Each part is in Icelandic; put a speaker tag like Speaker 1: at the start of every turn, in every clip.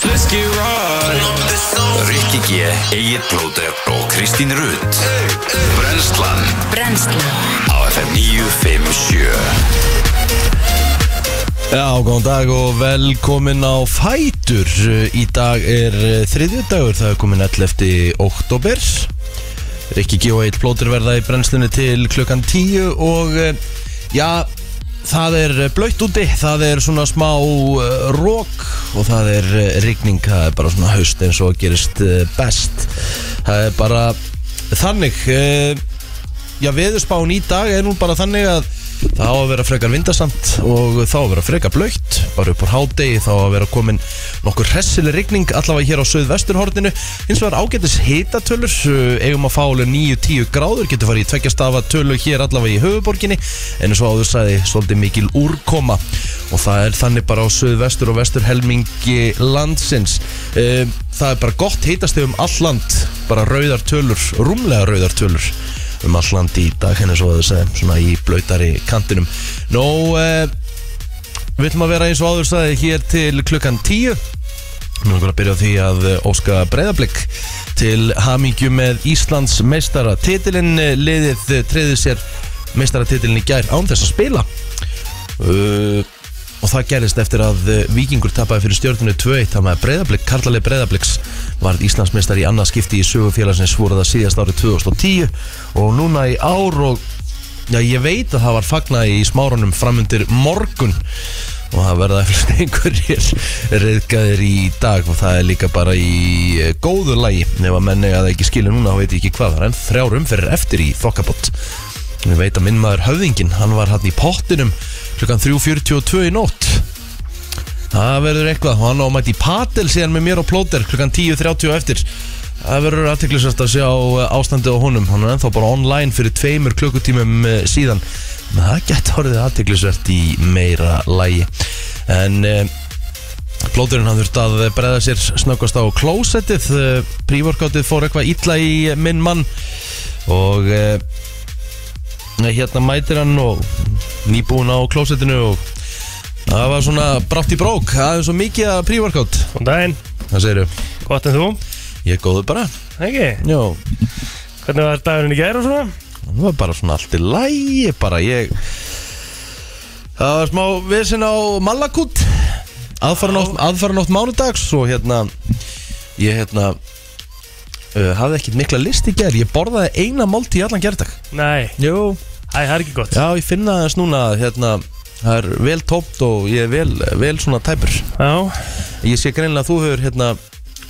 Speaker 1: kannski ráð
Speaker 2: Rikki G, Egil Blóter og Kristín Rutt Brenslan
Speaker 3: Brennslan
Speaker 2: á FM 957
Speaker 1: Já, góðan dag og velkomin á Fætur Eh, Í dag er þriðjudagur, það er komin 11. oktober Rikki G og Eitt Plótur verða í brennslunni til klukkan 10 Og eh, já, það er blöytt úti, það er svona smá rók Og það er eh, rigning, það er bara svona haust eins og gerist eh, best Það er bara þannig eh, Já, veðurspán í dag er nú bara þannig að það á að vera frekar vindasamt og það á að vera frekar blöytt bara upp úr hádegi þá á að vera komin nokkur hressileg rigning allavega hér á söðvesturhorninu hins vegar ágætis hitatölur uh, eigum að fá alveg 9-10 gráður getur farið í tveggjastafa tölu hér allavega í höfuborginni en eins og áður sagði svolítið mikil úrkoma og það er þannig bara á söðvestur og vestur helmingi landsins uh, það er bara gott hitast um all land bara rauðar tölur, rúmlega rauðar tölur um all land í dag henni svo að þau segja svona í blautari kantinum Nó, eh, við ætlum að vera eins og áður sagði hér til klukkan 10 Nú erum við að byrja á því að eh, óska breyðablík til hamingju með Íslands meistara titilinn liðið eh, treði sér meistara titilinn í gær án þess að spila uh, og það gerist eftir að eh, Víkingur tapaði fyrir stjórnunu 2-1 þá með breyðablík, karlalið breyðablíks varð Íslandsmeistar í annað skipti í sögufélagsins voru það síðast árið 2010 og núna í ár og já, ég veit að það var fagnað í smárunum framundir morgun og það verða eflust einhverjir reyðgæðir í dag og það er líka bara í eh, góðu lagi ef að menni að það ekki skilja núna þá veit ég ekki hvað það er en þrjárum fyrir eftir í þokkabott Ég veit að minn maður höfðingin, hann var hann í pottinum klukkan 3.42 í nótt. Það verður eitthvað, og hann á mætt í patel síðan með mér og plóter klukkan 10.30 eftir. Það verður aðteklisvægt að sjá eh, ástandið á honum, hann er ennþá bara online fyrir tveimur klukkutímum eh, síðan. Men það gett horfið aðteklisvægt í meira lægi. En... Eh, Plóturinn hann þurfti að breða sér snöggast á klósettið Prívorkáttið fór eitthvað illa í eh, minn mann Og eh, hérna mætir hann og nýbúin á klósettinu og það var svona brátt í brók, það er svo mikið að prívorkátt
Speaker 4: Góðan daginn,
Speaker 1: það segir ég,
Speaker 4: gott en þú,
Speaker 1: ég er góður bara
Speaker 4: ekki?
Speaker 1: já,
Speaker 4: Hvernig var dagurinn í gær og svona?
Speaker 1: það var bara svona allt í lægi bara, ég það var smá vissin á Malakút aðfaranótt, aðfaranótt mánudags og hérna ég hérna uh, hafði ekkert mikla list í gerð, ég borðaði eina máltíð í allan gerðdag
Speaker 4: Nei,
Speaker 1: jú,
Speaker 4: æ, það er ekki gott
Speaker 1: Já, ég finna þess núna að hérna, það er vel tópt og ég er vel, vel svona tæpur
Speaker 4: Já,
Speaker 1: Ég sé greinilega að þú hefur hérna,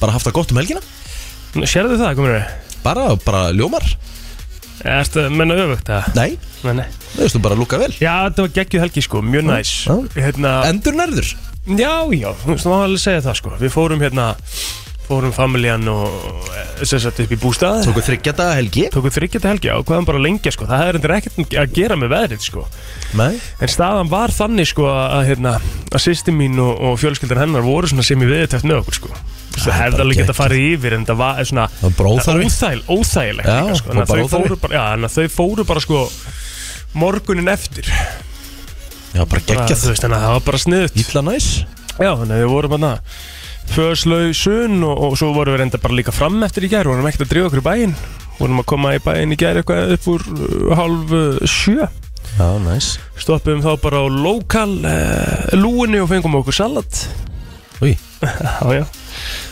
Speaker 1: bara haft það gott um helgina
Speaker 4: Nú, sérðu það, komur þér?
Speaker 1: Bara, bara ljómar
Speaker 4: Ertu að menna öfugt það?
Speaker 1: Nei,
Speaker 4: Nei, nei
Speaker 1: þú veist þú bara lúka vel
Speaker 4: Já, þetta var geggju helgi sko, mjög næs
Speaker 1: já.
Speaker 4: Hérna,
Speaker 1: Endur nærður
Speaker 4: já, já, þú veist, það var alveg að segja það sko Við fórum hérna, fórum familjan og eh, sem sagt upp í bústað
Speaker 1: Tóku þryggja daga helgi
Speaker 4: Tókuð þryggjata helgi á, hvaðan bara lengja sko Það er endur ekkert að gera með veðrið sko
Speaker 1: Nei
Speaker 4: En staðan var þannig sko að, að, hérna, að sýsti mín og, og fjölskyldan hennar voru svona sem í viðtæft með okkur sko Það
Speaker 1: er
Speaker 4: hefði
Speaker 1: bara
Speaker 4: alveg geta
Speaker 1: geggjað.
Speaker 4: farið yfir en það var eh, svona
Speaker 1: Það var bara óþarfi.
Speaker 4: óþæl, óþægilegt
Speaker 1: Já,
Speaker 4: líka, sko.
Speaker 1: og
Speaker 4: Þannig að
Speaker 1: bara
Speaker 4: þau
Speaker 1: óþarfi.
Speaker 4: fóru bara, já, þannig að þau fóru bara sko morgunin eftir
Speaker 1: Já, bara
Speaker 4: bara,
Speaker 1: geggjað
Speaker 4: þú veist, þannig að það var bara sniðut Já,
Speaker 1: Ítla næs
Speaker 4: þannig að við vorum hann að föðslausun og, og svo vorum við reynda bara líka fram eftir í gær vorum ekkert að drífa okkur í bæinn vorum að koma í bæinn í gær eitthvað upp úr uh, hálf uh, sjö
Speaker 1: Já, næs
Speaker 4: Stoppum þá bara á lokal uh, lúinni og fengum okkur salat
Speaker 1: Új
Speaker 4: Já, já,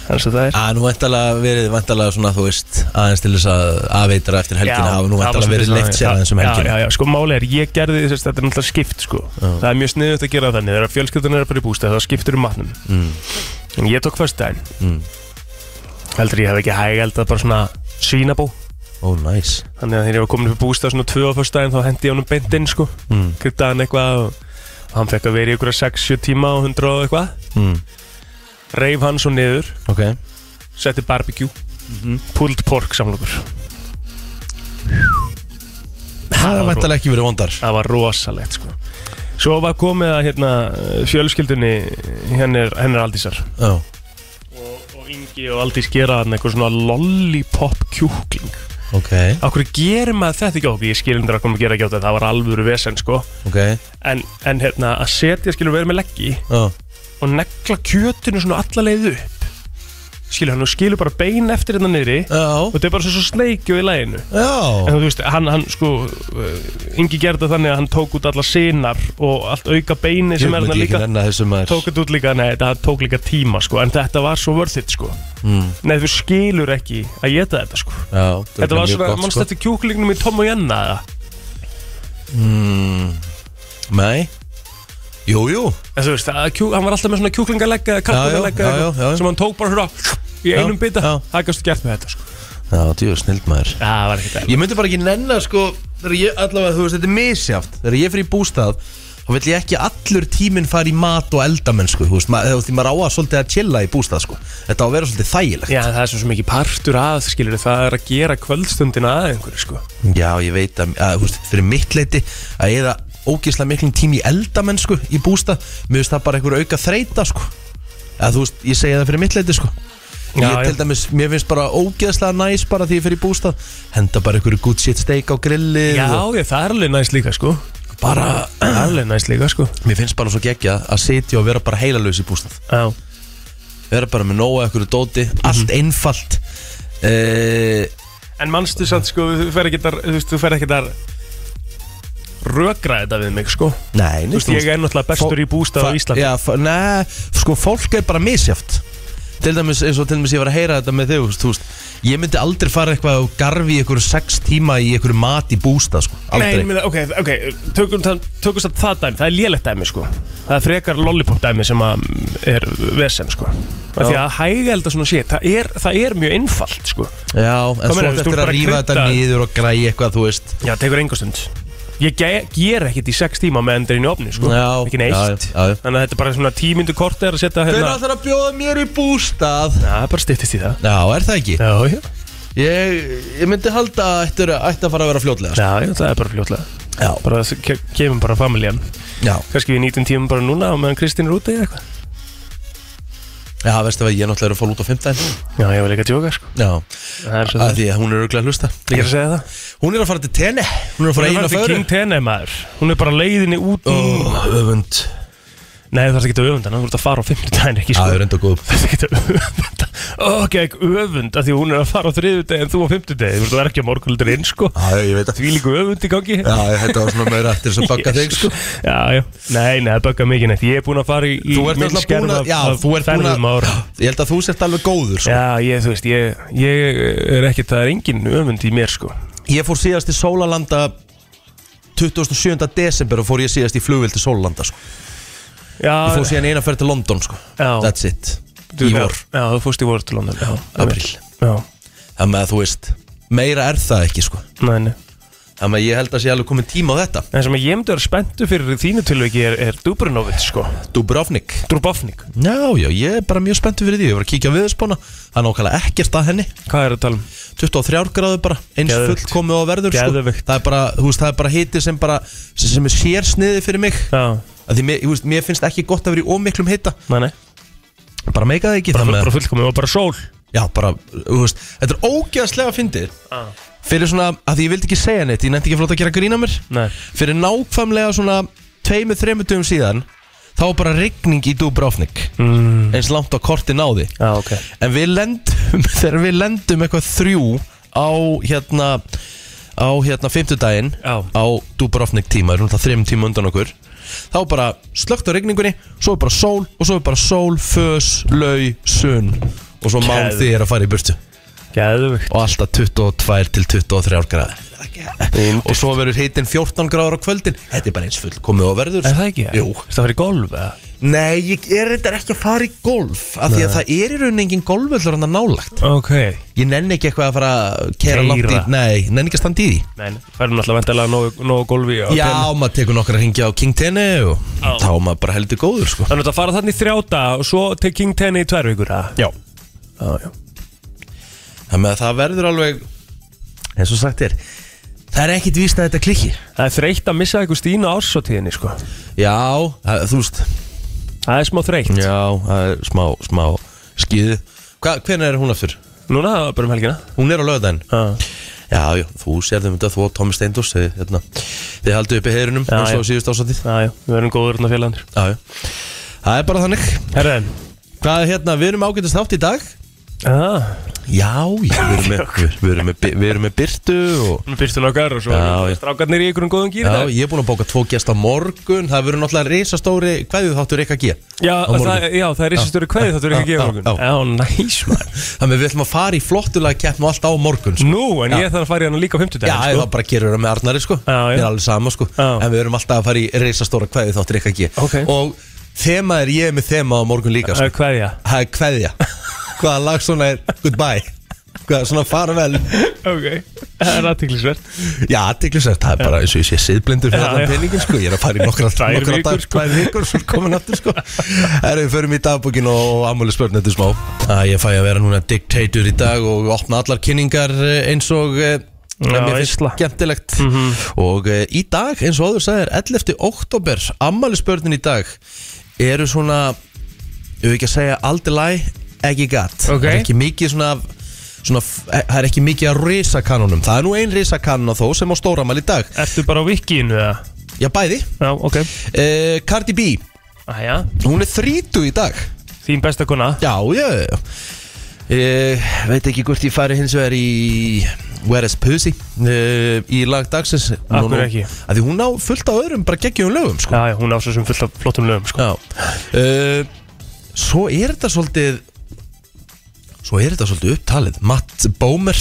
Speaker 4: þannig að það er
Speaker 1: Að nú væntalega verið, væntalega svona, þú veist Aðeins til þess að afveitra eftir helgina
Speaker 4: Já,
Speaker 1: Hafa
Speaker 4: það
Speaker 1: nú
Speaker 4: var
Speaker 1: væntalega
Speaker 4: svolítið
Speaker 1: verið
Speaker 4: svona-
Speaker 1: leitt sér
Speaker 4: já,
Speaker 1: aðeins um
Speaker 4: Já,
Speaker 1: helgina
Speaker 4: já, já, sko máli er, ég gerði þess að þetta er náttúrulega skipt sko Það er mjög sniðut að gera þannig, þegar fjölskyldan er að fara í bústæð þá skiptur um matnum
Speaker 1: Mm.
Speaker 4: En ég tók fyrst daginn
Speaker 1: Mm.
Speaker 4: Heldur ég hef ekki hægælt að bara svona svínabó
Speaker 1: Ó, næs
Speaker 4: Þannig að þegar ég var komin upp í bústæð svona tvö á fyrst daginn þá hendi ég honum beint inn sko
Speaker 1: Mm.
Speaker 4: Kryptaði hann eitthvað og, og hann fekk að vera í ykkur 6-7 tíma og 100 og eitthvað
Speaker 1: mm.
Speaker 4: Reif hann svo niður
Speaker 1: Ok
Speaker 4: setti barbecue Mhm. pulled pork samlokur
Speaker 1: Það er væntalega ekki verið vondar
Speaker 4: það var rosalegt sko svo var komið að hérna fjölskyldunni hennar, hennar Aldísar
Speaker 1: Já
Speaker 4: og, og Ingi og Aldís gera hann eitthvað svona lollipop kjúkling
Speaker 1: Ok,
Speaker 4: okkur gerir maður þetta ekki okkur ég skilum þér að koma að gera ekki á þetta það var alvöru vesen sko
Speaker 1: ok
Speaker 4: en, en hérna að setja skilur verið með leggji
Speaker 1: Já
Speaker 4: og negla kjötinu svona alla leið upp skilur hann og skilur bara bein eftir hérna niðri og
Speaker 1: Já,
Speaker 4: þetta er bara svo, svo sleikju í læginu
Speaker 1: já
Speaker 4: en þú veist, hann, hann sko uh, Ingi gerði það þannig að hann tók út alla sinar og allt auka beini
Speaker 1: Ég
Speaker 4: sem er
Speaker 1: myndi
Speaker 4: hann
Speaker 1: ekki
Speaker 4: líka
Speaker 1: nenni þessu maður
Speaker 4: tók þetta út líka, nei, þetta tók líka tíma sko, en þetta var svo worth it sko
Speaker 1: Hmm.
Speaker 4: nei, þú skilur ekki að geta þetta sko
Speaker 1: Já,
Speaker 4: þetta var svona,
Speaker 1: sko.
Speaker 4: mannst þetta kjúklingnum í Tom og Jenna eða?
Speaker 1: Nei Jú, jú
Speaker 4: en þú veist, að, kjú, hann var alltaf með svona kjúklingalegga eða
Speaker 1: Já,
Speaker 4: kartlingalegga
Speaker 1: já, já, já, já.
Speaker 4: sem hann tók bara hérna í
Speaker 1: Já,
Speaker 4: einum bita,
Speaker 1: já.
Speaker 4: það gæstu gert með þetta sko
Speaker 1: Já, djú, snild maður
Speaker 4: það var ekki það
Speaker 1: Ég myndi bara ekki nenni að, sko Þegar ég, allavega, þú veist, þetta er misjáft Þegar ég fyrir í bústað Þá vill ég ekki allur tíminn fara í mat og eldamenn, sko Þú veist, ma- þú veist, því maður á að svolítið að chilla í bústað, sko Þetta á að vera svolítið þægilegt
Speaker 4: Já, það er svo mikið partur að, skilur það er að gera kvöldstundina að einhverju, sko.
Speaker 1: Já, ég veit að, að þú veist, fyrir mitt leiti að eða ógeðslega miklum tími í eldamennsku í bústa, mér finnst það bara einhver auka þreita, sko að þú veist, ég segja það fyrir mitt leiti, sko
Speaker 4: Já,
Speaker 1: ég til
Speaker 4: já.
Speaker 1: dæmis, mér finnst bara ógeðslega næs bara því ég fyrir í bústa, henda bara einhverju good shit steak á grilli
Speaker 4: Já,
Speaker 1: og
Speaker 4: já, það er alveg næst líka, sko.
Speaker 1: bara,
Speaker 4: Það er alveg næst líka, sko.
Speaker 1: mér finnst bara svo geggja að sitja og vera bara heilalaus í bústað
Speaker 4: Já,
Speaker 1: vera bara með nóga einhverju dóti,
Speaker 4: Mhm.
Speaker 1: allt einfalt uh,
Speaker 4: en mannstu samt, sko, þú fer ekki þar, þú veist, þú fer ekki þar rökra þetta við mig, sko.
Speaker 1: Nei,
Speaker 4: Þú veist, ég er náttúrulega bestur í bústað á Íslandi.
Speaker 1: Já, fa- nei, sko fólk er bara misjaft Til dæmis, eins og til dæmis ég var að heyra þetta með þig þú veist, þú veist, Ég myndi aldrei fara eitthvað og garfi í einhverju sex tíma í einhverju mat í bústa sko,
Speaker 4: Nei,
Speaker 1: Aldrei
Speaker 4: menn, ok, ok, tökum, það- tökum samt það dæmi, það er lélegt dæmi, sko. Það er frekar lollipop dæmi sem að er vesem, sko. Af Því
Speaker 1: Já.
Speaker 4: að hægælda svona shit, það er, það er mjög einfalt, sko.
Speaker 1: Já, en
Speaker 4: Hvað
Speaker 1: svo
Speaker 4: meinar,
Speaker 1: ertu
Speaker 4: þú
Speaker 1: eftir
Speaker 4: bara
Speaker 1: að rífa þetta
Speaker 4: krydda-
Speaker 1: niður og græja eitthvað, þú veist
Speaker 4: Já, það tekur engastund Ég ge ger ekkit í sex tíma með endur inn í ofni sko.
Speaker 1: Já,
Speaker 4: Ekki neitt
Speaker 1: já, já, já.
Speaker 4: Þannig að þetta er bara svona tímyndu korti er að setja
Speaker 1: Hver
Speaker 4: hérna Já,
Speaker 1: ætlar að bjóða mér í bústað?
Speaker 4: það er bara styttist í það
Speaker 1: Já, er það ekki?
Speaker 4: Já, já,
Speaker 1: Ég, ég myndi halda að ætti ætti að fara að vera fljótlega sko.
Speaker 4: já, já það er bara fljótlega
Speaker 1: Já,
Speaker 4: Bara þess- ke kemum bara familjan
Speaker 1: já,
Speaker 4: Kannski við nýtum tímum bara núna og meðan Kristín er úti eða eitthvað
Speaker 1: já, veistu að ég er náttúrulega að fór út á 15
Speaker 4: Já, ég vil ekki að djóka sko
Speaker 1: Já,
Speaker 4: Það er svo
Speaker 1: að
Speaker 4: það
Speaker 1: því að hún er örglega að hlusta
Speaker 4: Ég er að segja það
Speaker 1: Hún er að fara til tenni Hún er að fara
Speaker 4: Hún
Speaker 1: eina
Speaker 4: er bara
Speaker 1: föður
Speaker 4: King Tene maður Hún er bara á leiðinni út núna.
Speaker 1: oh, Öfund
Speaker 4: Nei, það er ekki að öfunda hana, Þú ert að fara á 50 daginn ekki
Speaker 1: Já,
Speaker 4: sko
Speaker 1: það er enda góð
Speaker 4: Það er ekki að öfunda Ó, gegg öfund að Því hún er að fara á þriðudegi en þú á fimmtudegi Þú veist, það er ekki að morgunlundur inn, sko
Speaker 1: Já, ég veit að
Speaker 4: Því líku öfund í gangi
Speaker 1: Já, þetta var svona meira eftir þess að bakka þig sko
Speaker 4: Já, já Nei, nei, það böggar mikið neitt Ég er búinn að fara í, í
Speaker 1: Þú ert
Speaker 4: minn
Speaker 1: alltaf
Speaker 4: skerf
Speaker 1: búin
Speaker 4: af-
Speaker 1: að Já,
Speaker 4: af
Speaker 1: þú ert búin
Speaker 4: ferðum
Speaker 1: að
Speaker 4: ára.
Speaker 1: Ég held að þú sért alveg góður sko
Speaker 4: Já, ég, þú veist, ég, ég er ekkert Það er engin öfund í mér, sko
Speaker 1: Ég fór síðast í Sólalanda 27. desember og fór ég síðast í flugvill til Sólalanda sko Ég
Speaker 4: Ah, Já,
Speaker 1: fór síðan eina ferð til London sko
Speaker 4: Já.
Speaker 1: That's it Í vor
Speaker 4: Já, þú fórst í vor til London Já,
Speaker 1: Apríl.
Speaker 4: Já,
Speaker 1: Það með að þú veist Meira er það ekki sko
Speaker 4: nei, nei
Speaker 1: Það með að ég held að sé alveg komin tíma á þetta
Speaker 4: En sem að ég myndi að vera spenntu fyrir þínu tilveiki er, er Dubrinovic, sko
Speaker 1: Dubrovnik
Speaker 4: Drubovnik
Speaker 1: Já, já, ég er bara mjög spenntur fyrir því Ég var að kíkja á viðspána Það er nákvæmlega ekkert að henni
Speaker 4: Hvað er að tala um?
Speaker 1: 23 gráður bara eins
Speaker 4: Geðveikt.
Speaker 1: fullkomið á verður sko.
Speaker 4: Geðveikt.
Speaker 1: það er bara, þú veist, það er bara hiti sem bara sem sem er sérsniði fyrir mig
Speaker 4: Já,
Speaker 1: að því mér, þú veist, mér finnst ekki gott að vera í ómiklum hita
Speaker 4: nei, nei
Speaker 1: bara meika það ekki
Speaker 4: Bara,
Speaker 1: þannig
Speaker 4: bara
Speaker 1: að-
Speaker 4: fullkomið og bara sól
Speaker 1: já, bara, þú veist, þetta er ógeðslega fyndið
Speaker 4: ah.
Speaker 1: fyrir svona, að því ég vildi ekki segja neitt ég nefndi ekki flót að gera grína mér
Speaker 4: Nei
Speaker 1: fyrir nákvæmlega svona tveimur, þreimur dögum síðan þá var bara rigning í Dubrovnik
Speaker 4: mm.
Speaker 1: eins langt á korti náði
Speaker 4: Já, ok
Speaker 1: En við lendum, þegar við lendum eitthvað þrjú á hérna á hérna fimmtudaginn
Speaker 4: Já.
Speaker 1: á Dubrovnik tíma, erum það þreim tíma undan okkur þá bara slögt á regningunni svo er bara sól og svo er bara sól fös, lau, sunn og svo mán
Speaker 4: Geðveikt.
Speaker 1: því er að fara í burtu
Speaker 4: Gæðvikt
Speaker 1: og alltaf 22 til 23 gráði og svo verður hitinn 14 gráður á kvöldin þetta er bara eins full komið á verður
Speaker 4: Er það ekki?
Speaker 1: Jú.
Speaker 4: Það var í golf eða?
Speaker 1: Nei, ég er þetta ekki að fara í golf af því að það er í rauninni engin golfvöllur hann að nálagt
Speaker 4: Ok
Speaker 1: Ég nenni ekki eitthvað að fara að kera
Speaker 4: Keyra.
Speaker 1: langt í Nei, nenni ekki að standa í því
Speaker 4: Nei, færum náttúrulega vendilega nógu, nógu golfi á
Speaker 1: Já,
Speaker 4: tennis.
Speaker 1: maður tekur nokkra hringja á King Tenni og þá er maður bara heldur góður sko
Speaker 4: Þannig að fara þannig í þrjáta og svo til King Tenni í tvær vikur eða?
Speaker 1: Já
Speaker 4: Já, já
Speaker 1: Þannig að það verður alveg eins og sagt er Það er ekkit víst að þetta klikki
Speaker 4: Það er þreytt að missa eitthvað stína ársótíðinni sko
Speaker 1: Já, það, þú veist
Speaker 4: Það er smá þreytt
Speaker 1: Já, það er smá, smá skýðu Hvernig er hún aftur?
Speaker 4: Núna bara um helgina
Speaker 1: Hún er á lögðan
Speaker 4: Já,
Speaker 1: Já, já, þú sérðum þetta, þú og Tommi Steindors þið, hérna, þið haldið uppi heyrunum
Speaker 4: Já,
Speaker 1: eins og
Speaker 4: já.
Speaker 1: síðust ásatið
Speaker 4: já, já Við verðum hérna góður þarna félagandir
Speaker 1: Já, já, það er bara þannig
Speaker 4: Herðin
Speaker 1: Hvað er hérna, við erum ágætast þátt í dag
Speaker 4: ah,
Speaker 1: Já, já, við erum með, við, við erum með, bi- við erum með Byrtu og
Speaker 4: Við byrstum okkar og svo
Speaker 1: Já,
Speaker 4: erum
Speaker 1: já.
Speaker 4: strákarnir í einhverjum góðum gýr
Speaker 1: Já, ég er búin að bóka tvo gesta á morgun Það verður náttúrulega risastóri Hvað þáttur Rikka G?
Speaker 4: Já,
Speaker 1: á morgun.
Speaker 4: það, já, það er risastöru kveði þetta er ekki að
Speaker 1: Já,
Speaker 4: gefa
Speaker 1: já,
Speaker 4: okkur Já, næs maður
Speaker 1: Þannig að við ætlum að fara í flottulega keppn og allt á morgun sko.
Speaker 4: Nú, en ég þarf að fara í hana líka á
Speaker 1: Já,
Speaker 4: fimmtudaginn
Speaker 1: sko? það bara gerur það með Arnari sko
Speaker 4: Já, já.
Speaker 1: Mér er alveg sama sko
Speaker 4: Já.
Speaker 1: En við erum alltaf að fara í risastóra kveði þáttur Rikka G
Speaker 4: Ok.
Speaker 1: Og þema er ég er með þema á morgun líka
Speaker 4: Það
Speaker 1: sko.
Speaker 4: er kveðja
Speaker 1: Það er kveðja Hvaða lag svona er goodbye Hvaða svona fara vel
Speaker 4: Ok, það er aðtiklisvert
Speaker 1: Já, aðtiklisvert, það er bara eins og ég sé siðblindur fyrir
Speaker 4: Já,
Speaker 1: allan
Speaker 4: já.
Speaker 1: peningin sko, ég er að fara í nokkra,
Speaker 4: Tvær
Speaker 1: nokkra
Speaker 4: vikur,
Speaker 1: dag,
Speaker 4: sko.
Speaker 1: tvær vikur, svo er komin aftur sko. Það er við förum í dagbúkin og ammúli spörnendur smá. Að ég fæ að vera núna dictator í dag og opna allar kynningar eh, eins og eh,
Speaker 4: Já,
Speaker 1: mér finnst
Speaker 4: veisla. Mhm.
Speaker 1: skemmtilegt og eh, í dag, eins og áður sagðir 11. oktober, ammali spörnin í dag eru svona ef ekki að segja aldrei læg ekki gatt,
Speaker 4: Ok.
Speaker 1: það er ekki mikið svona af- Svona, f- eh, það er ekki mikið að risakanunum Það er nú ein risakanuna þó sem á stóramæl í dag
Speaker 4: Ertu bara á vikinu eða?
Speaker 1: Já, bæði
Speaker 4: Já, ok
Speaker 1: uh, Cardi B,
Speaker 4: Æja,
Speaker 1: hún er þrítu í dag
Speaker 4: þín besta kona
Speaker 1: Já, já, já Ég veit ekki hvort ég fari hins vegar í Where is Pussy uh, í lag dagsins
Speaker 4: Af
Speaker 1: Nú-
Speaker 4: hverju ekki?
Speaker 1: Af Því hún á fullt á öðrum bara geggjum lögum sko.
Speaker 4: Já, já, hún á svo sem fullt af flottum lögum sko.
Speaker 1: Já uh, Svo er þetta svolítið Svo er þetta svolítið upptalið Matt Bomer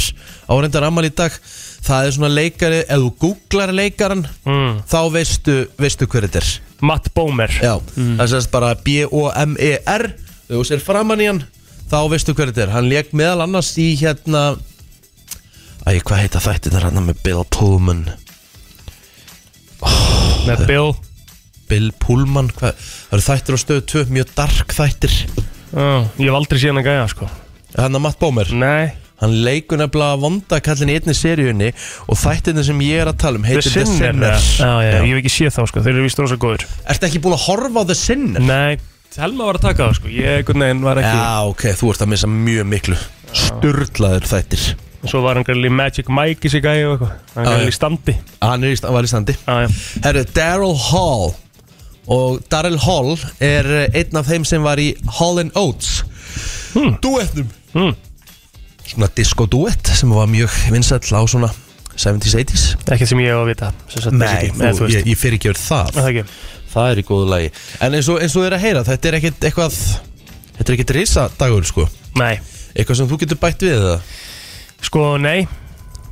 Speaker 1: á reyndar ammal í dag Það er svona leikari Ef þú googlar leikaran
Speaker 4: mm.
Speaker 1: Þá veistu, veistu hver þetta er
Speaker 4: Matt Bomer
Speaker 1: Já, það er sérst bara B-O-M-E-R E Ef þú sér framan í hann Þá veistu hver þetta er Hann leik meðal annars í hérna Æ, hvað heita þætti þar hann með Bill Pullman
Speaker 4: Með Bill
Speaker 1: Bill Pullman, hvað Það eru þættir á stöðu 2, mjög dark þættir
Speaker 4: uh, Ég hef aldrei séð hann að gæja sko.
Speaker 1: Þannig að Matt Bomer
Speaker 4: Nei,
Speaker 1: Hann leikur nefnilega vondakallin í einni seríunni og þættinni sem ég er að tala um heitir The Sinner.
Speaker 4: Já, já, ég hef ekki séð þá sko. Þeir eru víst rosa góður
Speaker 1: Ertu ekki búin að horfa á The Sinner?
Speaker 4: Nei, Helma var að taka það sko. Ég, einhvern veginn, var ekki
Speaker 1: Já, ok, þú ert að missa mjög miklu. Sturlaður þættir.
Speaker 4: Svo var hann greinlega í Magic Mike í sig gæja og eitthvað Hann
Speaker 1: Já,
Speaker 4: greinlega
Speaker 1: já.
Speaker 4: í standi
Speaker 1: Hann er í, sta- var í standi.
Speaker 4: Já, já
Speaker 1: Herru, Daryl Hall. Og Daryl Hall er eh, einn af þeim sem var í Hall and Oates. Hmm. Duetnum.
Speaker 4: Hmm.
Speaker 1: Svona disco-duett sem var mjög vinsall á svona 70s, 80s.
Speaker 4: Ekkert sem ég hef að vita sem sagt, basically.
Speaker 1: þú,
Speaker 4: Eða, þú veist
Speaker 1: ég, ég fyrirgjör það.
Speaker 4: Það ekki
Speaker 1: Það er í góðu lagi En eins og, eins og þið er að heyra, þetta er ekkit eitthvað Þetta er ekkit risadagur sko
Speaker 4: Nei
Speaker 1: Eitthvað sem þú getur bætt við það
Speaker 4: Sko, nei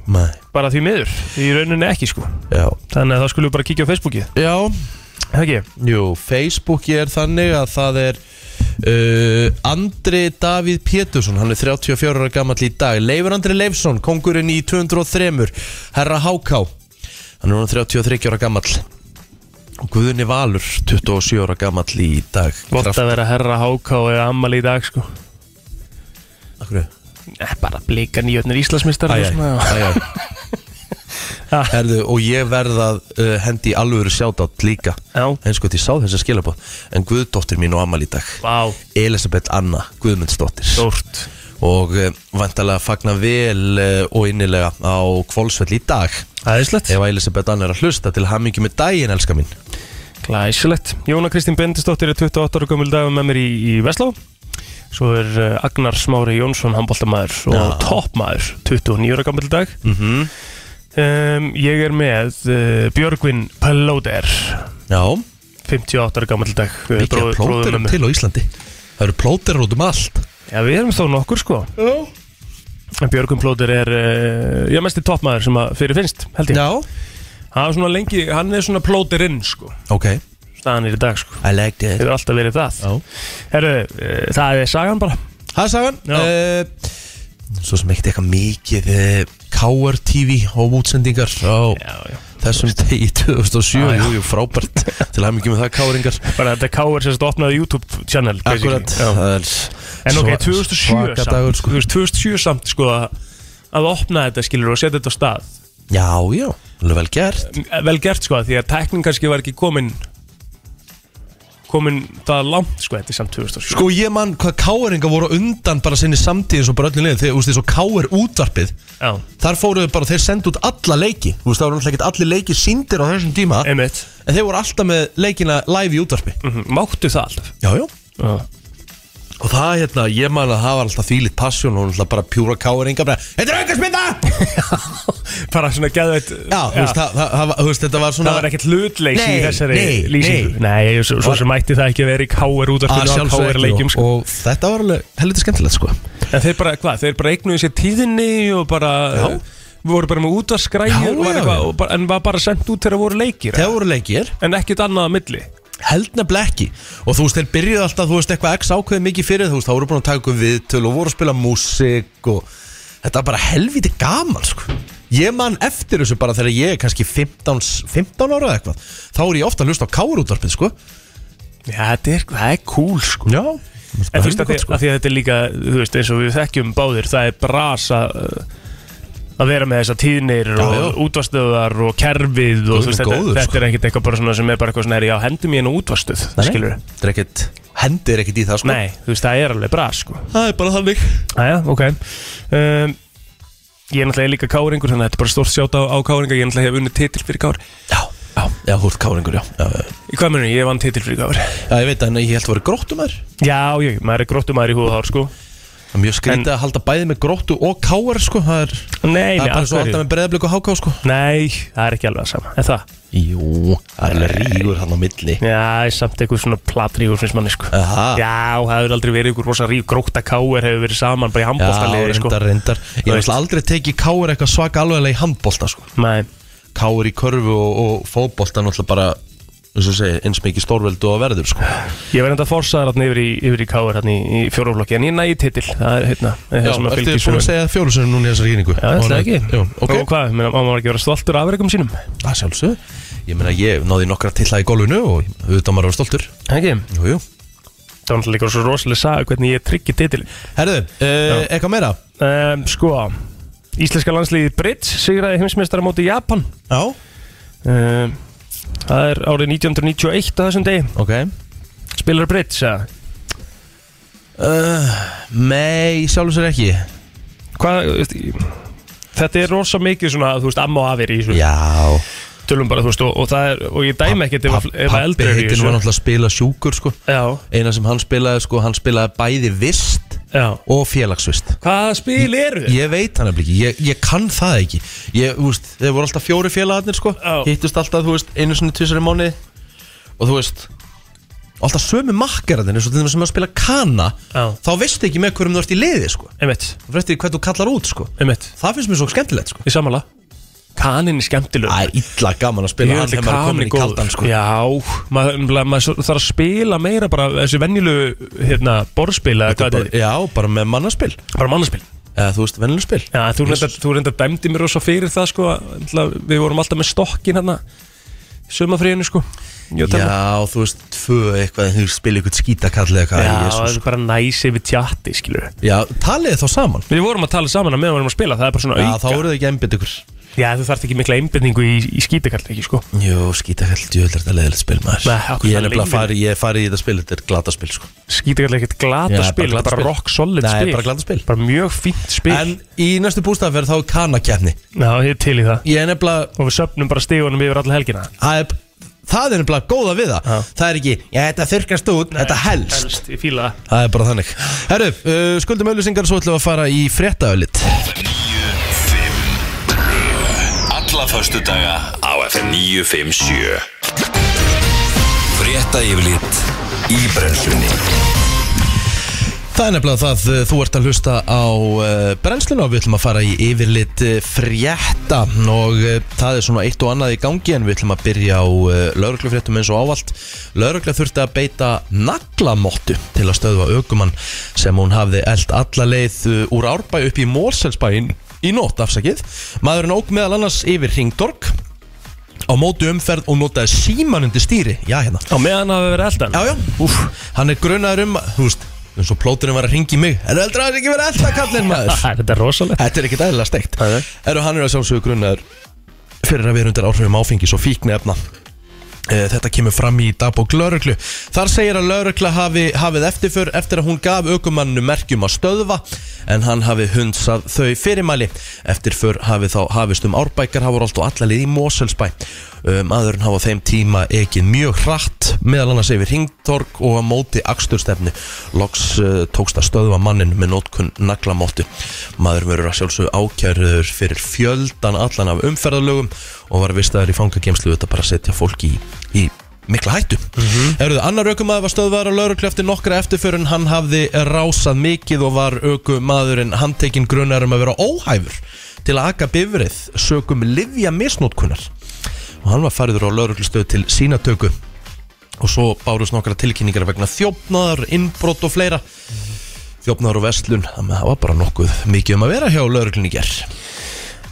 Speaker 1: Nei
Speaker 4: Bara því miður Í rauninni ekki sko
Speaker 1: Já
Speaker 4: Þannig að það skulum við bara kíkja á Facebookið
Speaker 1: Já
Speaker 4: Það ekki
Speaker 1: Jú, Facebook er þannig að það er uh, Andri Davíð Pétursson Hann er 34 ára gamall í dag Leifur Andri Leifsson, kongurinn í 203 Herra Háká Hann er núna 33 ára gamall Og Guðni Valur, 27 ára gamall í dag
Speaker 4: Gott að vera herra háká eða ammali í dag sko
Speaker 1: Akkur er
Speaker 4: Eh, bara blika nýjötnir Íslandsmistar
Speaker 1: Æj, æj, æj
Speaker 4: Ha.
Speaker 1: Herðu, og ég verð að uh, hendi í alvöru sjátátt líka sko,
Speaker 4: Já,
Speaker 1: eins og ég sá þess að skilabóð en Guðdóttir mín og Amal í dag
Speaker 4: vá,
Speaker 1: Elisabeth Anna Guðmundsdóttir
Speaker 4: stórt
Speaker 1: og uh, vantarlega fagna vel uh, og innilega á kvolsvell í dag
Speaker 4: Æðislegt
Speaker 1: ef Elisabeth Anna er að hlusta til hamingi með daginn, elska mín
Speaker 4: Glæsilegt Jóna Kristín Bendisdóttir er 28 ára gömul dag og með mér í, í Vesló Svo er uh, Agnar Smári Jónsson handbóltamaður og
Speaker 1: Já.
Speaker 4: toppmaður 29 ára gömul dag
Speaker 1: mm -hmm.
Speaker 4: um, Ég er með uh, Björgvin Plóder
Speaker 1: Já,
Speaker 4: 58 ára gömul dag uh,
Speaker 1: mikið
Speaker 4: bróður- bróður
Speaker 1: plóterum
Speaker 4: mömmu.
Speaker 1: til á Íslandi Það eru plóterum út um allt
Speaker 4: Já, við erum þó nokkur sko En Björgvin Plóder er uh, já, mesti toppmaður sem að fyrir finnst held ég
Speaker 1: Já,
Speaker 4: Hann er svona lengi, hann er svona plóterinn sko
Speaker 1: ok
Speaker 4: Staðan er í dag sko
Speaker 1: I liked it
Speaker 4: hefur alltaf verið það
Speaker 1: Já.
Speaker 4: Herru, uh, það er sagan bara
Speaker 1: Það sagðan
Speaker 4: Já.
Speaker 1: uh, Svo sem ekkert eitthvað mikið uh, KR TV og útsendingar á
Speaker 4: já, já.
Speaker 1: þessum degi 2007
Speaker 4: Já, já.
Speaker 1: Jú, jú, frábært til að mikið með það KR-ingar
Speaker 4: bara þetta K.R. sérst opnaði YouTube channel basically.
Speaker 1: Akkurat
Speaker 4: Já.
Speaker 1: það er
Speaker 4: en ok,
Speaker 1: sva-
Speaker 4: 2007
Speaker 1: svaka
Speaker 4: samt,
Speaker 1: dagur, sko.
Speaker 4: Þú veist, 2007 samt sko að að opna þetta skilur og setja þetta á stað
Speaker 1: Já, já, alveg vel gert
Speaker 4: Eh, vel gert sko því að tæknin kannski var ekki komin komin það langt sko þetta er samt 2007
Speaker 1: Sko ég mann hvað KR-ingar voru á undan bara sinni samtíð eins og bara öllin liðin þegar, þú veist, eins og KR útvarpið
Speaker 4: já,
Speaker 1: Þar fóruðu bara, þeir sendu út alla leiki Þú veist, það voru náttúrulega ekkert allir leiki síndir á þessum tíma En
Speaker 4: einmitt Mhm,
Speaker 1: þeir voru alltaf með leikina live í útvarpi
Speaker 4: mm máttu það alltaf
Speaker 1: Já, já
Speaker 4: já.
Speaker 1: Og það hérna, ég man að það var alltaf þvílitt passjón og hún alltaf bara pjúra káir enga bara Þetta er aukarsmynda!
Speaker 4: Bara svona geðveitt
Speaker 1: Já, þú veist, það, það, það, þú veist, þetta var svona
Speaker 4: Það var ekkert hlutlegs í
Speaker 1: Nei,
Speaker 4: þessari
Speaker 1: nei,
Speaker 4: lýsingu Nei, nei svo, svo sem mætti það ekki að vera í káir út af
Speaker 1: að
Speaker 4: hvernig á
Speaker 1: sjálfsögðu
Speaker 4: káir
Speaker 1: ekki,
Speaker 4: leikjum
Speaker 1: og,
Speaker 4: sko.
Speaker 1: og þetta var alveg helviti skemmtilegt sko
Speaker 4: En þeir bara, hvað, þeir bara eignuðu sér tíðinni og bara Við voru bara með
Speaker 1: Já,
Speaker 4: útvarskræði og var
Speaker 1: já,
Speaker 4: eitthvað
Speaker 1: já.
Speaker 4: og bara- En var bara sendt út þegar voru leikir
Speaker 1: Þegar voru leikir,
Speaker 4: En ekkert annað að milli
Speaker 1: held nefnilega ekki og þú veist, þeir byrjuðu alltaf, þú veist, eitthvað x ákveði mikið fyrir þú veist, þá voru búin að taka ykkur viðtöl og voru að spila músík og þetta var bara helviti gaman sko Ég man eftir þessu bara þegar ég er kannski 15, 15 ára eða eitthvað Þá er ég ofta að hlusta á kárútarpið sko
Speaker 4: Já, þetta er, það er cool sko
Speaker 1: Já
Speaker 4: En þú veist að, sko. að því að þetta er líka, þú veist, eins og við þekkjum báðir, það er brasa uh, að vera með þessa tíðnir
Speaker 1: já.
Speaker 4: og útvarstöðar og kerfið og þú veist,
Speaker 1: Guð minn
Speaker 4: þetta,
Speaker 1: góður, sko.
Speaker 4: þetta er ekkert eitthvað bara svona sem er bara eitthvað svona er já, hendum ég nú útvarstöð, skilur við.
Speaker 1: Þetta er ekkert, hendir ekkert í það sko
Speaker 4: Nei, þú veist, það er alveg bras, sko.
Speaker 1: Það er bara þannig
Speaker 4: Æja, ok. Um, ég er náttúrulega líka káringur, þannig að þetta er bara stórt sjáta á, á káringa, ég er náttúrulega hef unnið titil fyrir kár.
Speaker 1: Já, já, já, þú ert káringur, já Já, já, já.
Speaker 4: Í hvað munum, ég vann titil fyrir kár.
Speaker 1: já ég veit að ég held að vera gróttumar
Speaker 4: Já, ég, maður er gróttumæður í húðahár, sko.
Speaker 1: Það er mjög skrítið að halda bæði með gróttu og káar sko Það er,
Speaker 4: Nei,
Speaker 1: það
Speaker 4: nei,
Speaker 1: er bara
Speaker 4: af
Speaker 1: svo alltaf
Speaker 4: hverju?
Speaker 1: með breðablík og háká sko
Speaker 4: Nei, það er ekki alveg að sama, en það?
Speaker 1: Jú, það er alveg rígur hann á milli
Speaker 4: Já, samt eitthvað svona platríkur finnst manni sko
Speaker 1: Aha, já,
Speaker 4: Já, það hefur aldrei verið ykkur rosa ríf gróta káir hefur verið saman bara í handbóltaliði sko
Speaker 1: reyndar, reyndar Ég
Speaker 4: Þú veist.
Speaker 1: hef náttúrulega aldrei tekið káar eitthvað svaka alveglega í handbólta sko
Speaker 4: Nei,
Speaker 1: Káar í körfu og, og fótbólta náttúrulega bara eins og ég segi, eins mikið stórveldu og verður sko
Speaker 4: ég verði enda að forsaða þarna yfir í, yfir í káir þarna í, í fjóraflokki en ég nægi titil, það er hérna
Speaker 1: Já, ertu búin að segja fjólusunum núna í þessari kynningu?
Speaker 4: Já, ætlaði ekki
Speaker 1: Já, ok
Speaker 4: Og hvað, menn, má maður ekki vera stoltur af afrekum sínum
Speaker 1: Það sjálfsög Ég meina ég náði nokkra tilla í golfinu og auðvitað maður að vera stoltur
Speaker 4: Ekki,
Speaker 1: Jú, jú
Speaker 4: það var náttúrulega líka svo rosalega saga hvernig ég tryggi titil
Speaker 1: Herðu, uh, eitthvað meira?
Speaker 4: um, Sko, íslenska landsliðið Britt sigraði heimsmeistara móti Japan
Speaker 1: Já
Speaker 4: um, Það er árið 1991 á þessum degi
Speaker 1: Ok
Speaker 4: Spilar Britt, sagði
Speaker 1: uh, Nei, sjálfsög ekki
Speaker 4: hvað, veist, ég- þetta er rosa mikið svona, þú veist, amma og afir í þessu
Speaker 1: Já
Speaker 4: tölum bara, þú veist, og, og það er, og ég dæmi ekkert ef, ef að
Speaker 1: Pappi
Speaker 4: eldri er í
Speaker 1: heitin var
Speaker 4: þessu
Speaker 1: náttúrulega að spila sjúkur sko
Speaker 4: já,
Speaker 1: Eina sem hann spilaði sko, hann spilaði bæði vist
Speaker 4: já
Speaker 1: og félagsvist
Speaker 4: hvaða spil eru þið?
Speaker 1: Ég veit hann ekki, ég, ég kann það ekki Ég, þú veist, þeir voru alltaf fjóri félagarnir sko
Speaker 4: Já.
Speaker 1: Hittust alltaf, þú veist, einu sinni tvisari mánu Og þú veist Alltaf sömu makkararnir, eins og til þeim sem að spila kana
Speaker 4: Já.
Speaker 1: Þá veistu ekki með hverjum þú ert í liði sko
Speaker 4: einmitt,
Speaker 1: Það fyrir eftir hvernig þú kallar út sko
Speaker 4: einmitt,
Speaker 1: Það finnst mér svo skemmtilegt sko
Speaker 4: ég samanla kanin er skemmtilegur
Speaker 1: Það er illa gaman að
Speaker 4: Ég
Speaker 1: spila
Speaker 4: held
Speaker 1: hann
Speaker 4: að
Speaker 1: þegar
Speaker 4: kanin
Speaker 1: maður er komin
Speaker 4: er
Speaker 1: í kaldan
Speaker 4: góður
Speaker 1: sko
Speaker 4: Já, maður ma, ma, þarf að spila meira bara þessi venjulegu hérna, borðspil eða hvað þetta
Speaker 1: bara,
Speaker 4: er,
Speaker 1: Já, bara með mannaspil
Speaker 4: bara mannaspil
Speaker 1: Eða þú veist, vennileg spil
Speaker 4: Já, þú reyndar, þú reyndar dæmdi mér rosa fyrir það sko, að- náttúrulega, við vorum alltaf með stokkin hérna sömafríðinu sko Ég var að tala um-
Speaker 1: Já, þú veist, tvö eitthvað en þú spila eitthvað skítakall eða hvað
Speaker 4: Já, það
Speaker 1: Jesus.
Speaker 4: er bara næs yfir tjatti, skilur
Speaker 1: Já, talið þá saman
Speaker 4: Við vorum að tala saman að meðan við vorum að spila, það er bara svona
Speaker 1: Já, þá
Speaker 4: auka
Speaker 1: voruð þið ekki einbytt ykkur
Speaker 4: Já, þú þarft ekki mikla einbyrningu í, í skítakall, ekki sko
Speaker 1: Jú, skítakall, djöðlega þetta leðilegt spil maður
Speaker 4: Nei, okkur
Speaker 1: Ég
Speaker 4: það
Speaker 1: er nefnilega
Speaker 4: leiðilegt.
Speaker 1: farið, ég er farið í þetta spil, þetta er glata spil sko
Speaker 4: Skítakall er ekkert glata
Speaker 1: Já,
Speaker 4: spil, það
Speaker 1: bara
Speaker 4: er bara
Speaker 1: glata spil.
Speaker 4: rock solid
Speaker 1: Nei,
Speaker 4: spil
Speaker 1: bara glata spil.
Speaker 4: Bara mjög fínt spil
Speaker 1: En í næstu bústafverð þá er kanakefni
Speaker 4: Já, ég er til í það
Speaker 1: Ég er nefnilega,
Speaker 4: Og við söpnum bara stígunum yfir alla helgina
Speaker 1: það er, það er nefnilega góða við það
Speaker 4: Já.
Speaker 1: Það er ekki, já, þetta þurrkast út, þetta helst
Speaker 4: Helst, ég fíla það
Speaker 1: Það er bara þannig Herru, uh, skuldum auðlýsingar svo ætlum við að fara í fréttaölit
Speaker 2: Alla förstu daga á FM 957 Frétta yfirlit í brennslunni
Speaker 1: Það er nefnilega það, uh, þú ert að hlusta á uh, brennsluna og við ætlum að fara í yfirlit uh, frétta og uh, það er svona eitt og annað í gangi en við ætlum að byrja á uh, lauruglufréttum eins og ávalt. Laurugla þurfti að beita naglamottu til að stöðva aukumann sem hún hafði eld alla leið uh, úr árbæ upp í Mórselsbæin í nótt afsakið. Maðurinn óg meðal annars yfir Ringdorg á mótu umferð og notaði símann undir stýri. Já, hérna.
Speaker 4: Á meðan hafa verið eldan
Speaker 1: Já, já, úf, hann er grunaður um að- Þú veist, eins og plóturinn var að ringi í mig Er heldur að það ekki verið alltaf kallinn maður
Speaker 4: Það er þetta rosalegt
Speaker 1: Þetta er ekkit eðlilega steikt
Speaker 4: Nei, nei.
Speaker 1: Eru hann er að sjálfsögur grunaður Fyrir að vera undir áhrifum áfengis og fíknefna Eh, Þetta kemur fram í dagbók lauruglu Þar segir að laurugla hafi, hafið eftirför eftir að hún gaf aukumanninu merkjum að stöðva en hann hafi hundsað þau fyrirmæli. Eftir fyrr hafi þá hafist um árbækar og alla lið í Moselsbæ. Um, aðurinn hafa á þeim tíma ekið mjög hratt meðal annars yfir hringtorg og að móti aksturstefni. Loks uh, tókst að stöðva mannin með nótkunn naglamóttu. Maður verður að sjálfsög ákjærður fyrir fjöldan allan af umferðalögum og var vistaður í fangagemslu þetta bara að setja fólki í, í mikla hættu mm annar aukumæður var stöðvar á lauruglu eftir nokkra eftirförun hann hafði rásað mikið og var aukumæðurinn handtekinn grunar um að vera óhæfur til að aka bifrið sögum livja misnótkunar og hann var fariður á lauruglustöð til sínatöku og svo bárust nokkra tilkynningar vegna þjófnaðar, innbrot og fleira þjófnaðar og vestlun þannig að það var bara nokkuð mikið um að vera hjá lauruglunni gerð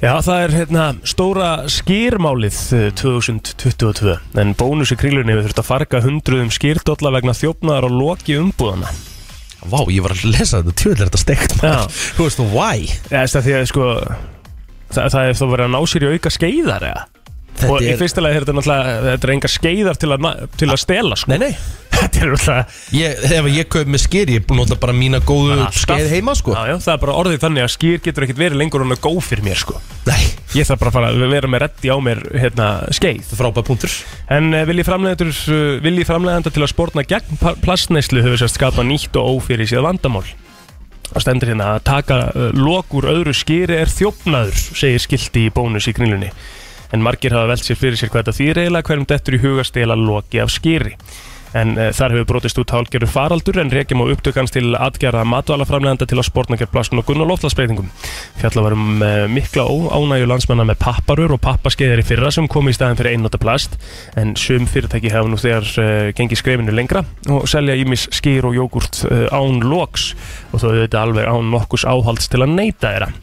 Speaker 4: Já, það er hérna stóra eh, skýrmálið 2022 en bónus í krílunni við þurfum að farga hundruðum skýrdolla vegna þjófnaðar og loki umbúðana
Speaker 1: Vá, ég var að lesa þetta, tjóðlega er þetta steikt
Speaker 4: Já.
Speaker 1: maður. Þú veist, why?
Speaker 4: Já, þess að því að sko það, það er þó verið að ná sér í auka skeiðar eða og í fyrsta lagi er þetta náttúrulega þetta er engar skeiðar til að, na- til að stela sko.
Speaker 1: Nei, nei,
Speaker 4: þetta er náttúrulega
Speaker 1: ég, ef ég kaup með skyr ég nota bara mína góðu
Speaker 4: Alltaf.
Speaker 1: skeið heima sko.
Speaker 4: já, já, það er bara orðið þannig að skýr getur ekkit verið lengur en að góð fyrir mér sko.
Speaker 1: Nei,
Speaker 4: ég þarf bara að fara að vera með reddi á mér hérna, skeið
Speaker 1: frábæð punktur
Speaker 4: En eh, vilji framleiðendur, eh, vilji framleiðenda til að spórna gegn pa- plastneyslu hefur sérst skapað nýtt og ófyrir síðan vandamál. Það stendur hérna að taka eh, lok úr öðru skýri er þjófnaður, segir skilti í bónus í grínlunni. En margir hafa velt sér fyrir sér hvað þetta þýr eiginlega hverjum dettur í hugastela loki af skýri. En uh, þar hefur brotist út hálgerðu faraldur en reykjum á upptökans til atgerða matvalaframlegenda til að spórna gegn plastnokun og loftlagsbreytingum. Fjalla varum uh, mikla óánægju landsmanna með papparur og pappaskeiðar í fyrra sem komu í staðin fyrir einnota plast en sum fyrirtæki hafa nú þegar uh, gengið skrefinu lengra og selja ímis skýr og jógurt uh, án loks og þó auðvitað alveg án nokkus áhalds til að neyta þeirra.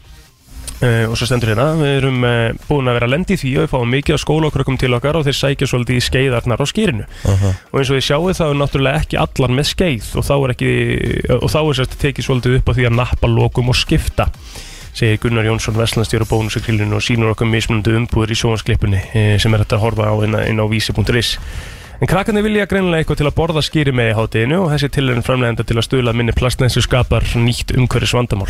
Speaker 4: Uh, og svo stendur hérna, við erum uh, búin að vera lendi því og við fáum mikið af skólakrökkum til okkar og þeir sækja svolítið í skeiðarnar á skýrinu og eins og þið sjáu þá er náttúrulega ekki allar með skeið og þá er, ekki, og þá er sérst tekið svolítið upp á því að nappa lokum og skipta segir Gunnar Jónsson, Vestlandstjóra bónusakrillinu og sínur okkur mismunandi umbúður í sjónsklipunni sem er þetta að horfa á inn, inn á vísi.is En krakkarnir vilja greinilega eitthvað til að borða skýri með í hátíðinu og þessi tilhörin framlegenda til að stuðla að minni plastnæssu skapar nýtt umhverfis vandamál.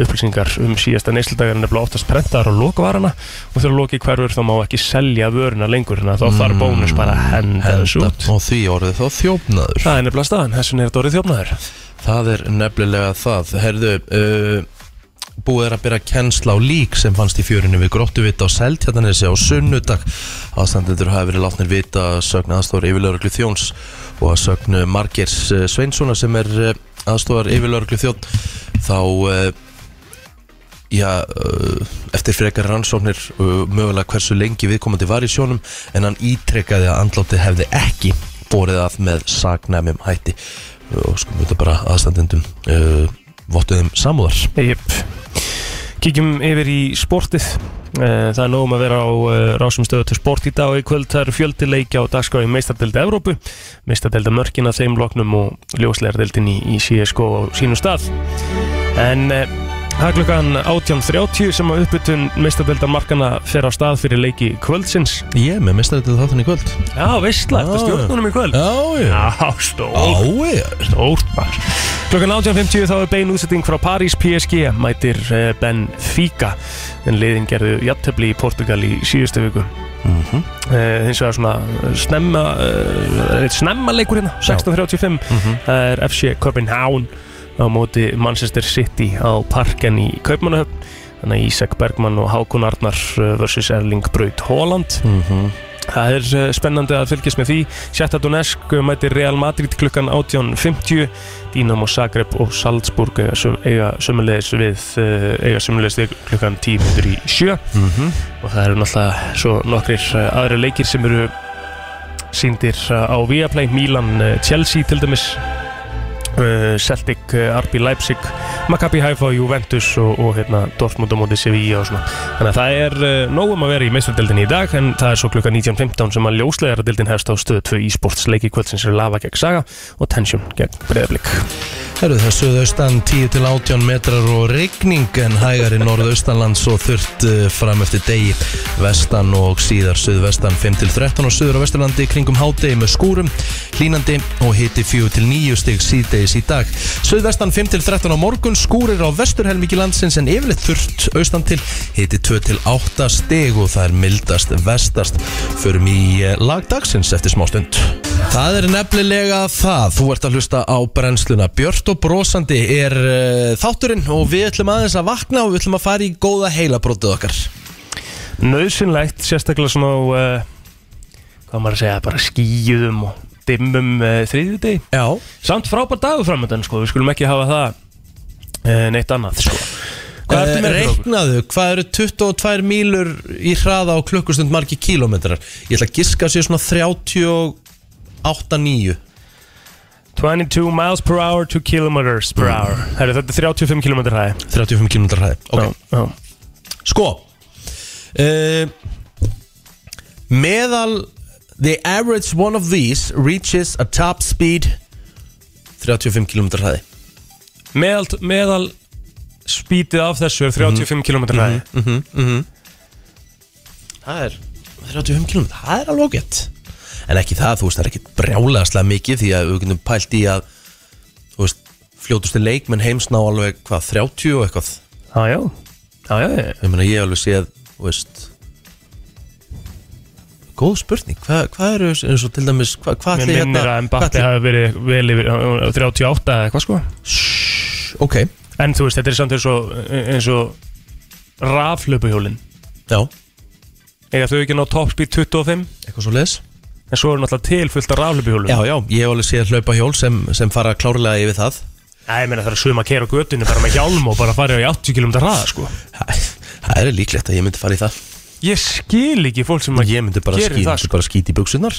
Speaker 4: Upplýsingar um síðasta neysludagar er nefnilega oftast prentaðar á lokvarana og þegar loki hverfur þá má ekki selja vöruna lengur þannig að þá þarf bónus bara að henda þessu út.
Speaker 1: Og því orðið þá þjófnaður
Speaker 4: Það er nefnilega staðan, þessun er þetta orðið þjófnaður
Speaker 1: Það er nefnilega það Herðu, uh, búið er að byrja kennsla á lík sem fannst í fjörinu við gróttuvita á Seltjarnanesi á sunnudag aðstandendur hafi verið látnir vita að sögn aðstofar yfirlauruglu þjóns og að sögn Margers eh, Sveinssonar sem er uh, aðstofar yfirlauruglu þjón þá uh, já, uh, eftir frekar rannsóknir uh, mögulega hversu lengi viðkomandi var í sjónum en hann ítrekkaði að andlátið hefði ekki borið að með sagnæmum hætti uh, og sko mjög bara aðstandendum uh, vottuðum samúðar
Speaker 4: Jep Kíkjum yfir í sportið Eh, Það er nógum að vera á eh, rásum stöðu til sport í dag og í kvöld það eru fjöldi leikja á dagskráði meistardelda Evrópu, meistardelda mörkin að þeim loknum og ljóslegardeldin í, í CSGO á sínum stað en eh, það er klukkan 18.30 sem að uppbytun meistardelda markana fer á stað fyrir leiki kvöldsins
Speaker 1: Ég er með mestarættið þáttan í kvöld
Speaker 4: Já, veistla,
Speaker 1: eftir stjórnunum
Speaker 4: í kvöld
Speaker 1: Já, já
Speaker 4: Já, stór
Speaker 1: Ái,
Speaker 4: Stórt maður Klokkan 18.50 þá er bein útsetting frá París PSG mætir eh, Benfica en liðin gerðu jafntefli í Portugal í síðustu viku Eh, hins vegar svona eh, snemma eh, eitt snemma leikur hérna 16.35 það er FC Copenhagen á móti Manchester City á parken í Kaupmannahöfn þannig að Ísak Bergmann og Hákon Arnar eh, versus Erling Braut Haaland Það er eh, spennandi að fylgjast með því Sjætta Donetsk eh, mætir Real Madrid klukkan 18.50 Dinamo Zagreb og Salzburg eiga sum- eiga sömulegis við eh, eiga sömulegis við klukkan 10.00 í sjö og það eru náttúrulega svo nokkrir eh, aðri leikir sem eru síndir eh, á Viaplay Milan eh, Chelsea til dæmis eh, Celtic, eh, RB Leipzig Maccabi Haifa, Juventus og, og hérna, Dortmund á móti Sevilla og svona Þannig að það er uh, nógum að vera í meistardildin í dag en það er svo klukka 19.15 sem að ljóslegaradildin hefst á stöðu 2 í sportsleiki kvöldsins er Lava gegn Saga og Tension gegn Breiðablík
Speaker 1: Herru það suðaustan 10 til 18 metrar og rigning en hægari norðaustanlands og þurft eh, fram eftir degi vestan og síðar suðvestan 5 til 13 og suður á vesturlandi kringum hádegi með skúrum hlínandi og hiti 4 til 9 stig síðdegis í dag suðvestan 5 til 13 á morgun skúrir á vesturhelmingi landsins en yfirleitt þurrt austan til hiti 2 til 8 stig og það er mildast vestast förum í eh, lag dagsins eftir smástund Það er nefnilega það þú ert að hlusta á brennsluna Björt og brosandi er uh, þátturinn og við ætlum aðeins að vakna og við ætlum að fara í góða heilabrótið okkar
Speaker 4: Nauðsynlegt, sérstaklega svona á, uh, hvað á maður að segja, bara skýjum og dimmum uh, þriðið deg
Speaker 1: Já
Speaker 4: Samt frábær dagur framöndan, sko, við skulum ekki hafa það uh, neitt annað, sko Hvað ertu með fyrir okkur?
Speaker 1: Eh, Reiknaðu, hvað eru 22 mílur í hraða á klukkustund margi kílómetrar? Ég ætla að giska sér svona 38-9
Speaker 4: 22 miles per hour to kilometers per hour Herri, þetta er 35 km hæði
Speaker 1: 35 km hraði okay.
Speaker 4: Mm. já,
Speaker 1: Sko uh, Meðal The average one of these reaches a top speed 35 km hraði
Speaker 4: já. Meðal, meðal spítið af þessu er 35 km hæði
Speaker 1: Það er 35 km, það er alveg ágætt En ekki það, þú veist, það er ekkit brjálaðslega mikið Því að við getum pælt í að Þú veist, fljótustu leikmenn heims ná alveg hvað, 30 og eitthvað
Speaker 4: Já, já, já, já, já.
Speaker 1: Ég meina, ég hef alveg séð, þú veist Góð spurning, hvað hva eru eins og til dæmis, hvað hva
Speaker 4: Mér
Speaker 1: ætli hérna-
Speaker 4: minnir að Mbappi
Speaker 1: hvað ætli-
Speaker 4: hafi verið vel yfir uh, 38 eða eitthvað sko
Speaker 1: Shhh, Ok,
Speaker 4: En þú veist, þetta er samt eins og, eins og raflöpuhjólin
Speaker 1: já,
Speaker 4: Eða þau ekki ná top speed 25
Speaker 1: eitthvað svo leis
Speaker 4: En svo eru náttúrulega til fullt af raflöpuhjólin
Speaker 1: Já, já, ég hef alveg séð hlaupa hjól sem, sem fara klárlega yfir það
Speaker 4: Æ, ég meina það er svöma að keira á götunni bara með hjálm og bara fara í 80 km hraða sko
Speaker 1: Það það er líklegt að ég myndi fara í það sko.
Speaker 4: Ég skil ekki fólk sem að
Speaker 1: Ég myndi bara,
Speaker 4: gerir
Speaker 1: skýt,
Speaker 4: það,
Speaker 1: myndi bara skýti í buksunar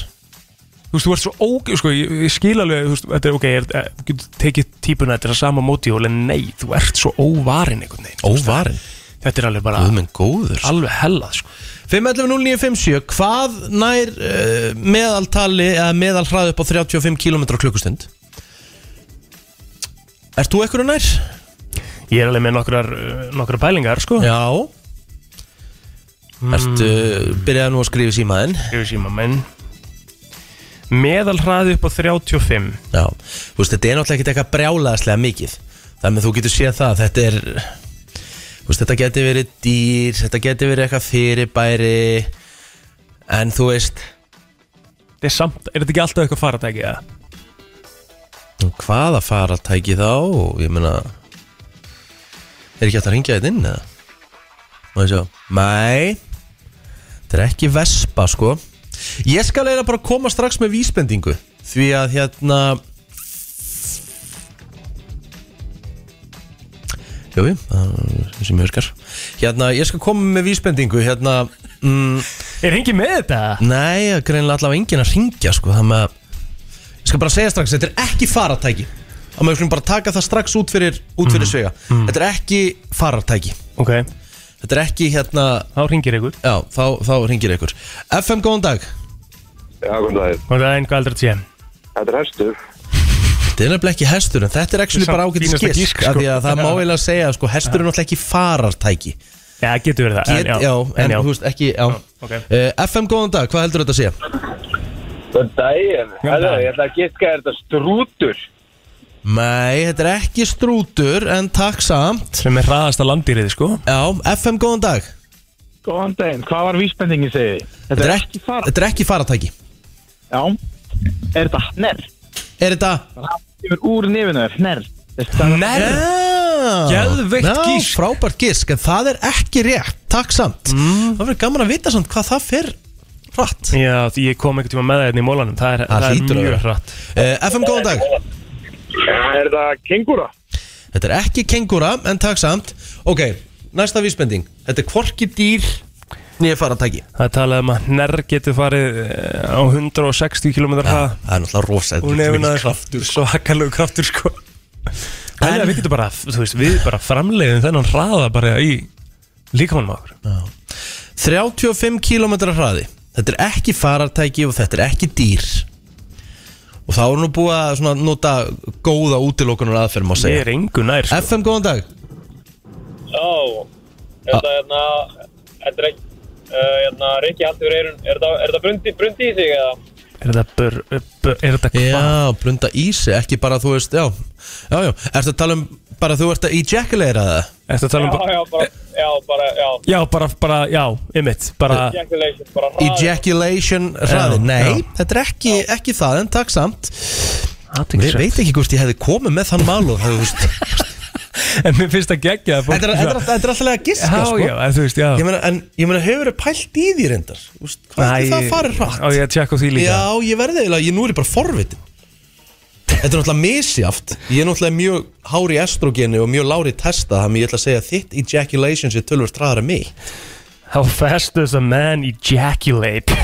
Speaker 4: Þú veist, þú ert svo óg, sko, ég, ég skil alveg, þú veist, þetta er ok, ég er, þú getur tekið típuna, þetta er það sama móti og alveg nei, þú ert svo óvarin einhvern veginn.
Speaker 1: Óvarin
Speaker 4: Þetta er alveg bara
Speaker 1: Guðmenn góður
Speaker 4: alveg hellað, sko.
Speaker 1: 5.11.09.57 Hvað nær uh, meðaltali eða meðal hraði upp á 35 km klukkustund? Ert þú ekkur nær?
Speaker 4: Ég er alveg með nokkrar, uh, nokkrar pælingar, sko.
Speaker 1: Já Ert, uh, byrjaði nú að skrifa í símaðinn
Speaker 4: Yfir síma, menn. Meðal hraði upp á 35.
Speaker 1: Já, þú veist, þetta er náttúrulega ekkert eitthvað brjálaðslega mikið Þannig að þú getur séð það, þetta er Þú veist, þetta geti verið dýr Þetta geti verið eitthvað fyrirbæri En þú veist
Speaker 4: Þetta er samt, er þetta ekki alltaf eitthvað faratæki, eða?
Speaker 1: Hvaða faratæki þá? Ég meina Er ekki hægt að ringja þetta inn eða? Má ég sjá Nei Þetta er ekki vespa sko Ég skal eiginlega bara koma strax með vísbendingu Því að hérna Jói, það sem ég virkar Hérna, ég skal koma með vísbendingu Hérna, mm,
Speaker 4: Er hengi með þetta?
Speaker 1: nei, það er greinlega allavega enginn að ringja sko Þannig að Ég skal bara segja strax, þetta er ekki faratæki Þá maður skulum bara taka það strax út fyrir, út fyrir svega Þetta er ekki faratæki
Speaker 4: Ok,
Speaker 1: Þetta er ekki hérna
Speaker 4: þá ringir ykkur.
Speaker 1: Já, þá, þá ringir ykkur FM, góðan dag
Speaker 3: Já, góðan daginn.
Speaker 4: Og það er einhvað aldrei að sé.
Speaker 3: Þetta er hestur.
Speaker 1: Þetta er nefnilega ekki hestur En þetta er actually
Speaker 4: Samt
Speaker 1: bara ágætis
Speaker 4: fínasta
Speaker 1: gisk
Speaker 4: gísk,
Speaker 1: sko. Því
Speaker 4: sko.
Speaker 1: að það má eiginlega segja sko, Hestur er náttúrulega ekki farartæki
Speaker 4: Já, getur verið það.
Speaker 1: Get, já, en, þú veist ekki já.
Speaker 4: ok.
Speaker 1: Eh, FM, góðan dag, hvað heldur þetta að segja?
Speaker 3: Góðan daginn.
Speaker 4: Góðan
Speaker 3: Herðu,
Speaker 4: daginn.
Speaker 3: Ég ætla að giska er þetta strútur.
Speaker 1: Nei, þetta er ekki strútur En takk samt
Speaker 4: Sem er hraðasta landýrið, sko.
Speaker 1: Já, FM, góðan dag
Speaker 3: Góðan daginn. Hvað var vísbendingin segið? Þetta er ekki fara.
Speaker 1: þetta er ekki farartæki
Speaker 3: Já. Er þetta hnerr?
Speaker 1: Er þetta
Speaker 3: Yfir úr nefinu er hnerr. Þetta er
Speaker 4: Nei!
Speaker 1: Já,
Speaker 4: Geðveikt
Speaker 1: já,
Speaker 4: gísk.
Speaker 1: Frábært gísk, en það er ekki rétt Takk samt
Speaker 3: Mm.
Speaker 1: Það verður gaman að vita samt hvað það fer hratt
Speaker 4: Já, því ég kom einhvern tíma með það hérna í mólanum Það er,
Speaker 1: Það
Speaker 4: það er
Speaker 1: hlýtur að
Speaker 4: mjög
Speaker 1: vera.
Speaker 4: hratt
Speaker 1: uh, FM, góðan dag
Speaker 3: Er þetta kengúra?
Speaker 1: Þetta er ekki kengúra, en takk samt Ok, næsta vísbending Þetta er hvorki dýr Nýja faratæki
Speaker 4: Það er talað um að nær getur farið eh, á 160 km
Speaker 3: Ah.
Speaker 4: hraða
Speaker 1: Það er náttúrulega rosa
Speaker 4: Og nefna kraftur Svakalegu kraftur sko Þannig að við getum bara, þú veist, við bara framleiðum þennan hraða bara í líkamannum okkur
Speaker 1: 35 km hraði Þetta er ekki farartæki og þetta er ekki dýr Og þá er nú búið að svona nota góða útilokunar aðferð má
Speaker 4: Ég
Speaker 1: segja
Speaker 4: er engu nær sko
Speaker 1: FM, góðan dag
Speaker 5: Já, er þetta hérna, þetta er ekki, uh, hérna, Rikki haldur eirun, er þetta, er þetta brundi, brundi í sig eða?
Speaker 4: Er þetta bör, bör, er þetta hvað?
Speaker 1: Já, blunda ísi, ekki bara þú veist, já Já, já, ertu að tala um bara þú ert að ejaculera það
Speaker 4: Ertu að tala um bara
Speaker 5: Já, já, bara, já, bara, já
Speaker 4: Já, bara, bara, já, ymmit Bara,
Speaker 5: Ejaculation, bara hraði
Speaker 1: Ejaculation hraði
Speaker 4: Já,
Speaker 1: Nei,
Speaker 4: já.
Speaker 1: þetta er ekki, ekki það en takk samt Ég
Speaker 4: athyglisvert.
Speaker 1: veit ekki hvort ég hefði komið með þann mál og þú veist
Speaker 4: En mér finnst það geggja að fólk-
Speaker 1: Þetta er, þetta er, alltaf- þetta er alltaf að giska
Speaker 4: Já,
Speaker 1: sko
Speaker 4: já, en þú veist, já
Speaker 1: Ég meina, en, ég meina hefur verið pælt í því reyndar Úst, Hvað er það að fara hratt?
Speaker 4: Á, ég að tjekka á því líka
Speaker 1: Já, ég verði eiginlega, ég nú er ég bara forvitin Þetta er náttúrulega misjáft Ég er náttúrulega mjög hári í estrogeni og mjög lári í testa þannig ég ætla að segja að þitt ejaculation sé tölvöld hraðar en mig
Speaker 4: How fast does a man ejaculate?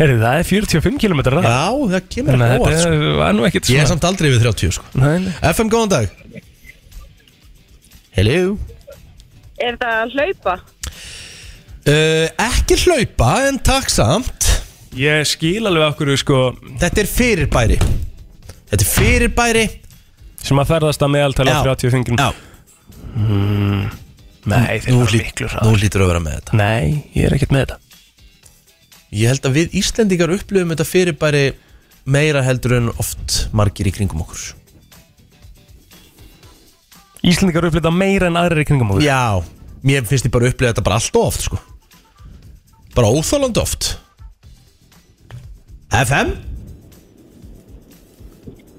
Speaker 4: Heru, það er 45 km ræð
Speaker 1: Já, það kemur
Speaker 4: Þannig að
Speaker 1: ekki óvart sko.
Speaker 4: þetta var nú ekkert
Speaker 1: Ég er
Speaker 4: svona
Speaker 1: samt aldrei við 30 sko.
Speaker 4: Nei, nei.
Speaker 1: FM, góðan dag Hello
Speaker 6: Er það að hlaupa?
Speaker 1: uh, Ekki hlaupa, en takk samt
Speaker 4: Ég skil alveg okkur sko,
Speaker 1: Þetta er fyrirbæri Þetta er fyrirbæri
Speaker 4: sem að ferðast að meðaltala
Speaker 1: Já.
Speaker 4: 35 km
Speaker 1: Já,
Speaker 4: Nei, þeir
Speaker 1: nú,
Speaker 4: eru
Speaker 1: lít,
Speaker 4: miklu
Speaker 1: nú
Speaker 4: ræð
Speaker 1: lítur að vera með þetta
Speaker 4: Nei, ég er ekkert með þetta
Speaker 1: Ég held að við Íslendingar upplifum þetta fyrirbæri meira heldur en oft margir í kringum okkur
Speaker 4: Íslendingar upplita meira en aðrir í kringum okkur
Speaker 1: Já, mér finnst ég bara að upplifa þetta bara allt of oft sko. Bara óþólandi oft FM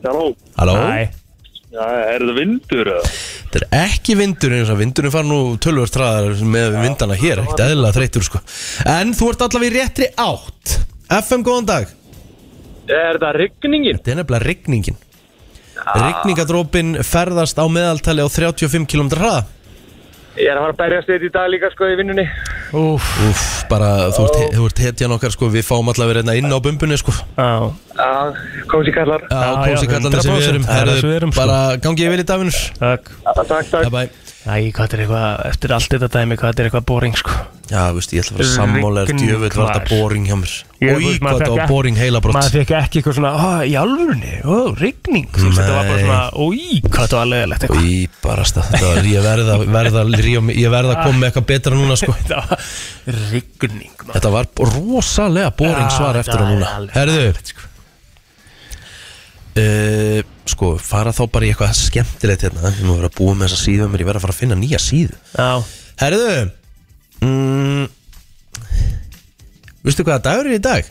Speaker 7: Halló,
Speaker 1: Halló
Speaker 4: Nei,
Speaker 7: já, er þetta vindur eða?
Speaker 1: Þetta er ekki vindur eins og vindurinn fara nú tölvöld hraðar með vindana hér, ekkert eðlilega þreytur sko. En þú ert allavega í réttri átt FM, góðan dag
Speaker 5: Er það rigningin?
Speaker 1: Þetta er nefnilega rigningin Rigningadrópin ferðast á meðaltali á 35 km hraða
Speaker 5: Ég er að fara að berja sér í dag líka sko í vinnunni
Speaker 4: úf
Speaker 1: Úf, bara þú ert, he- þú ert hetjan okkar sko, við fáum allavega hérna inn á bumbunni sko
Speaker 4: Já,
Speaker 5: Já, kom sér kallar
Speaker 1: Já,
Speaker 4: Já, já,
Speaker 1: kósi kallarnir sem
Speaker 4: 100%,
Speaker 1: við erum,
Speaker 4: það er það sem við erum, sko.
Speaker 1: bara gangið yfir í dafinur
Speaker 4: takk
Speaker 5: Takk, takk
Speaker 1: Bye bye
Speaker 4: Æ, hvað þetta er eitthvað, eftir allt þetta dæmi, hvað þetta er eitthvað boring sko
Speaker 1: Já, þú veist, ég ætla að vera sammála er
Speaker 4: Rigning
Speaker 1: djöfull var þetta
Speaker 4: var.
Speaker 1: boring hjá mér
Speaker 4: Ég-
Speaker 1: Og í
Speaker 4: veist, maður
Speaker 1: hvað þetta
Speaker 4: fekk
Speaker 1: var
Speaker 4: ekki-
Speaker 1: boring heilabrótt
Speaker 4: Maður fekk ekki eitthvað svona, ó, í alvörunni, ó, rigning Þú veist, þetta var bara
Speaker 1: Nei.
Speaker 4: svona, ói, hvað þetta var leðilegt eitthvað
Speaker 1: Í barasta, þetta var, ég verða, verða, ég verða að koma með eitthvað betra núna sko
Speaker 4: Þetta var rigning maður.
Speaker 1: Þetta var rosalega boring
Speaker 4: Já,
Speaker 1: svar eftir
Speaker 4: þetta
Speaker 1: á núna
Speaker 4: er alveg sko.
Speaker 1: Herðu uh, Sko, fara þá bara í eitthvað skemmtilegt hérna Við má vera að búa með þessa síðu mér Ég verð að fara að finna nýja síðu
Speaker 4: Já,
Speaker 1: Herðu mm, Vistu hvaða dagur er í dag?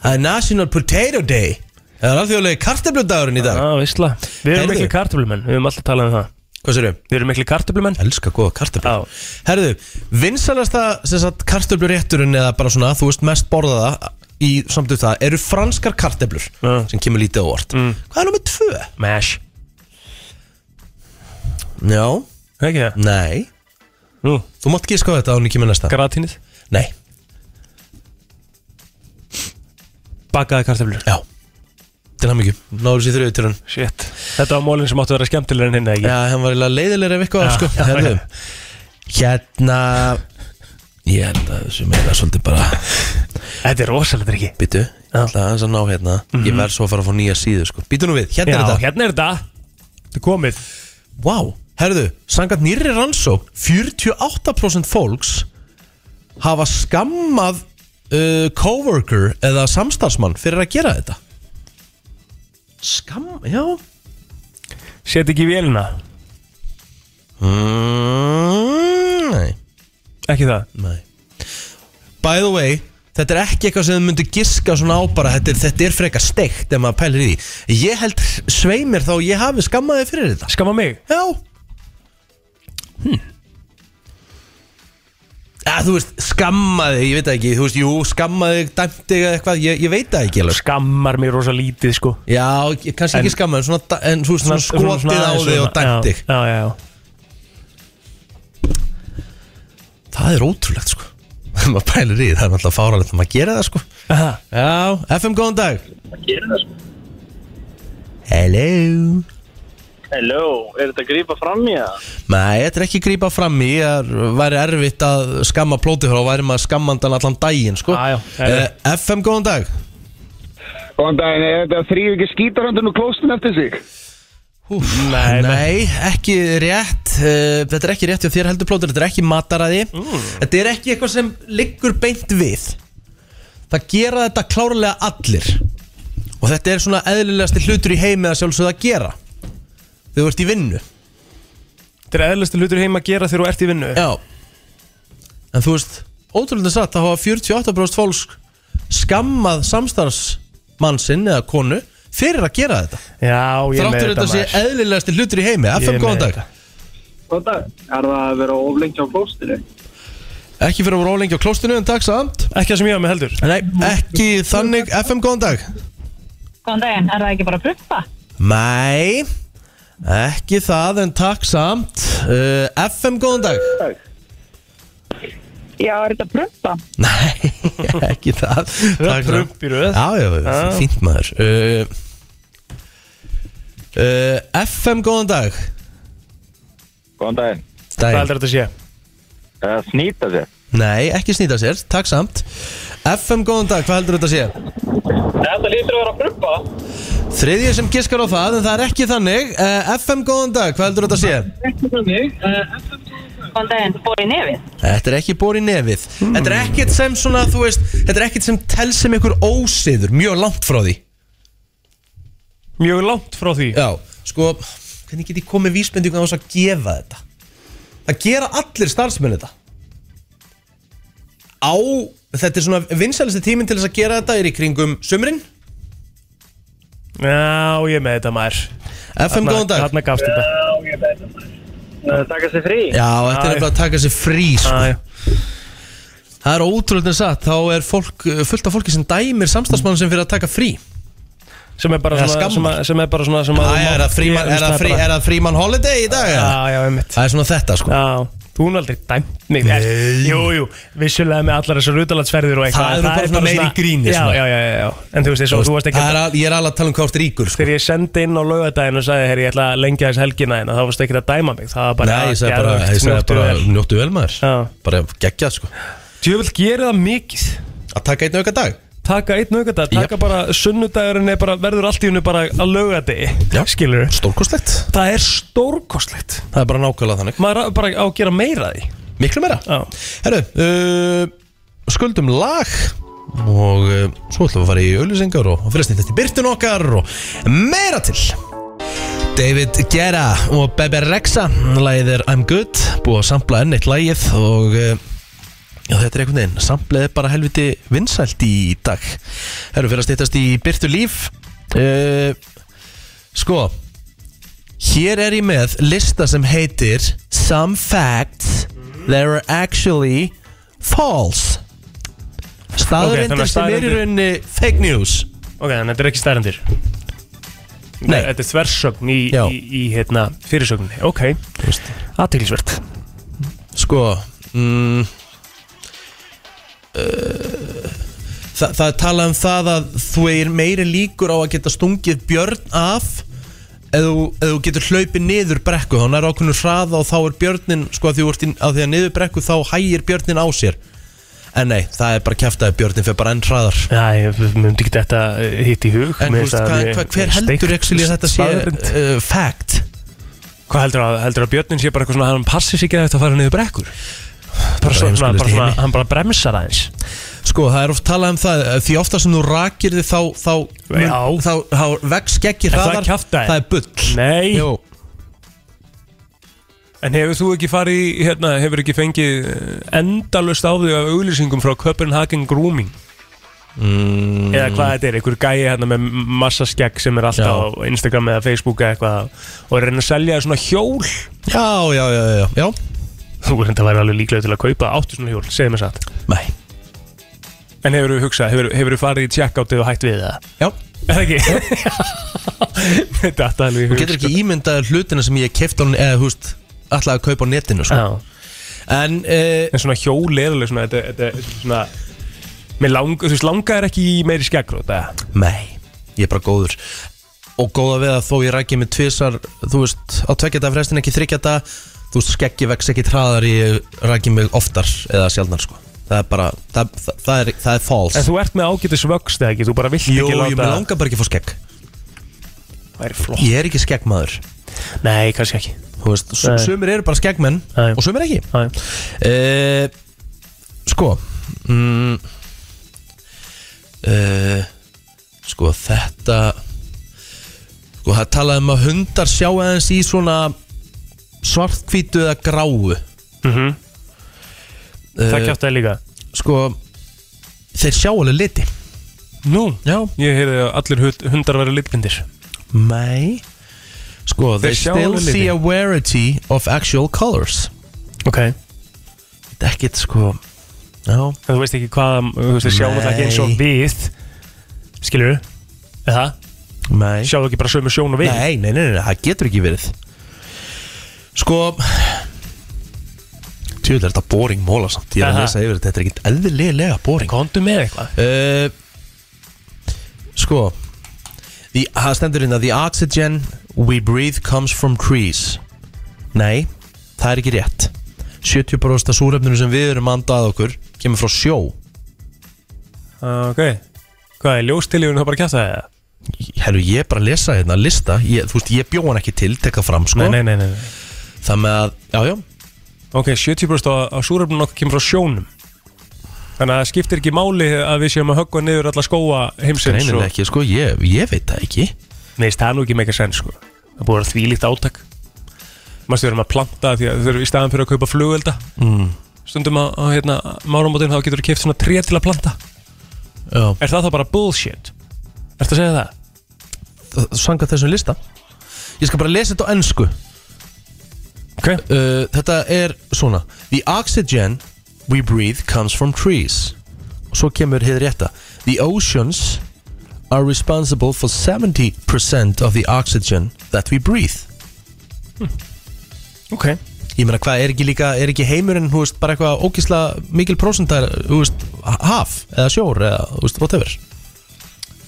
Speaker 1: Það er National Potato Day Það er alþjóðlega kartefludagurinn í dag
Speaker 4: já, vissla Við erum
Speaker 1: Heyrðu.
Speaker 4: miklu kartöflumenn, við höfum alltaf talað um það
Speaker 1: Hvað sér
Speaker 4: Við erum miklu kartöflumenn
Speaker 1: Elskar góða kartöflu
Speaker 4: Já.
Speaker 1: Herðu, vinsalasta kartöflurétturinn eða bara svona, þú veist mest borðaða í samtöf það, eru franskar kartöflur
Speaker 4: Já.
Speaker 1: sem kemur lítið á orð Hvað er nummið tvö?
Speaker 4: Mash,
Speaker 1: Já,
Speaker 4: ekki það?
Speaker 1: nei
Speaker 4: Nú,
Speaker 1: Þú mátt gíska á þetta án ekki með næsta
Speaker 4: gratínið
Speaker 1: Nei,
Speaker 4: Bakaði kartöflur
Speaker 1: já Til hann mikið, náður sér þrjöðu til hann
Speaker 4: Shit Þetta var mólinn sem áttu að vera skemmtilegur en hinn ekki
Speaker 1: Já, hann var eiginlega leiðilegur ef eitthvað
Speaker 4: Já,
Speaker 1: sko.
Speaker 4: já,
Speaker 1: Herðu,
Speaker 4: já.
Speaker 1: hérna Ég held að þessu meira svolítið bara
Speaker 4: Þetta er rosalega ekki
Speaker 1: Býtu, ég
Speaker 4: Já. Mhm.
Speaker 1: ætla aðeins að ná hérna Ég verð svo að fara að fá nýja síðu sko. Býtu nú við, hérna
Speaker 4: Já,
Speaker 1: er þetta
Speaker 4: hérna er þetta Þetta er komið
Speaker 1: Vá, herðu, sangat nýri rannsó 48% fólks hafa skammað uh, coworker eða samstarfsmann fyrir að gera þetta Skam, já
Speaker 4: Set ekki í vélina
Speaker 1: mm, Nei,
Speaker 4: Ekki það
Speaker 1: nei By the way, þetta er ekki eitthvað sem þau myndu giska svona á bara Þetta er, þetta er frekar steikt ef maður pælir í því Ég held svei mér þá ég hafi skammaði fyrir þetta
Speaker 4: Skama mig
Speaker 1: Já hm. að, Þú veist, skammaði, ég veit það ekki Þú veist, jú, skammaði, dæmti eða eitthvað Ég, ég veit það ekki alveg
Speaker 4: Skammar mig rosa lítið sko
Speaker 1: Já, ég- kannski ekki skammaði En, svona, da- en þú veist, svona skotið á
Speaker 4: aðeins
Speaker 1: þig og dæmti
Speaker 4: Já, já, já
Speaker 1: Það er ótrúlegt, sko Þegar maður pælir í, því, það er alltaf fáralegt að maður gera það, sko
Speaker 4: Aha.
Speaker 1: Já, FM, góðan dag Hello
Speaker 7: Halló, er þetta að grípa fram í það?
Speaker 1: Nei, þetta er ekki grípa fram í Það er- væri erfitt að skamma plótið þá væri maður skammandan allan daginn, sko
Speaker 4: Já, já, já, já.
Speaker 1: Eh, FM, góðan dag
Speaker 3: Góðan daginn, er þetta þrýf ekki skítaröndun og klóstin eftir sig?
Speaker 1: Úf, nei,
Speaker 4: Nei,
Speaker 1: ekki rétt uh, Þetta er ekki rétt hjá þér heldur plótur Þetta er ekki mataræði
Speaker 4: Mm.
Speaker 1: Þetta er ekki eitthvað sem liggur beint við Það gera þetta klárlega allir Og þetta er svona eðlilegasti hlutur í heimi að sjálfsögða að gera þegar þú ert í vinnu
Speaker 4: Þetta er eðlistu hlutur heima að gera þegar þú ert í vinnu
Speaker 1: Já En þú veist, ótrúlega satt að hafa 48% fólk skammað samstarfsmann sinn eða konu fyrir að gera þetta
Speaker 4: Já, ég er með
Speaker 1: Þráttur
Speaker 4: þetta
Speaker 1: þetta sé
Speaker 4: maður.
Speaker 1: eðlilegasti hlutur í heimi
Speaker 4: Ég er
Speaker 1: FM
Speaker 4: með
Speaker 1: góðan dag
Speaker 4: þetta.
Speaker 7: Góðan dag. Er það að vera oflengi á klóstinu?
Speaker 1: Ekki fyrir að voru ólengi á klóstinu en takk samt
Speaker 4: Ekki það sem ég var með heldur
Speaker 1: Nei, ekki þannig FM góðan dag
Speaker 6: Góðan daginn, er það ekki bara að prumpa?
Speaker 1: Nei, ekki það en takk samt uh, FM góðan dag
Speaker 6: Já, er þetta að prumpa?
Speaker 1: Nei, ekki það Takk samt.
Speaker 4: Trump í röð
Speaker 1: Já, já,
Speaker 4: Já.
Speaker 1: fínt maður uh, uh, FM, góðan dag
Speaker 3: Góðan daginn.
Speaker 4: Hvað
Speaker 1: Dæn.
Speaker 4: heldur þetta sé?
Speaker 3: Uh, snýta sér.
Speaker 1: Nei, ekki snýta sér, takk samt FM, góðan dag, hvað heldur þetta sé?
Speaker 5: Þetta lítur að vera að prumpa
Speaker 1: Þriðja sem giskar á það, en það er ekki þannig uh, FM, góðan dag, hvað heldur þetta sé?
Speaker 6: Eh, Góðan daginn, bóri nefið.
Speaker 1: Þetta er ekki bóri nefið Þetta er ekkert sem svona, þú veist Þetta er ekkert sem tel sem einhver ósiður Mjög langt frá því
Speaker 4: Mjög langt frá því
Speaker 1: Já, sko, hvernig get ég komið vísbendingu á þess að gefa þetta? Það gera allir starfsmenn þetta Á, þetta er svona vinsælisti tíminn til þess að gera þetta er í kringum sömurinn
Speaker 4: Já, ég er með þetta maður
Speaker 1: FM Um góðan dag
Speaker 4: Þarna gafst þetta
Speaker 7: Takka sér frí.
Speaker 1: Já, þetta er
Speaker 4: Já,
Speaker 1: nefnilega að taka sér frí sko.
Speaker 4: Æ,
Speaker 1: Það er ótrúlega satt, þá er fólk, fullt af fólki sem dæmir samstarfsmann sem fyrir að taka frí
Speaker 4: Sem er bara
Speaker 1: Eða
Speaker 4: svona
Speaker 1: skammar.
Speaker 4: sem, að, sem er bara svona sem
Speaker 1: Æ,
Speaker 4: að
Speaker 1: er það fríman, er það frí, er það fríman holiday í dag?
Speaker 4: um Já,
Speaker 1: eða?
Speaker 4: já, ég mitt
Speaker 1: Það er svona þetta sko
Speaker 4: Já, þú er aldrei dæmt mig Nei Jú, jú, vissulega með allar þessar utalandsferðir og
Speaker 1: Það
Speaker 4: eitthvað
Speaker 1: eru bara svona meiri gríni,
Speaker 4: Já,
Speaker 1: svona.
Speaker 4: já, já, já, já En þú veist, þú,
Speaker 1: Þú
Speaker 4: þú
Speaker 1: veist,
Speaker 4: varst ekki
Speaker 1: það er al- Ég er alveg að tala um hvað ást ríkur sko.
Speaker 4: Þegar ég sendi inn á laugadaginn og sagði, herri, ég ætla að lengja þess helgina en þá varst ekki að dæma mig, það var bara
Speaker 1: Nei, ég sagði bara,
Speaker 4: geðveikt,
Speaker 1: ég sagði
Speaker 4: njóttu
Speaker 1: bara
Speaker 4: vel.
Speaker 1: njóttu vel maður
Speaker 4: Já.
Speaker 1: Bara geggjað sko
Speaker 4: Djöfull gerir það mikið
Speaker 1: Að taka einn auka dag
Speaker 4: Taka einn aukadag, taka
Speaker 1: Jep.
Speaker 4: bara sunnudagurinn er bara, verður allt í hennu bara að
Speaker 1: Já.
Speaker 4: laugadegi Skilur
Speaker 1: Stórkostlegt
Speaker 4: Það er stórkostlegt
Speaker 1: Það er bara nákvæmlega þannig
Speaker 4: Maður á- bara á að gera meira af því
Speaker 1: Miklu meira
Speaker 4: Já.
Speaker 1: Herru, uh, skuldum lag Og uh, svo ætlum við að fara í auðlýsingar Og fyrir að snýttast í byrtun okkar Og meira til David Guerra og Bebe Rexa Lagið er I'm Good Búið að sampla enn eitt lagið Og uh, já, þetta er einhvern veginn Samplið er bara helviti vinsælt í dag Herru, fyrir að snýttast í byrtu líf uh, Sko Hér er ég með lista sem heitir Some facts that are actually false
Speaker 4: Ok, þannig að
Speaker 1: Staðurindir sem er í
Speaker 4: staðreyndir-
Speaker 1: rauninni fake news
Speaker 4: Ok, þannig að þetta er ekki stærendir
Speaker 1: Nei.
Speaker 4: Þetta er þversögn í,
Speaker 1: Já.
Speaker 4: í, í hérna, fyrirsögninni Ok, aðteglisvert
Speaker 1: Sko mm, uh, það, það er talað um það að þú er meiri líkur á að geta stungið björn af ef þú, ef þú getur hlaupið niður brekku þá er ákveðnur hraða og þá er björnin sko að því, þú ert inn, að því að niður brekku þá hægir björnin á sér en nei, það er bara kæft að björnin fer bara enn hraðar
Speaker 4: Já, ég myndi ekki þetta eh, hitt í hug
Speaker 1: En þú
Speaker 4: Mér
Speaker 1: veist,
Speaker 4: finnst það
Speaker 1: hva,
Speaker 4: mjög
Speaker 1: hva, hver heldur
Speaker 4: steikt
Speaker 1: actually að þetta sé
Speaker 4: staðreynd.
Speaker 1: uh, fact?
Speaker 4: Hvað heldur að, heldur að Björnin sé bara eitthvað svona, hann passir sig ekki að þetta að fara niður brekkur? Bara
Speaker 1: Bara
Speaker 4: svona,
Speaker 1: heimskulegasti
Speaker 4: bara svona,
Speaker 1: heimi.
Speaker 4: hann bara bremsar aðeins.
Speaker 1: Sko, það er oft talað um það eh, Því ofta sem þú rakir þig þá Þá,
Speaker 4: Já.
Speaker 1: mun- þá, þá, þá vex geggi
Speaker 4: það
Speaker 1: hraðar
Speaker 4: kjaftæði?
Speaker 1: er bull
Speaker 4: Nei,
Speaker 1: Jú,
Speaker 4: en hefur þú ekki farið í, hérna, hefur ekki fengið endalust á því af auglýsingum frá Copenhagen Grooming? Mm. Eða hvað þetta er, einhver gæi hérna með massa skegg sem er alltaf á Instagram eða Facebook eða eitthvað og er að reyna að selja þér svona hjól.
Speaker 1: já, já, já, já, já.
Speaker 4: Þú er þetta að vera alveg líklega til að kaupa áttu svona hjól, segðu mér satt.
Speaker 1: Nei,
Speaker 4: En hefur þú hugsað, hefur þú farið í check-outið og hætt við það?
Speaker 1: já,
Speaker 4: Er það ekki? Þetta er alveg í
Speaker 1: þú
Speaker 4: hug,
Speaker 1: getur
Speaker 4: sko.
Speaker 1: ekki ímyndað hlutina sem ég keft á eða, þú veist, alltaf að kaupa á netinu sko.
Speaker 4: Já.
Speaker 1: En, uh,
Speaker 4: En svona hjól er alveg svona Þetta þetta er svona Mér lang, þú veist, langar ekki í meiri skeggrót eða?
Speaker 1: nei, ég er bara góður Og góða við að þó ég rakið með tvisar Þú veist, á tveggjata frestin ekki þryggjata Þú veist, skeggi vex ekki hraðar Ég rakið mig oftar eða sjaldnar sko. Það er bara, það, það, það, er, það er false
Speaker 4: En þú ert með ágætis vöxt eða ekki Þú bara vilt
Speaker 1: Jó,
Speaker 4: ekki
Speaker 1: ég
Speaker 4: láta
Speaker 1: mig langar bara ekki að fá skegg
Speaker 4: Það er flott
Speaker 1: Ég er ekki skeggmaður
Speaker 4: Nei, kannski ekki
Speaker 1: Þú veist, sum-
Speaker 4: Nei.
Speaker 1: sumir eru bara skeggmenn
Speaker 4: Nei.
Speaker 1: Og sumir ekki
Speaker 4: Æ.
Speaker 1: uh, Sko mm, eh, uh, Sko þetta Sko Sko það er talað um að hundar sjá aðeins í svona svartkvítu eða gráu
Speaker 4: Mhm. Það
Speaker 1: uh,
Speaker 4: kjátti það líka
Speaker 1: Sko þeir sjá alveg liti
Speaker 4: Nú,
Speaker 1: Já
Speaker 4: ég heyrði að allir hund- hundar verið litblindir
Speaker 1: Nei Sko
Speaker 4: Þeir
Speaker 1: they
Speaker 4: sjá
Speaker 1: still
Speaker 4: alveg liti.
Speaker 1: see a rarity of actual colors
Speaker 4: Ok
Speaker 1: Þetta er ekkert sko Já
Speaker 4: En þú veist ekki hvað, þú veist, sjáum það ekki eins og
Speaker 1: Nei.
Speaker 4: við Skilur við? Eða?
Speaker 1: Nei
Speaker 4: Sjáðu ekki bara sömu sjón og við?
Speaker 1: Nei, nei, nei, nei, það getur ekki verið Sko Tjóðlega er þetta boring móla samt Ég er að
Speaker 4: Aha.
Speaker 1: lesa yfir þetta, þetta er ekkert eðlilega boring
Speaker 4: Kondu með eitthvað
Speaker 1: uh, Sko the, Það stendur hérna The oxygen we breathe comes from trees Nei, það er ekki rétt 70% af súrefninu sem við erum andað okkur kemur frá sjó
Speaker 4: Ah, Ok Hvað er ljóstilífun þá bara kjátt það eða?
Speaker 1: Herru, ég er bara að lesa hérna lista ég, Þú veist, ég bjó hann ekki til, tekka fram sko
Speaker 4: Nei, nei, nei, nei, nei
Speaker 1: Það með að, já, já
Speaker 4: Ok, 70% af- af súröfnum okkur kemur frá sjónum Þannig að það skiptir ekki máli að við séum að höggva niður alla skóa heimsins
Speaker 1: Greinin
Speaker 4: og-
Speaker 1: ekki, sko, ég, ég veit það ekki
Speaker 4: Nei, það er nú ekki meika senn sko Það er búið að vera þvílíkt átak Mastu verðum að planta því að þau eru í staðan fyrir að kaupa flugelda mm. Stundum að, að hérna, márumótin þá getur þú keft svona tré til að planta
Speaker 1: Já,
Speaker 4: Er það þá bara bullshit? Ertu að segja það?
Speaker 1: sanga þessum lista Ég skal bara lesa þetta á ennsku
Speaker 4: Ok
Speaker 1: uh, Þetta er svona The oxygen we breathe comes from trees Og svo kemur hér rétta The oceans are responsible for 70% of the oxygen that we breathe
Speaker 4: Ok
Speaker 1: Ég meina hvað, er ekki líka, er ekki heimurinn, hú veist, bara eitthvað ógísla mikil prósentar, hú veist, haf eða sjór eða, hú veist, whatever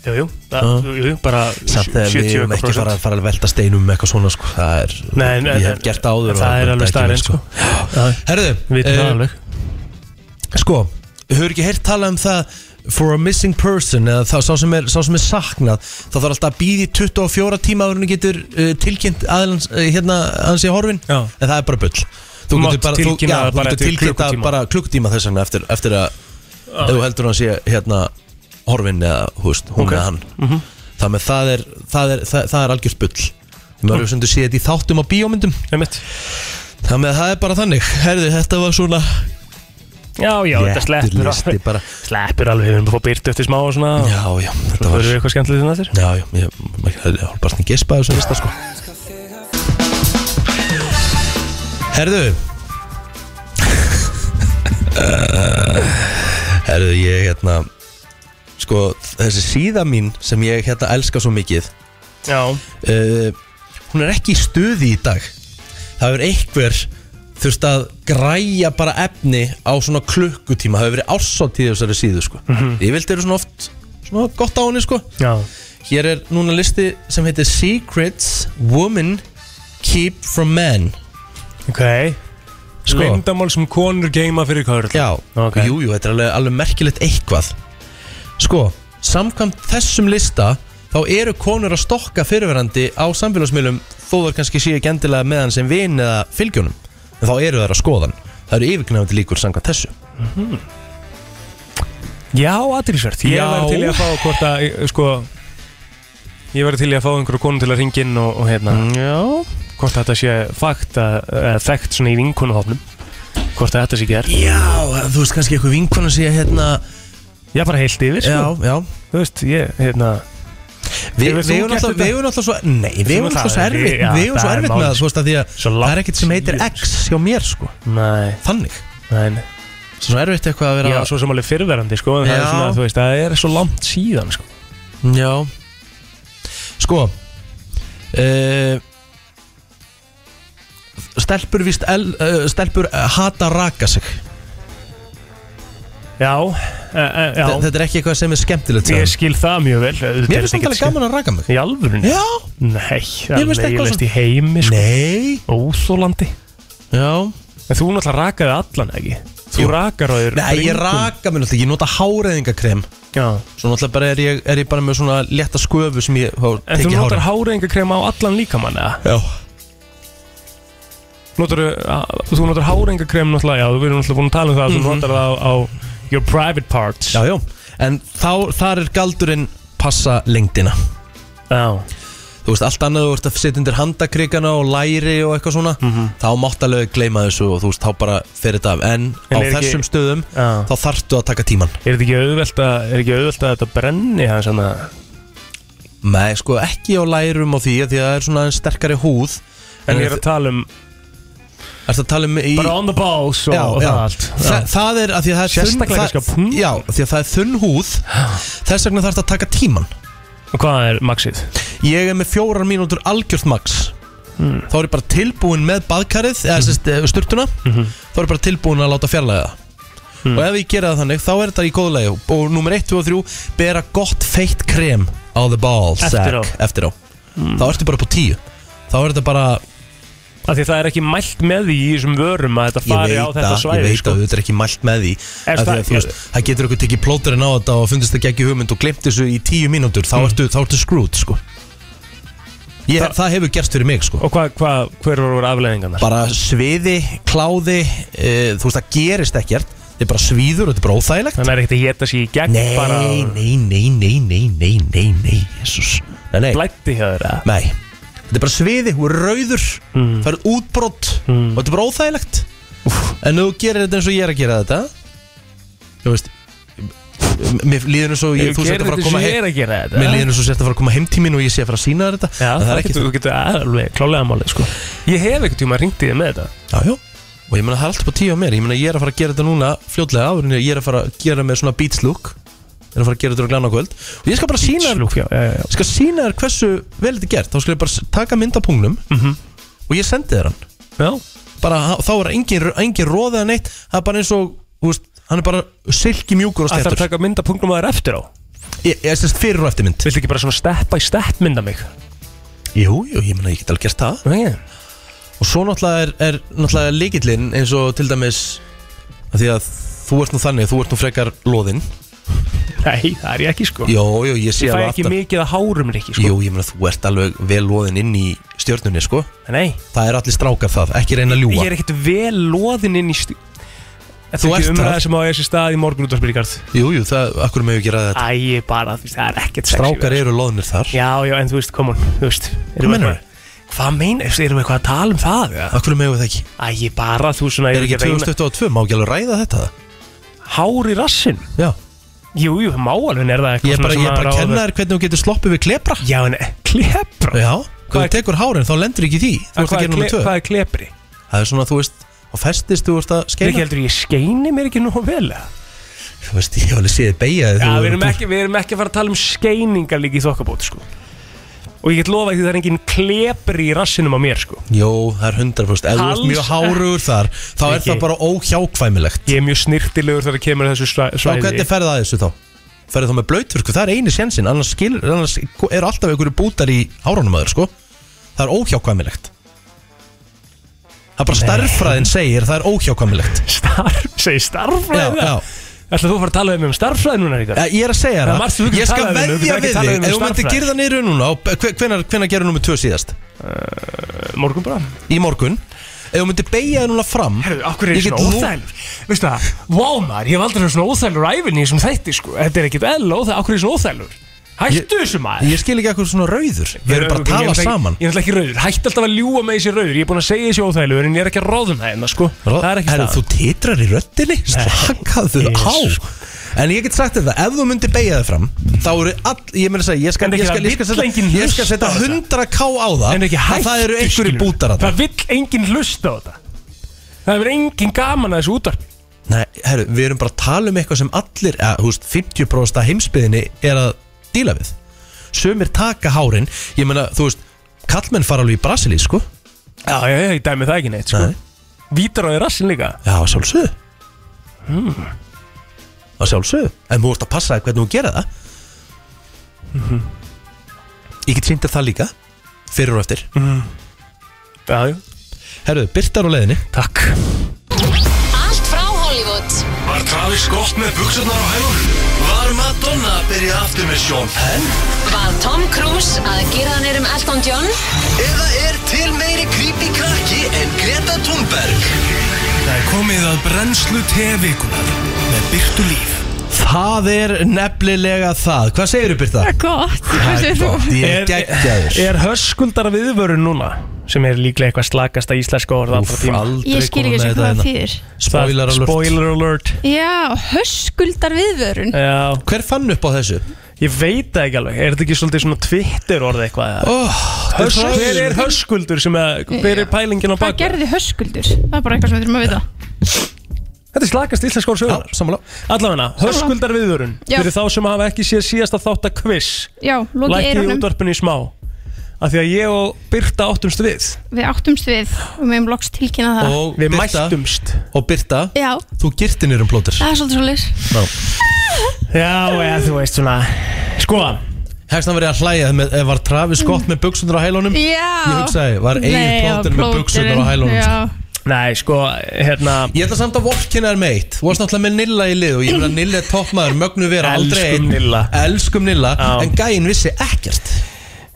Speaker 4: Jú, jú, það, jú, jú, bara
Speaker 1: Samt þegar við
Speaker 4: 70%
Speaker 1: erum ekki fara að fara að velta steinum með eitthvað svona, sko, það er,
Speaker 4: Nei, nei,
Speaker 1: ég
Speaker 4: nei,
Speaker 1: hef gert það áður
Speaker 4: en
Speaker 1: og
Speaker 4: það er
Speaker 1: þetta
Speaker 4: alveg
Speaker 1: ekki vel,
Speaker 4: staðarinn sko Já,
Speaker 1: Herðu,
Speaker 4: Við veitum það
Speaker 1: eh,
Speaker 4: alveg
Speaker 1: Sko, hefur ekki heyrt talað um það For a missing person eða þá sá sem er, sá sem er saknað þá þarf alltaf að býði 24 tíma áður en þú getur uh, tilkynnt aðlans uh, hérna aðeins í horfin
Speaker 4: Já.
Speaker 1: en það er bara bull Þú
Speaker 4: Þú
Speaker 1: getur
Speaker 4: mátt
Speaker 1: bara, þú,
Speaker 4: tilkynna
Speaker 1: já,
Speaker 4: það
Speaker 1: þú
Speaker 4: bara
Speaker 1: getur
Speaker 4: eftir
Speaker 1: tilkynnt að
Speaker 4: klukkutíma.
Speaker 1: bara klukkutíma þess vegna eftir, eftir að ef þú heldur hann sé hérna horfin eða húst, hún
Speaker 4: Ok. Mhm.
Speaker 1: eða hann mm -hmm. þannig að það er, það er, það, það er algjört bull maður hefur sem þú sé þetta í þáttum á bíómyndum
Speaker 4: Einmitt.
Speaker 1: þannig að það er bara þannig herðu þetta var svona
Speaker 4: Já, já, þetta
Speaker 1: Léttur
Speaker 4: sleppur
Speaker 1: listi
Speaker 4: alveg
Speaker 1: bara.
Speaker 4: Sleppur alveg, við erum bara byrtu eftir smá og svona og
Speaker 1: já já
Speaker 4: Svo
Speaker 1: þetta var
Speaker 4: verður eitthvað skemmtilegt um inn að þér
Speaker 1: Já, já, ég ég var bara svona gespaði sem lista sko Herðu Herðu, ég hérna Sko, þessi síða mín sem ég hérna elska svo mikið
Speaker 4: Já
Speaker 1: uh, Hún er ekki í stuði í dag Það er einhver þurft að græja bara efni á svona klukkutíma Það hefur verið ársáttíð á þessari síðu sko Ég vildi eru svona oft, svona gott á henni sko
Speaker 4: Já,
Speaker 1: Hér er núna listi sem heitir Secrets Women Keep From Men
Speaker 4: ok
Speaker 1: Sko.
Speaker 4: Lindamál sem konur geima fyrir körl
Speaker 1: Já,
Speaker 4: Ok.
Speaker 1: jú, jú, þetta er alveg, alveg merkilegt eitthvað Sko, samkvæmt þessum lista þá eru konur að stokka fyrirverandi á samfélagsmiðlum þó þar kannski séu ekki endilega með hann sem vin eða fylgjónum en þá eru þær að skoðan Það eru yfirknæfandi líkur samkvæmt þessu
Speaker 4: Já, aðeinsvert Ég
Speaker 1: Já.
Speaker 4: verði til í að fá hvort að, sko Ég verði til í að fá einhverju konu til að ringa inn og, og hérna
Speaker 1: Já
Speaker 4: Hvort þetta sé fakt að, að þekkt svona í vinkunuhofnum Hvort að þetta sé gert
Speaker 1: Já, þú veist kannski eitthvað vinkona sé hérna
Speaker 4: Ég bara heilt yfir, sko
Speaker 1: Já, já
Speaker 4: Þú veist, ég, hérna
Speaker 1: Við
Speaker 4: Hefur þú
Speaker 1: við erum
Speaker 4: gert
Speaker 1: alltaf,
Speaker 4: þetta?
Speaker 1: við erum alltaf svo Nei, við erum alltaf svo
Speaker 4: Það er-
Speaker 1: erfitt
Speaker 4: já,
Speaker 1: Við erum svo
Speaker 4: það er
Speaker 1: erfitt
Speaker 4: málið,
Speaker 1: með það,
Speaker 4: sko.
Speaker 1: þú veist að því að
Speaker 4: Svo
Speaker 1: Það
Speaker 4: langt
Speaker 1: er ekkert sem heitir
Speaker 4: síðan.
Speaker 1: X hjá mér, sko
Speaker 4: Nei,
Speaker 1: Þannig
Speaker 4: nei, nei
Speaker 1: Svo er erfitt eitthvað að
Speaker 4: Ég
Speaker 1: vera
Speaker 4: var svo sem alveg fyrrverandi, sko en Það
Speaker 1: Já.
Speaker 4: er svona, þú veist, það er svo langt síðan, sko
Speaker 1: Já Sko uh, Stelpur víst el, uh, Stelpur eh, hata raka sig
Speaker 4: Já, e, e, já
Speaker 1: Þe- Þetta er ekki eitthvað sem er
Speaker 4: Ég
Speaker 1: skemmtilegt sagði hann.
Speaker 4: skil það mjög vel
Speaker 1: Mér finnst þetta
Speaker 4: sko.
Speaker 1: gaman að raka mig
Speaker 4: Í alvörunni?
Speaker 1: Já
Speaker 4: Nei, það
Speaker 1: Mér
Speaker 4: er
Speaker 1: finnst eitthvað
Speaker 4: leiðilegt í heimi sko.
Speaker 1: Nei
Speaker 4: Óþólandi
Speaker 1: Já
Speaker 4: En þú náttúrulega rakaði allan ekki Þú
Speaker 1: Jú.
Speaker 4: rakar á þér
Speaker 1: Nei, ég
Speaker 4: bringum.
Speaker 1: raka mig náttúrulega ekki Ég nota háreðingakrem
Speaker 4: Já.
Speaker 1: Svo náttúrulega bara er ég, er ég bara með svona létta sköfu sem ég þá
Speaker 4: En þú
Speaker 1: tek í
Speaker 4: notar
Speaker 1: hárið.
Speaker 4: hárengakrema á allan líkamann eða?
Speaker 1: Já
Speaker 4: Notar, þú notar hárengakrema náttúrulega Já, við erum náttúrulega búin að tala um það að
Speaker 1: Mhm.
Speaker 4: Þú notar það á, á your private parts
Speaker 1: Já, já, en þá, þar er galdurinn passa lengdina
Speaker 4: Já.
Speaker 1: þú veist, allt annað þú veist að setja undir handakrikana og læri og eitthvað svona
Speaker 4: Mhm.
Speaker 1: þá mátt alveg gleyma þessu og þú veist, þá bara fer þetta af en, á
Speaker 4: er ekki-
Speaker 1: þessum stöðum
Speaker 4: Já.
Speaker 1: þá þarftu að taka tíman
Speaker 4: Er þetta ekki auðvelt að, er ekki auðvelt að þetta brenni hann svona
Speaker 1: Nei, sko, ekki á lærum og því af því að það er svona aðeins sterkari húð
Speaker 4: En ég er að tala um
Speaker 1: Ertu að tala um í
Speaker 4: bara on the balls og, og það allt
Speaker 1: Þa, það er að því að það er
Speaker 4: Sérstaklega sko,
Speaker 1: það-
Speaker 4: kannski á pung.
Speaker 1: Já, af því að það er þunn húð Þess vegna þarf þetta að taka tíman
Speaker 4: Og hvað er maxið?
Speaker 1: Ég er með fjórar mínútur algjört max
Speaker 4: Hmm.
Speaker 1: Þá er ég bara tilbúin með baðkarið Eða sérst eh, sturtuna
Speaker 4: Hmm.
Speaker 1: Þá er ég bara tilbúin að láta fjarlæga það Og ef ég gera það þannig, þá er þetta í góðlegi Og nummer 1, 2 og 3, bera gott feitt krem Á the ball
Speaker 4: Eftir á. Hmm.
Speaker 1: sack, Eftir á Þá ertu bara på 10 Þá er þetta bara,
Speaker 4: Af því það er ekki mælt með því í þessum vörum að þetta
Speaker 1: ég
Speaker 4: fari á
Speaker 1: veit
Speaker 4: þetta
Speaker 1: að, ég
Speaker 4: svæði
Speaker 1: veit
Speaker 4: sko.
Speaker 1: að þetta er ekki mælt með því
Speaker 4: Er
Speaker 1: Af því
Speaker 4: það-
Speaker 1: að, þú veist, Það getur okkur tekið plóturinn á þetta og fundist ekki ekki hugmynd og glemt þessu í 10 mínútur Þá ertu, þá ertu screwed, sko ég,
Speaker 4: Hmm. Það-
Speaker 1: Það hefur gerst fyrir mig, sko
Speaker 4: Og hvað, hva, hver voru afleðingarnar?
Speaker 1: bara sviði, kláði e, þú veist það gerist ekkert þetta er bara svíður og þetta er bara óþægilegt
Speaker 4: Þannig er ekkert að geta sér í gegn
Speaker 1: nei,
Speaker 4: bara
Speaker 1: nei, nei, nei, nei, nei, nei, nei Jesus. nei, nei,
Speaker 4: Blætti hjá þér eða?
Speaker 1: nei þetta er bara sviði, þú er rauður
Speaker 4: Mm.
Speaker 1: það er útbrott og þetta er bara óþægilegt en ef þú gerir þetta eins og ég er að gera þetta þú veist m- mér líður eins og ég,
Speaker 4: Ef
Speaker 1: þú
Speaker 4: þú
Speaker 1: sért að
Speaker 4: gerir
Speaker 1: fara að
Speaker 4: þetta
Speaker 1: koma
Speaker 4: sem ég
Speaker 1: heim
Speaker 4: er að gera þetta
Speaker 1: mér líður eins og sért að fara að koma heimtímin og ég sé að fara að sína þetta
Speaker 4: Já,
Speaker 1: en það er ekki
Speaker 4: getur, þú getur alveg klálega málið sko. Ég hef einhvern tíma ringt í þig með þetta
Speaker 1: Já, já Og ég meina það er alltaf bara tíu á mér Ég meina ég er að fara að gera þetta núna fljótlega áður en ég er að fara að gera með svona beats look Ég er að fara að gera þetta á glána kvöld Og ég skal bara sína þér
Speaker 4: Slúk, já, já, já.
Speaker 1: Ég skal sína þér hversu vel þetta er gert Þá skal ég bara s- taka mynd af pungnum
Speaker 4: Mhm.
Speaker 1: Og ég sendi þér hann
Speaker 4: já,
Speaker 1: bara, ha- Þá er engin, engin roðið að neitt Það er bara eins og, þú veist Hann er bara silki mjúkur og
Speaker 4: Það þarf að
Speaker 1: stettur
Speaker 4: taka mynda punktum að þér eftir á
Speaker 1: Ég er sérst fyrir og eftir mynd
Speaker 4: Viltu ekki bara svona steppa í stepp mynda mig?
Speaker 1: Jú, jú, ég meina ég get alveg gert það
Speaker 4: Nei,
Speaker 1: Og svo náttúrulega er, er náttúrulega líkillinn eins og til dæmis að Því að þú ert nú þannig, þú ert nú frekar loðinn
Speaker 4: Nei, það er ég ekki sko
Speaker 1: Jó, jó, ég sé
Speaker 4: Ég fæ
Speaker 1: alveg
Speaker 4: ekki
Speaker 1: aftan
Speaker 4: mikið að hárum rikki sko
Speaker 1: Jú, ég meina þú ert alveg vel loðin inn í stjörnunni, sko
Speaker 4: Nei,
Speaker 1: Það er allir strákar það, ekki reyna að
Speaker 4: ég
Speaker 1: ljúa
Speaker 4: er ekkert vel loðin inn í stu Þetta
Speaker 1: Þú
Speaker 4: er ekki
Speaker 1: ert
Speaker 4: umræða
Speaker 1: það.
Speaker 4: sem á ég sér stað í morgun út af spyrkarð
Speaker 1: Jú, jú, það, akkur með ekki ræða þetta
Speaker 4: Æ, ég bara, þú veist, það er ekkert Ah, sexy við
Speaker 1: Strákar
Speaker 4: það,
Speaker 1: eru loðnir þar
Speaker 4: sko. Já, já, en þú veist, come on, þú veist Hvað
Speaker 1: meinarðu?
Speaker 4: Hvað meinar, erum við eitthvað að tala um það? eða?
Speaker 1: Akkur með það ekki
Speaker 4: Æ, ég bara, þú svona,
Speaker 1: Er
Speaker 4: ég
Speaker 1: ekki
Speaker 4: er ekki að reyna
Speaker 1: 2022, má ekki alveg ræða þetta
Speaker 4: Hár í rassin
Speaker 1: Já,
Speaker 4: Jú, jú, má alveg, en er það eitthvað
Speaker 1: ég er bara,
Speaker 4: sem
Speaker 1: ég er bara
Speaker 4: maður
Speaker 1: að
Speaker 4: á
Speaker 1: kenna
Speaker 4: að-
Speaker 1: þér hvernig þú getur sloppið við klepra
Speaker 4: Já, en klepra
Speaker 1: Já,
Speaker 4: Hvað
Speaker 1: þú
Speaker 4: er-
Speaker 1: tekur hárin, þá lendur ekki í því Þú ert að gera nummer tvö
Speaker 4: Hvað er klepri?
Speaker 1: Það er svona, þú veist, á festist, þú ert að
Speaker 4: Er ekki
Speaker 1: skeina
Speaker 4: heldur ég skeini mér ekki nú vel? eða?
Speaker 1: Þú veist, ég hef alveg séð beigja
Speaker 4: Já, við erum, ekki, við erum ekki að fara að tala um skeiningar líka í þokkabót, sko Og ég get lofa því það er engin klepri í rassinum á mér, sko
Speaker 1: Jó, það er 100% Ef þú ert
Speaker 4: Alls
Speaker 1: mjög hárugur þar, þá er
Speaker 4: Ekki.
Speaker 1: það bara óhjákvæmilegt
Speaker 4: Ég er mjög snirtilegur þegar kemur að þessu svæ-
Speaker 1: Þá
Speaker 4: svæði
Speaker 1: hvernig ferði það þessu þá? Ferði þá með blöyturku, það er eini sjensin annars, skilur, annars eru alltaf einhverju bútar í hárunum aður sko Það er óhjákvæmilegt Það er bara starffræðin segir, það er óhjákvæmilegt
Speaker 4: Starf, segi
Speaker 1: Já,
Speaker 4: starffræði
Speaker 1: já
Speaker 4: Ætla þú að fara að tala um, um starffræði núna
Speaker 1: Eh,
Speaker 4: eitthvað?
Speaker 1: Ég er að segja
Speaker 4: Það er margt sem þú
Speaker 1: það
Speaker 4: getur
Speaker 1: Ég skal
Speaker 4: talað um, þú
Speaker 1: veðja
Speaker 4: getur ekki
Speaker 1: við
Speaker 4: talað
Speaker 1: þig
Speaker 4: um
Speaker 1: Ef þú myndir
Speaker 4: starffræði.
Speaker 1: gyrða niður núna og hve- Hvenær, hvenær gerur nummer 2 síðast?
Speaker 4: Morgun bara
Speaker 1: Í morgun Ef þú myndir beigja þig núna fram
Speaker 4: Herru, okkur er
Speaker 1: Ég
Speaker 4: ég
Speaker 1: get
Speaker 4: svona
Speaker 1: nú-
Speaker 4: óþælur Veistu það, wow maður, ég hef aldrei verið svona óþælur æfinni í þessum þætti sko Þetta er ekkit eðla óþælur, okkur er ég svona óþælur
Speaker 1: Ég-
Speaker 4: Hættu þessu maður
Speaker 1: Ég skil ekki eitthvað svona rauður Við erum bara að
Speaker 4: Ég- ég-
Speaker 1: tala
Speaker 4: ég-
Speaker 1: saman
Speaker 4: Ég er náttúrulega ekki rauður, hætti alltaf að ljúa með þessi rauður Ég er búin að segja þessi óþælur en ég er ekki að ráðum það hérna sko Það er ekki
Speaker 1: Herru,
Speaker 4: staðan.
Speaker 1: Þú titrar í röddinni Slakaðu
Speaker 4: Ég-
Speaker 1: á En ég get sagt þetta, ef þú myndir beigja þig fram Þá eru all, ég meina að segja Ég skal,
Speaker 4: En ekki
Speaker 1: ég skal,
Speaker 4: það
Speaker 1: ég skal,
Speaker 4: vill
Speaker 1: setja,
Speaker 4: enginn
Speaker 1: ég skal
Speaker 4: hlusta
Speaker 1: setja
Speaker 4: á þetta.
Speaker 1: 100k á það
Speaker 4: En er ekki
Speaker 1: að
Speaker 4: hættu
Speaker 1: Það eru einhverjir
Speaker 4: skilur.
Speaker 1: bútar að það
Speaker 4: Það vill enginn hlusta á þetta Það er enginn gaman að þessu útvarp
Speaker 1: Nei, herru, við erum bara að tala um eitthvað sem allir eða, Þú veist, 50% af heimsbyðinni er að díla við Sumir taka hárin Ég meina, þú veist, kallmenn fara alveg í Brasili, sko
Speaker 4: Já, já, já, ég dæmi það ekki neitt sko
Speaker 1: Nei.
Speaker 4: Vítar á því rassin líka
Speaker 1: Já, að sjálfsögðu hmm. Að sjálfsögðu En þú ert að passa þér hvernig þú gera það Mhm. Ég get sýnt að það líka Fyrir og eftir mm.
Speaker 4: Já, já,
Speaker 1: Herðu, Byrtar á leiðinni
Speaker 4: takk
Speaker 8: Allt frá Hollywood
Speaker 2: Var Travis gott með buksunar á hælunum? Var Madonna að byrja aftur með Sean Penn?
Speaker 8: Var Tom Cruise að gera hann um Elton John?
Speaker 2: Eða er til meiri creepy krakki en Greta Thunberg?
Speaker 9: Það er komið að brennslu tevikuna með Byrtu Líf
Speaker 1: Það er nefnilega það Hvað segirðu Birta?
Speaker 9: Gott,
Speaker 1: Það
Speaker 9: hvað
Speaker 1: er
Speaker 9: segir
Speaker 1: gott,
Speaker 9: þú?
Speaker 1: Ég er geggjaður
Speaker 4: er höskuldar viðvörun núna sem er líklega eitthvað slakasta íslenska orð allra
Speaker 1: Úff,
Speaker 4: tíma
Speaker 1: aldrei
Speaker 9: Ég skil
Speaker 1: komið
Speaker 9: ekki
Speaker 1: með
Speaker 9: sem
Speaker 1: þetta
Speaker 9: hvað það
Speaker 1: hérna.
Speaker 9: þýðir
Speaker 1: Spoiler alert
Speaker 4: Spoiler alert
Speaker 9: Já, höskuldar viðvörun
Speaker 4: Já,
Speaker 1: Hver fann upp á þessu?
Speaker 4: ég veit það ekki alveg, er þetta ekki svolítið svona Twitter orð eitthvað eða?
Speaker 1: Oh,
Speaker 4: Hös, hver er höskuldur sem að, hver er pælingin á
Speaker 9: Hvað
Speaker 4: baka?
Speaker 9: gerði höskuldur? Það er bara eitthvað sem við þurfum að vita
Speaker 4: Þetta er slakast íslensk orð sögunar
Speaker 1: Sammála
Speaker 4: Allavega, höskuldar viðvörun
Speaker 9: Já.
Speaker 4: Fyrir þá sem hafa ekki séð síðasta þátt að quiz
Speaker 9: Já, lokið
Speaker 4: Lækki
Speaker 9: eyrunum
Speaker 4: útvarpinu í smá Af því að ég og Birta áttumst við
Speaker 9: Við áttumst við og við hefum loks tilkynna það
Speaker 1: Og
Speaker 4: Við
Speaker 1: Birta,
Speaker 4: mættumst
Speaker 1: og Birta
Speaker 9: Já,
Speaker 1: þú girtinir um plótur
Speaker 9: það er svolítið svolítið
Speaker 4: Já, eða þú veist svona Sko,
Speaker 1: Hefst hann verið að hlæja með, ef var Travis Scott
Speaker 9: Mm.
Speaker 1: með buksunar á hælunum
Speaker 9: Já
Speaker 1: Ég hugsaði, var Egil
Speaker 9: Nei, já,
Speaker 1: plóturinn með buxurnar á
Speaker 9: plóturinn,
Speaker 1: hælunum?
Speaker 9: Já,
Speaker 4: nei, sko, hérna
Speaker 1: Ég ætla samt að vorkina er meitt Þú varst náttúrulega með Nilla í lið og ég meina Nilla er toppmaður, mögnu vera aldrei
Speaker 4: Elskum
Speaker 1: einn.
Speaker 4: Nilla.
Speaker 1: Elskum Nilla,
Speaker 4: Já.
Speaker 1: en gæinn vissi ekkert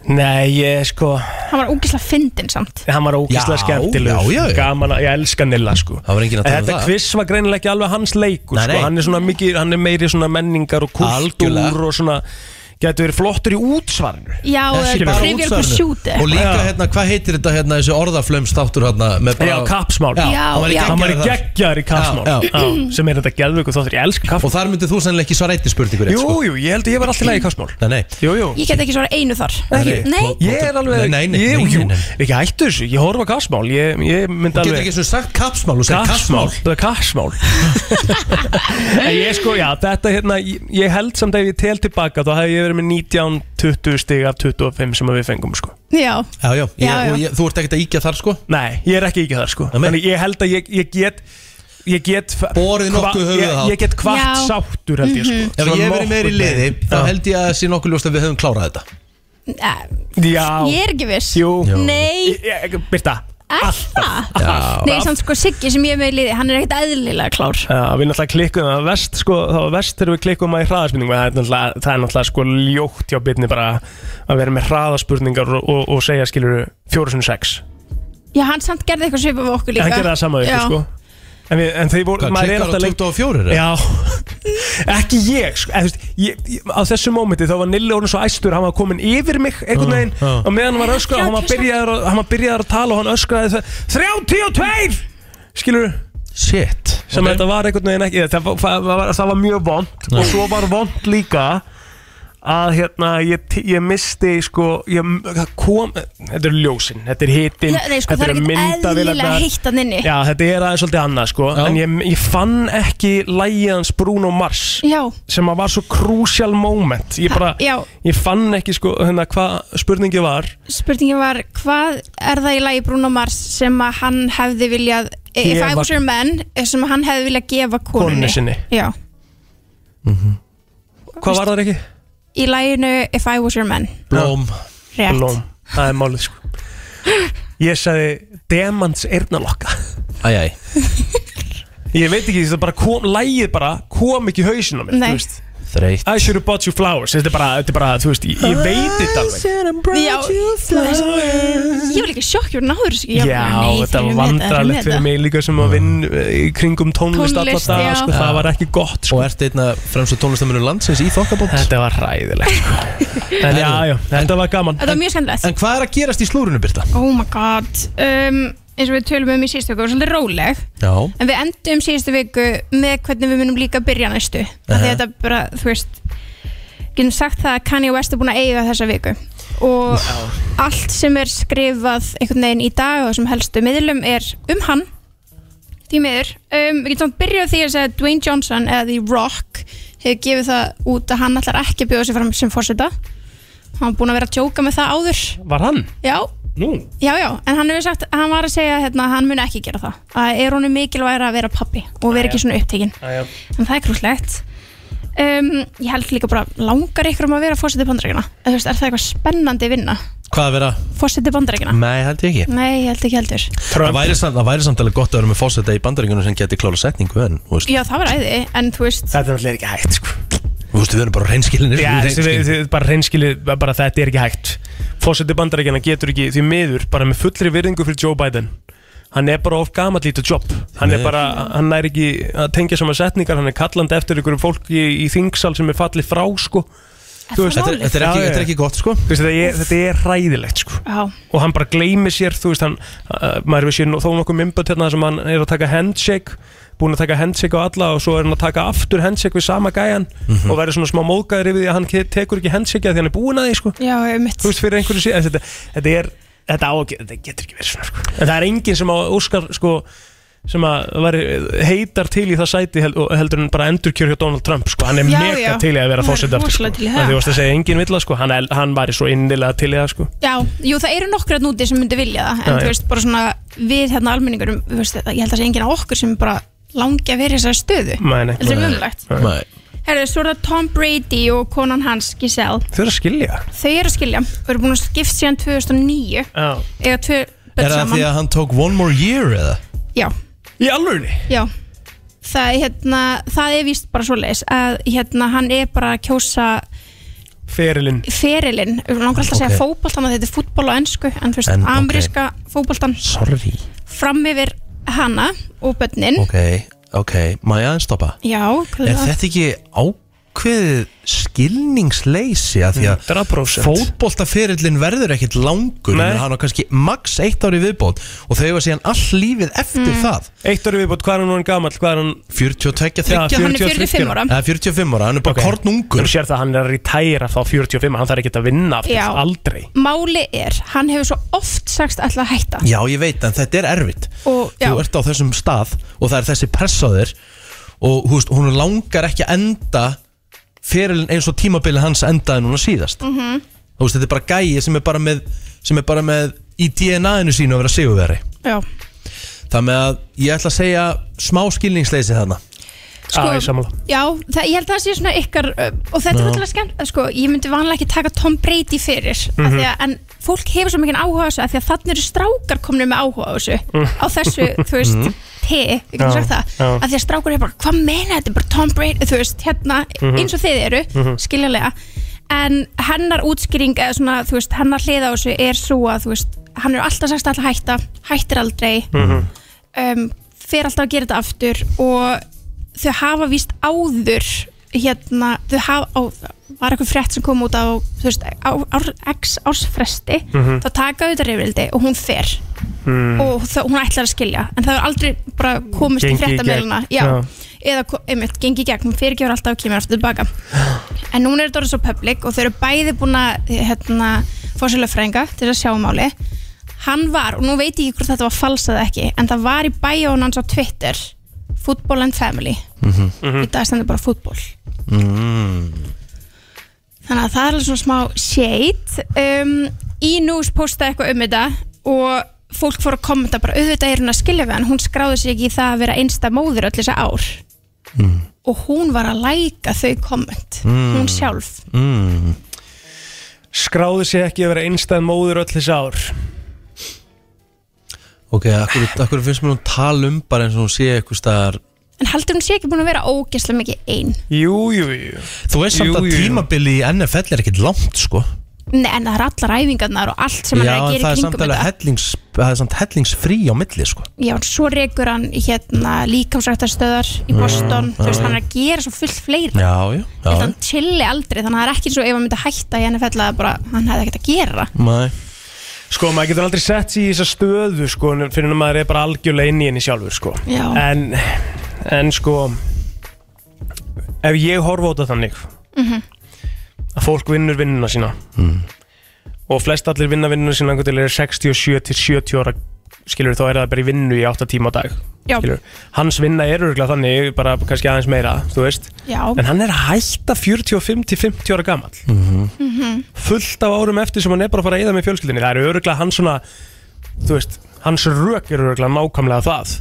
Speaker 4: Nei, ég sko,
Speaker 9: hann var ógislega fyndin samt
Speaker 4: hann var ógíslega
Speaker 1: Já,
Speaker 4: skemmtilegur
Speaker 1: já, já, já.
Speaker 4: Gaman að, ég elska Nilla sko
Speaker 1: Það var enginn að tala um
Speaker 4: Þetta
Speaker 1: það.
Speaker 4: quiz var greinilega ekki alveg hans leikur
Speaker 1: Nei, nei.
Speaker 4: Sko. Hann er svona mikið, hann er meiri svona menningar og kultúr
Speaker 1: Algjörlega.
Speaker 4: og svona Gæti verið flottur í útsvarinu
Speaker 9: Já,
Speaker 1: Ekki bara
Speaker 9: trivial
Speaker 1: útsvarinu.
Speaker 9: pursuit
Speaker 1: Og líka
Speaker 4: Já.
Speaker 1: hérna, hvað heitir þetta hérna þessi orðaflöms þáttur hérna með bara-
Speaker 4: Já, kapsmál
Speaker 1: Já,
Speaker 9: Já,
Speaker 1: hann var í
Speaker 9: já.
Speaker 1: geggjaður
Speaker 4: Hann var í
Speaker 1: þar.
Speaker 4: geggjar í kapsmál
Speaker 1: Já, já.
Speaker 4: Sem er þetta geðvöku þóttir, ég elska
Speaker 1: Og
Speaker 4: kapsmál
Speaker 1: þar myndið þú sennilega ekki svara eittir spurningur rétt,
Speaker 4: Jú,
Speaker 1: sko.
Speaker 4: jú, ég held að ég var alltaf í í kapsmál
Speaker 1: Nei, nei
Speaker 4: Jú, jú
Speaker 9: Ég get ekki svara einu þar
Speaker 1: Ekki?
Speaker 9: Nei,
Speaker 1: Pló-
Speaker 4: Ég er alveg
Speaker 1: Nei, nei, nei,
Speaker 4: Jú,
Speaker 1: nei,
Speaker 4: jú,
Speaker 1: nei, nei.
Speaker 4: Ekki hættu þessu, ég horfa kapsmál Ég, ég myndi
Speaker 1: Getur
Speaker 4: alveg
Speaker 1: ekki svona sagt kapsmál og segir
Speaker 4: Kassmál
Speaker 1: kapsmál
Speaker 4: Það er kassmál En Ég sko, já, þetta hérna Ég ég held samt að ef ég tel tilbaka Þá hefði ég verið með 19, 20 stig af 25 sem að við fengum sko
Speaker 9: já,
Speaker 1: Já, já, ég,
Speaker 9: Já, já.
Speaker 1: og Ég, þú ert ekkert að íkja þar sko
Speaker 4: Nei, ég er ekki ekki þar sko
Speaker 1: Nei, nei.
Speaker 4: Þannig ég held að ég, ég get Ég get f-
Speaker 1: Borið
Speaker 4: hva-
Speaker 1: nokkuð höfuðið
Speaker 4: ég,
Speaker 1: hátt. Mhm.
Speaker 4: ég get hvart
Speaker 9: Já.
Speaker 4: sáttur held ég sko
Speaker 1: Ef
Speaker 4: Svona
Speaker 1: ég verið meir í
Speaker 4: nokkurn
Speaker 1: liði,
Speaker 4: veginn.
Speaker 1: þá held ég að það sé nokkuð ljóst að við höfum klárað þetta
Speaker 9: Eh,
Speaker 4: Já
Speaker 9: ég er ekki viss
Speaker 4: Jú
Speaker 9: Nei,
Speaker 4: Ég- ég- Birta
Speaker 9: er það? Nei, samt sko Siggi sem ég er með í liði, hann er ekkert eðlilega klár
Speaker 4: Já, við náttúrulega klikkuðum að vest sko, þá var vest þegar við klikkuðum að í hraðaspurningum það er náttúrulega, það er náttúrulega sko ljótt hjá byrni bara að vera með hraðaspurningar og, og, og segja skilur 4.6
Speaker 9: Já, hann samt gerði eitthvað svipað við okkur líka
Speaker 4: en gerði það sama við
Speaker 9: Já.
Speaker 4: ykkur sko en, við, en þeir voru,
Speaker 1: Hvað,
Speaker 4: maður er
Speaker 1: klikkar á
Speaker 4: alltaf
Speaker 1: 24 eða?
Speaker 4: Já, ekki ég sko, en, þú veist, ég, ég, á þessu mómenti þá var Nilli orðin svo æstur, hann var komin yfir mig einhvern
Speaker 1: Já,
Speaker 4: veginn
Speaker 1: já.
Speaker 4: og meðan hann var öskrað, hann var
Speaker 9: 36.
Speaker 4: byrjaður að- hann var byrjaður að tala og hann öskraði það 32 skilur
Speaker 1: Shit
Speaker 4: sem þetta var einhvern veginn ekki það var, það var, það var mjög vond og svo var vond líka að hérna ég, t- ég misti sko ég, það kom, þetta er ljósin, þetta er hitin
Speaker 9: Já, nei, sko, það er ekkert eðlilega heitt að nynni
Speaker 4: Já, þetta er aðeins svolítið annað sko
Speaker 1: Já.
Speaker 4: En ég, ég fann ekki lægiðans Bruno Mars
Speaker 9: Já,
Speaker 4: Sem að var svo crucial moment Ég bara,
Speaker 9: já,
Speaker 4: ég fann ekki sko hérna, Hvað spurningi var
Speaker 9: spurningin var hvað er það í lagi Bruno Mars sem að hann hefði viljað eh, If I
Speaker 4: Gefa-
Speaker 9: was your man eh, sem að hann hefði viljað gefa konunni
Speaker 4: Konunni sinni.
Speaker 9: Já,
Speaker 4: Hvað var það ekki?
Speaker 9: í laginu If I was your man
Speaker 1: Blóm
Speaker 9: Rétt
Speaker 4: Blóm, það er málið sko Ég sagði Demants eyrnalokka
Speaker 1: Æjæj
Speaker 4: Ég veit ekki, þetta bara kom, lægið bara kom ekki í hausin á mér,
Speaker 9: Nei.
Speaker 4: þú veist
Speaker 1: Þreytt
Speaker 4: I should have bought you flowers, þetta er bara, þetta er bara, þú veist, ég, ég veit þetta alveg
Speaker 9: Já, ég var líka sjokk, ég var náður þessu ekki. Ég var
Speaker 4: Já,
Speaker 9: bara, nei,
Speaker 4: þetta var
Speaker 9: þeir eru með þetta, þeir eru með
Speaker 4: vandrarlegt fyrir
Speaker 9: þetta.
Speaker 4: mig líka sem að vinna í kringum tónlist alla
Speaker 9: Tónlist,
Speaker 4: dag,
Speaker 9: já.
Speaker 4: sko, það var ekki gott,
Speaker 1: Og
Speaker 4: sko
Speaker 1: ert einna fremstu tónlistamönu landsins í þokkabótt
Speaker 4: Þetta var ræðilegt, sko En já, já, þetta var gaman
Speaker 9: Þetta var mjög skemmtilegt
Speaker 1: En hvað er að gerast í slúrunu, Birta?
Speaker 9: Oh my god um, eins og við tölum um í síðustu viku, það var svolítið róleg
Speaker 1: Já
Speaker 9: en við endum síðustu viku með hvernig við munum líka byrja næstu uh því
Speaker 1: Aha.
Speaker 9: þetta bara, þú veist getum sagt það að Kanye West er búin að eiga þessa viku og allt sem er skrifað einhvern veginn í dag og sem helstu miðlum er um hann því miður, um, við getum samt byrjað á því að segja að Dwayne Johnson eða The Rock hefur gefið það út að hann ætlar ekki að bjóða sig fram sem fórseta hann er búin að vera að djóka með það áður
Speaker 4: Var hann?
Speaker 9: já,
Speaker 4: Nú?
Speaker 9: Já, já, en hann hefur sagt, hann var að segja hérna, að hann muni ekki gera það, að er honum mikilvægir að vera pappi og vera ekki svona upptekinn
Speaker 4: Æja
Speaker 9: en það er grúslegt um, ég held líka bara, langar ykkur um að vera fórsetið bandarækina, þú veist, er það eitthvað spennandi vinna,
Speaker 1: Hvað að vera?
Speaker 9: fórsetið bandarækina
Speaker 1: Nei, held ég ekki
Speaker 9: nei, ég held ekki heldur,
Speaker 1: Það væri, samt, það væri samt alveg gott að vera með fósetta í bandaringunum sem geti klála setningu en, þú veist,
Speaker 9: já, það var æði en þú veist,
Speaker 4: Þetta er náttúrulega ekki hægt, sko
Speaker 1: þú veist, við erum bara reynskilinir
Speaker 4: Já, þessi, við, þið, bara reynskilið, bara þetta er ekki hægt Fósetti bandarækjana getur ekki því miður bara með fullri virðingu fyrir Joe Biden hann er bara of gamall í þetta jobb hann er bara, hann er ekki að tengja saman setningar, hann er kallandi eftir ykkur fólki í, í þingsal sem er fallið frá sko Þú veist,
Speaker 1: Þetta er, þetta,
Speaker 4: Já,
Speaker 1: er ekki,
Speaker 4: já.
Speaker 1: þetta er ekki gott sko
Speaker 4: Þú veist, þetta, er, þetta er ræðilegt sko
Speaker 9: Já,
Speaker 4: og hann bara gleymi sér þú veist hann, uh, maður við sér nú- þó nokkuð mymböt hérna þar sem hann er að taka handshake búin að taka handshake á alla og svo er hann að taka aftur handshake við sama gæjan og verður svona smá móðgæður yfir því að hann ke- tekur ekki handshake af því hann er búin að því sko
Speaker 9: já, mitt
Speaker 4: þú veist fyrir einhverju síðan þetta, þetta er, þetta, á, ekki- þetta getur ekki verið svona sko. en það er enginn sem á Óskar sko sem að var, eh, heitar til í það sæti held, og heldur en bara endurkjör hjá Donald Trump sko. hann er
Speaker 9: Já,
Speaker 4: mega
Speaker 9: já.
Speaker 4: til í að vera
Speaker 9: Hann er
Speaker 4: fórsett aftur sko.
Speaker 9: rosalega til í það.
Speaker 4: En þú varst að segja enginn vill það sko. hann, el- hann var svo innilega til í það sko.
Speaker 9: Já, jú, það eru nokkra núti sem myndi vilja það en
Speaker 4: Já,
Speaker 9: þú
Speaker 4: já.
Speaker 9: veist, bara svona við hérna almenningurum, þú veist, ég held að það sé enginn á okkur sem bara langi að vera í þessari stöðu
Speaker 4: Nei, nei.
Speaker 9: Þetta er mjög umlegt
Speaker 1: Nei.
Speaker 9: Herðu, svo er það Tom Brady og konan hans, Giselle
Speaker 4: þau eru að skilja
Speaker 9: Þau eru að skilja, þau eru búin að skipta síðan 2009
Speaker 4: Já.
Speaker 9: eða tvö
Speaker 1: Er
Speaker 9: börn
Speaker 1: það því
Speaker 9: saman
Speaker 1: að hann tók one more year eða?
Speaker 9: Já,
Speaker 4: í alvörni
Speaker 9: já Það, er, hérna, það er víst bara svoleiðis að hérna, hann er bara að kjósa
Speaker 4: ferilinn
Speaker 9: ferilinn, Mig langar alltaf að segja
Speaker 1: Ok.
Speaker 9: okay. fótboltan að þetta er fútbol á ennsku en þú veist,
Speaker 1: En, ok.
Speaker 9: ameríska fótboltan
Speaker 1: Sorry
Speaker 9: fram yfir hana og börnin
Speaker 1: Ok, ok, má ég aðeins stoppa?
Speaker 9: Já, hvað
Speaker 1: Er
Speaker 9: er það?
Speaker 1: þetta ekki ákveðið skilningsleysi að því
Speaker 4: Mm.
Speaker 1: að
Speaker 4: 100%
Speaker 1: fótboltaferillin verður ekkit langur
Speaker 4: Nei.
Speaker 1: Nei. hann á kannski max eitt ári viðbót og þau var síðan all lífið eftir
Speaker 9: Mm.
Speaker 1: það
Speaker 4: eitt orðið viðbót, hvað er hann orðinn gamall hvað er hann
Speaker 1: 42, 30
Speaker 4: Já,
Speaker 1: ja,
Speaker 9: Hann er 45 ára
Speaker 1: 45 ára, hann er bara okay.
Speaker 4: þú
Speaker 1: kornungur
Speaker 4: sér það að hann er að retæra þá 45 hann þarf ekki að vinna aftur,
Speaker 9: Já.
Speaker 4: aldrei
Speaker 9: Máli er, hann hefur svo oft sagst alltaf að hætta
Speaker 1: Já, ég veit, en þetta er erfitt
Speaker 9: Og- já.
Speaker 1: Þú ert á þessum stað og það er þessi pressaður og hú veist, hún langar ekki að enda ferilin eins og tímabili hans endaði núna síðast -hmm.
Speaker 9: Mhm.
Speaker 1: Þú veist, þetta er bara gæi sem er bara með, sem er bara með í DNA-inu sínu að vera sigurveri
Speaker 9: Já,
Speaker 1: Það með að ég ætla að segja smá skilningsleysi þarna
Speaker 4: sko, ah, sammála
Speaker 9: já það, ég held að það sé svona ykkar ö, og þetta er alltaf skemmt, sko, ég myndi vanlega ekki taka Tom Brady fyrir mm að,
Speaker 4: Mhm.
Speaker 9: en fólk hefur svo mikið áhuga á þessu af því að þannig eru strákar komnir með áhuga á þessu á þessu, þú veist, te við
Speaker 4: Mm. Mhm. Já,
Speaker 9: getum sagt það,
Speaker 4: já.
Speaker 9: af því að strákar er bara hvað meina þetta, er bara Tom Brady, þú veist hérna,
Speaker 4: Mhm.
Speaker 9: eins og þið eru, skiljulega en hennar útskýring eða svona, þú veist, hennar hliða á þessu er svo að, þú veist, hann er alltaf sagst alltaf hætta hættir aldrei
Speaker 4: Mhm.
Speaker 9: um, fer alltaf að gera þetta aftur og þau hafa víst áður hérna, þau hafa á, var eitthvað frétt sem kom út á, þú veist, á, á x ársfresti
Speaker 4: Mhm.
Speaker 9: þá taka auðvitað reyfrildi og hún fer og það, hún ætlar að skilja en það er aldrei bara komist
Speaker 4: Mm. Gengið í
Speaker 9: í fréttameiluna
Speaker 4: gegn,
Speaker 9: já,
Speaker 4: já.
Speaker 9: eða ko- einmitt, gengi í gegn, hún fyrirgefur alltaf og kemur aftur tilbaka en núna er þetta orðið svo public og þau eru bæði búin að hérna, fá sér löffrænga til að sjá um máli hann var, og nú veit ég ekki hvort þetta var falsað ekki, en það var í bæjón hans á Twitter Football and Family
Speaker 1: Mhm.
Speaker 9: í dag stendur bara fútból þannig að það er alveg svona smá shade um, í news postaði eitthvað um þetta og fólk fór að kommenta bara auðvitað er hún að skilja við hann, hún skráði sig ekki í það að vera einsta móður öll þessa ár
Speaker 1: Mm.
Speaker 9: og hún var að læka þau komment, hún sjálf
Speaker 4: skráði sig ekki að vera einstæð móður öll þessi ár
Speaker 1: Ok, akkur, akkur finnst mér hún tala um bara eins og hún sé eitthvað staðar
Speaker 9: en heldur hún sé ekki búin að vera ógeðslega mikið ein
Speaker 4: jú, jú, jú
Speaker 1: Þú veist samt
Speaker 4: Jú,
Speaker 1: að
Speaker 4: jú.
Speaker 1: tímabili í NFL er ekkit langt sko
Speaker 9: Nei, en það er allar æfingarnar og allt sem hann er
Speaker 1: Já, en
Speaker 9: að
Speaker 1: það
Speaker 9: gera
Speaker 1: er
Speaker 9: í
Speaker 1: samt
Speaker 9: kringum
Speaker 1: alveg
Speaker 9: þetta
Speaker 1: hellings, það er samt hellingsfrí á milli sko.
Speaker 9: Já, en svo rekur hann hérna líkamsrættastöðar í Boston þú veist, hann er að gera svo fullt fleira
Speaker 1: Já, já, já
Speaker 9: Þetta hann chilli aldrei, þannig að það er ekki eins og ef hann myndi hætta í NFL að bara, hann hefði ekkert að gera
Speaker 1: Nei.
Speaker 4: Sko, maður getur aldrei sett sig í þessa stöðu sko, fyrir að maður er bara algjörlega inn í henni sjálfur sko.
Speaker 9: Já.
Speaker 4: en, en sko ef ég horfa á þetta þannig að fólk vinnur vinnuna sína og flest allir vinna vinnuna sína einhvern til er 67 til 70 ára skilur þá er það bara í vinnu í 8 tíma á dag
Speaker 9: Já.
Speaker 4: skilur. hans vinna er örgulega þannig bara kannski aðeins meira, þú veist
Speaker 9: Já,
Speaker 4: en hann er að hætta 45 til 50 ára gamall fullt af árum eftir sem hann er bara að fara að eyða með fjölskyldinni það eru öruglega hans svona þú veist, hans rök eru öruglega nákvæmlega það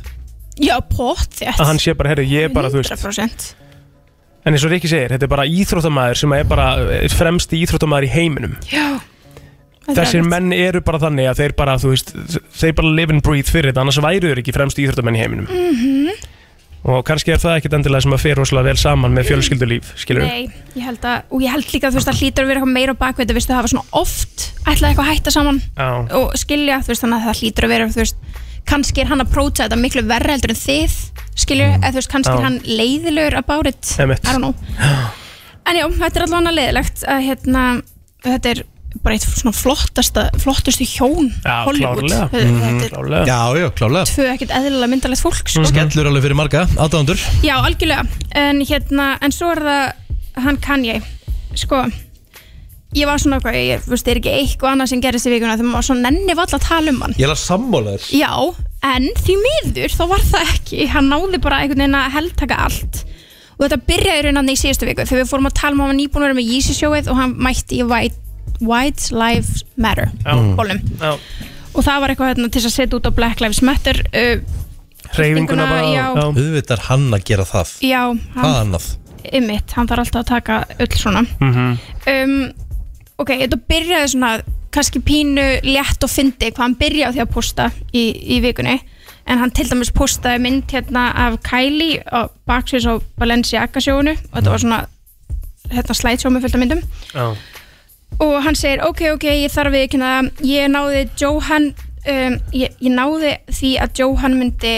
Speaker 9: já, pott þétt
Speaker 4: að hann sé bara, herri, ég er bara, þú veist
Speaker 9: 100%
Speaker 4: en eins og Rikki segir, þetta er bara íþróttamaður sem er bara eh, fremsti íþróttamaður í heiminum
Speaker 9: Já Þetta er
Speaker 4: þessir
Speaker 9: erfitt.
Speaker 4: menn eru bara þannig að þeir bara, þú veist, þeir bara live and breathe fyrir þetta annars væru þeir ekki fremsti íþróttamenn í heiminum
Speaker 9: Mhm.
Speaker 4: og kannski er það ekkit endilega sem að fer rosalega vel saman með fjölskyldulíf skilur
Speaker 9: Mm. Nei, ég held að, og ég held líka að þú veist að hlýtur að vera eitthvað meira á bakveit að vistu hafa svona oft ætlaði eitthvað að hætta saman
Speaker 4: Já.
Speaker 9: og skilja, þú veist þannig að það hlýtur að vera þú veist, kannski er hann að próta þetta miklu verra heldur en þið skilur, eða þú veist, kannski
Speaker 4: Mm. Já.
Speaker 9: er hann leiðilegur about it,
Speaker 4: Einmitt.
Speaker 9: I don't know en já, þetta er allavega leiðilegt að hérna, þetta er bara eitt svona flottasta, flottustu hjón
Speaker 4: Já,
Speaker 9: Hollywood,
Speaker 4: klárlega. Mhm.
Speaker 9: þetta þetta er
Speaker 4: Mm, Klálega
Speaker 1: Já, já, klálega
Speaker 9: tvö ekkert eðlilega myndalegt fólk sko.
Speaker 4: Mhm.
Speaker 1: Skellur alveg fyrir marga, aðdándur
Speaker 9: Já, algjörlega En hérna, en svo er það Hann Kanye Sko, ég var svona eitthvað Ég veist, er ekki eitthvað annað sem gerist í vikuna Þegar maður svona nenni valla að tala um hann
Speaker 1: Ég er að sammála þér
Speaker 9: Já, en því miður þá var það ekki Hann náði bara einhvern veginn að heldtaka allt Og þetta byrjaði raunan í síðustu viku Þegar við fórum að tala um að hann var nýbúin að vera með Yeezy sjóið Og hann mætti í White, White Lives Matter Bólum
Speaker 4: Já.
Speaker 9: Og það var eitthvað hérna, til þess að setja út á Black Lives Matter uh,
Speaker 4: Hreyfinguna bara
Speaker 9: já.
Speaker 4: já.
Speaker 1: Auðvitað er hann að gera það
Speaker 9: Já,
Speaker 1: Hvað annað?
Speaker 9: ymmit, hann þarf alltaf að taka öll svona um, ok, þetta byrjaði svona kannski pínu létt og fyndi hvað hann byrjaði á því að posta í, í vikunni en hann til dæmis postaði mynd hérna af Kylie á baksins á Balenciaga sjónu og þetta var svona hérna slideshow með fullt af myndum
Speaker 4: Já.
Speaker 9: og hann segir ok, ok, ég þarf við ekki það ég náði Johan um, ég, ég náði því að Johan myndi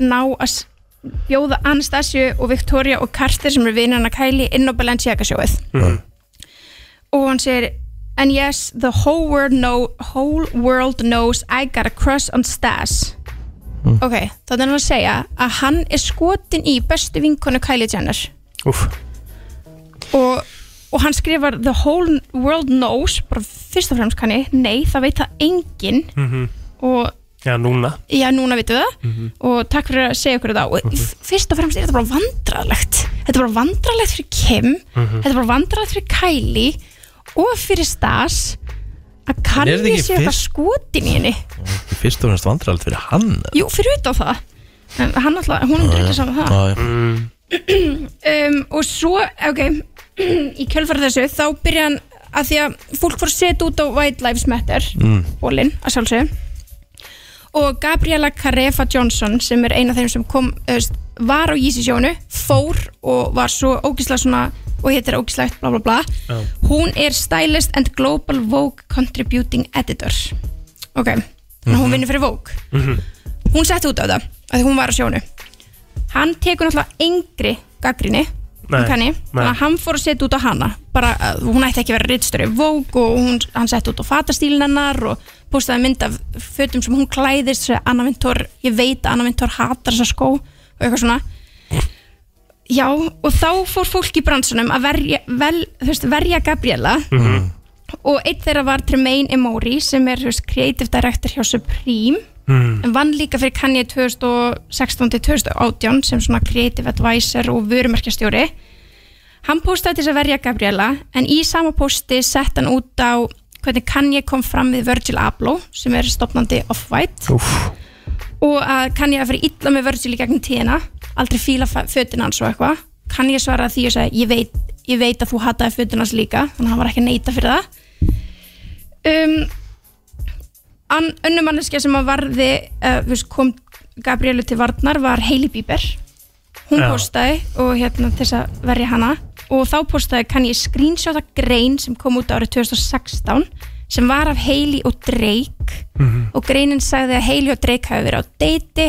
Speaker 9: ná að s- bjóða Anastasju og Victoria og Carter sem eru vinnan að kæli inn á Balenciaga sjóið og hann segir and yes, the whole world, know, whole world knows I got a crush on Stas ok, þá er hann að segja að hann er skotin í bestu vinkonu Kylie Jenner
Speaker 4: Úff,
Speaker 9: og, og hann skrifar the whole world knows bara fyrst og fremst kanni, nei það veit það enginn og
Speaker 4: já núna
Speaker 9: já núna veitum við það
Speaker 1: Mhm.
Speaker 9: og takk fyrir að segja okkur þetta og fyrst og fremst er þetta bara vandrarlegt þetta er bara vandrarlegt fyrir Kim
Speaker 1: Mhm.
Speaker 9: þetta er bara vandrarlegt fyrir Kylie og fyrir Stas að
Speaker 1: er þetta
Speaker 9: Kanye
Speaker 1: ekki
Speaker 9: sé eitthvað
Speaker 1: fyrst-
Speaker 9: skotin í henni
Speaker 1: Fyrst og fremst vandrald fyrir hann
Speaker 9: jú fyrir utan það en hann alltaf, hún er ekki saman það
Speaker 1: Já, já.
Speaker 9: um, og svo, ok í kjölfara þessu, þá byrja hann að því að fólk fór að setja út á White Lives Matter, mm. bólinn að sjálfsögum og Gabriela Carefa Johnson sem er eina af þeim sem kom, öst, var á Yeezy sjónu fór og var svo ógislega svona og hittir ógislegt bla bla bla hún er stylist and global Vogue contributing editor ok, þannig að hún vinnur fyrir Vogue hún setti út á það að hún var á sjónu hann tekur náttúrulega engri gaggrinni
Speaker 4: Nei,
Speaker 9: kanni,
Speaker 4: nei.
Speaker 9: þannig að hann fór að setja út á hana bara, að hún ætti ekki að vera rittstöri vók og hún, hann setti út á fatastílin hennar og postaði mynd af fötum sem hún klæðist, sagði Anna Vintor ég veit að Anna Vintor hatar þessa skó og eitthvað svona já, og þá fór fólk í bransunum að verja, vel, þú veist, verja Gabriela
Speaker 4: Mhm.
Speaker 9: og einn þeirra var Tremaine Emory sem er þú veist, creative director hjá Supreme en vann líka fyrir Kanye 2016-2018 sem svona creative advisor og vörumerkjastjóri hann postaði til þess að verja Gabriela en í sama posti sett hann út á hvernig Kanye kom fram við Virgil Abloh sem er stopnandi Off-White
Speaker 4: Úff,
Speaker 9: og að Kanye að fyrir illa með Virgil í gegnum tíðina aldrei fíla fa- fötin hans og eitthvað Kanye svaraði því og sagði ég veit, ég veit að þú hataði fötin hans líka þannig að hann var ekki að neyta fyrir það um, an, önnum manneskja sem að varði uh, við veist, kom Gabrielu til varnar var Hailey Bieber hún
Speaker 4: Já.
Speaker 9: postaði og hérna til þess að verja hana og þá postaði kann ég screenshota grein sem kom út árið 2016 sem var af Hailey og Drake og greinin sagði að Hailey og Drake hafi verið á deiti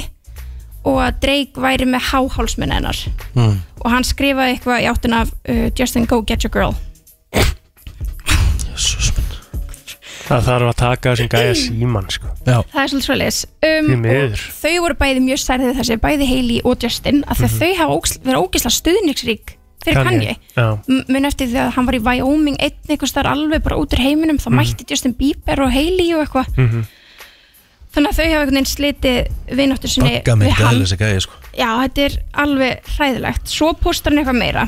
Speaker 9: og að Drake væri með háhálsmenn hennar og hann skrifaði eitthvað í áttin af uh, Justin go get your girl
Speaker 4: það þarf að taka þessum gæja síman sko
Speaker 9: Það er svolítið svoleiðis
Speaker 4: Því
Speaker 9: um,
Speaker 4: miður.
Speaker 9: og Þau voru bæði mjög særðið þessi Bæði Hailey og Justin af því
Speaker 4: Mhm.
Speaker 9: að þau hafa ógs- verið ógislega stuðningsrík Fyrir Kanye
Speaker 4: Já,
Speaker 9: M- mun eftir því að hann var í Wyoming einn einhvers þar alveg bara út úr heiminum
Speaker 4: Mhm.
Speaker 9: þá mætti Justin Bieber og Hailey og eitthvað þannig að þau hafa einhvern veginn slitið vináttur sinni
Speaker 1: Bagga mig
Speaker 9: við hann
Speaker 1: gæðlega þessi gæði sko
Speaker 9: já, þetta er alveg hræðilegt svo postar hann eitthvað meira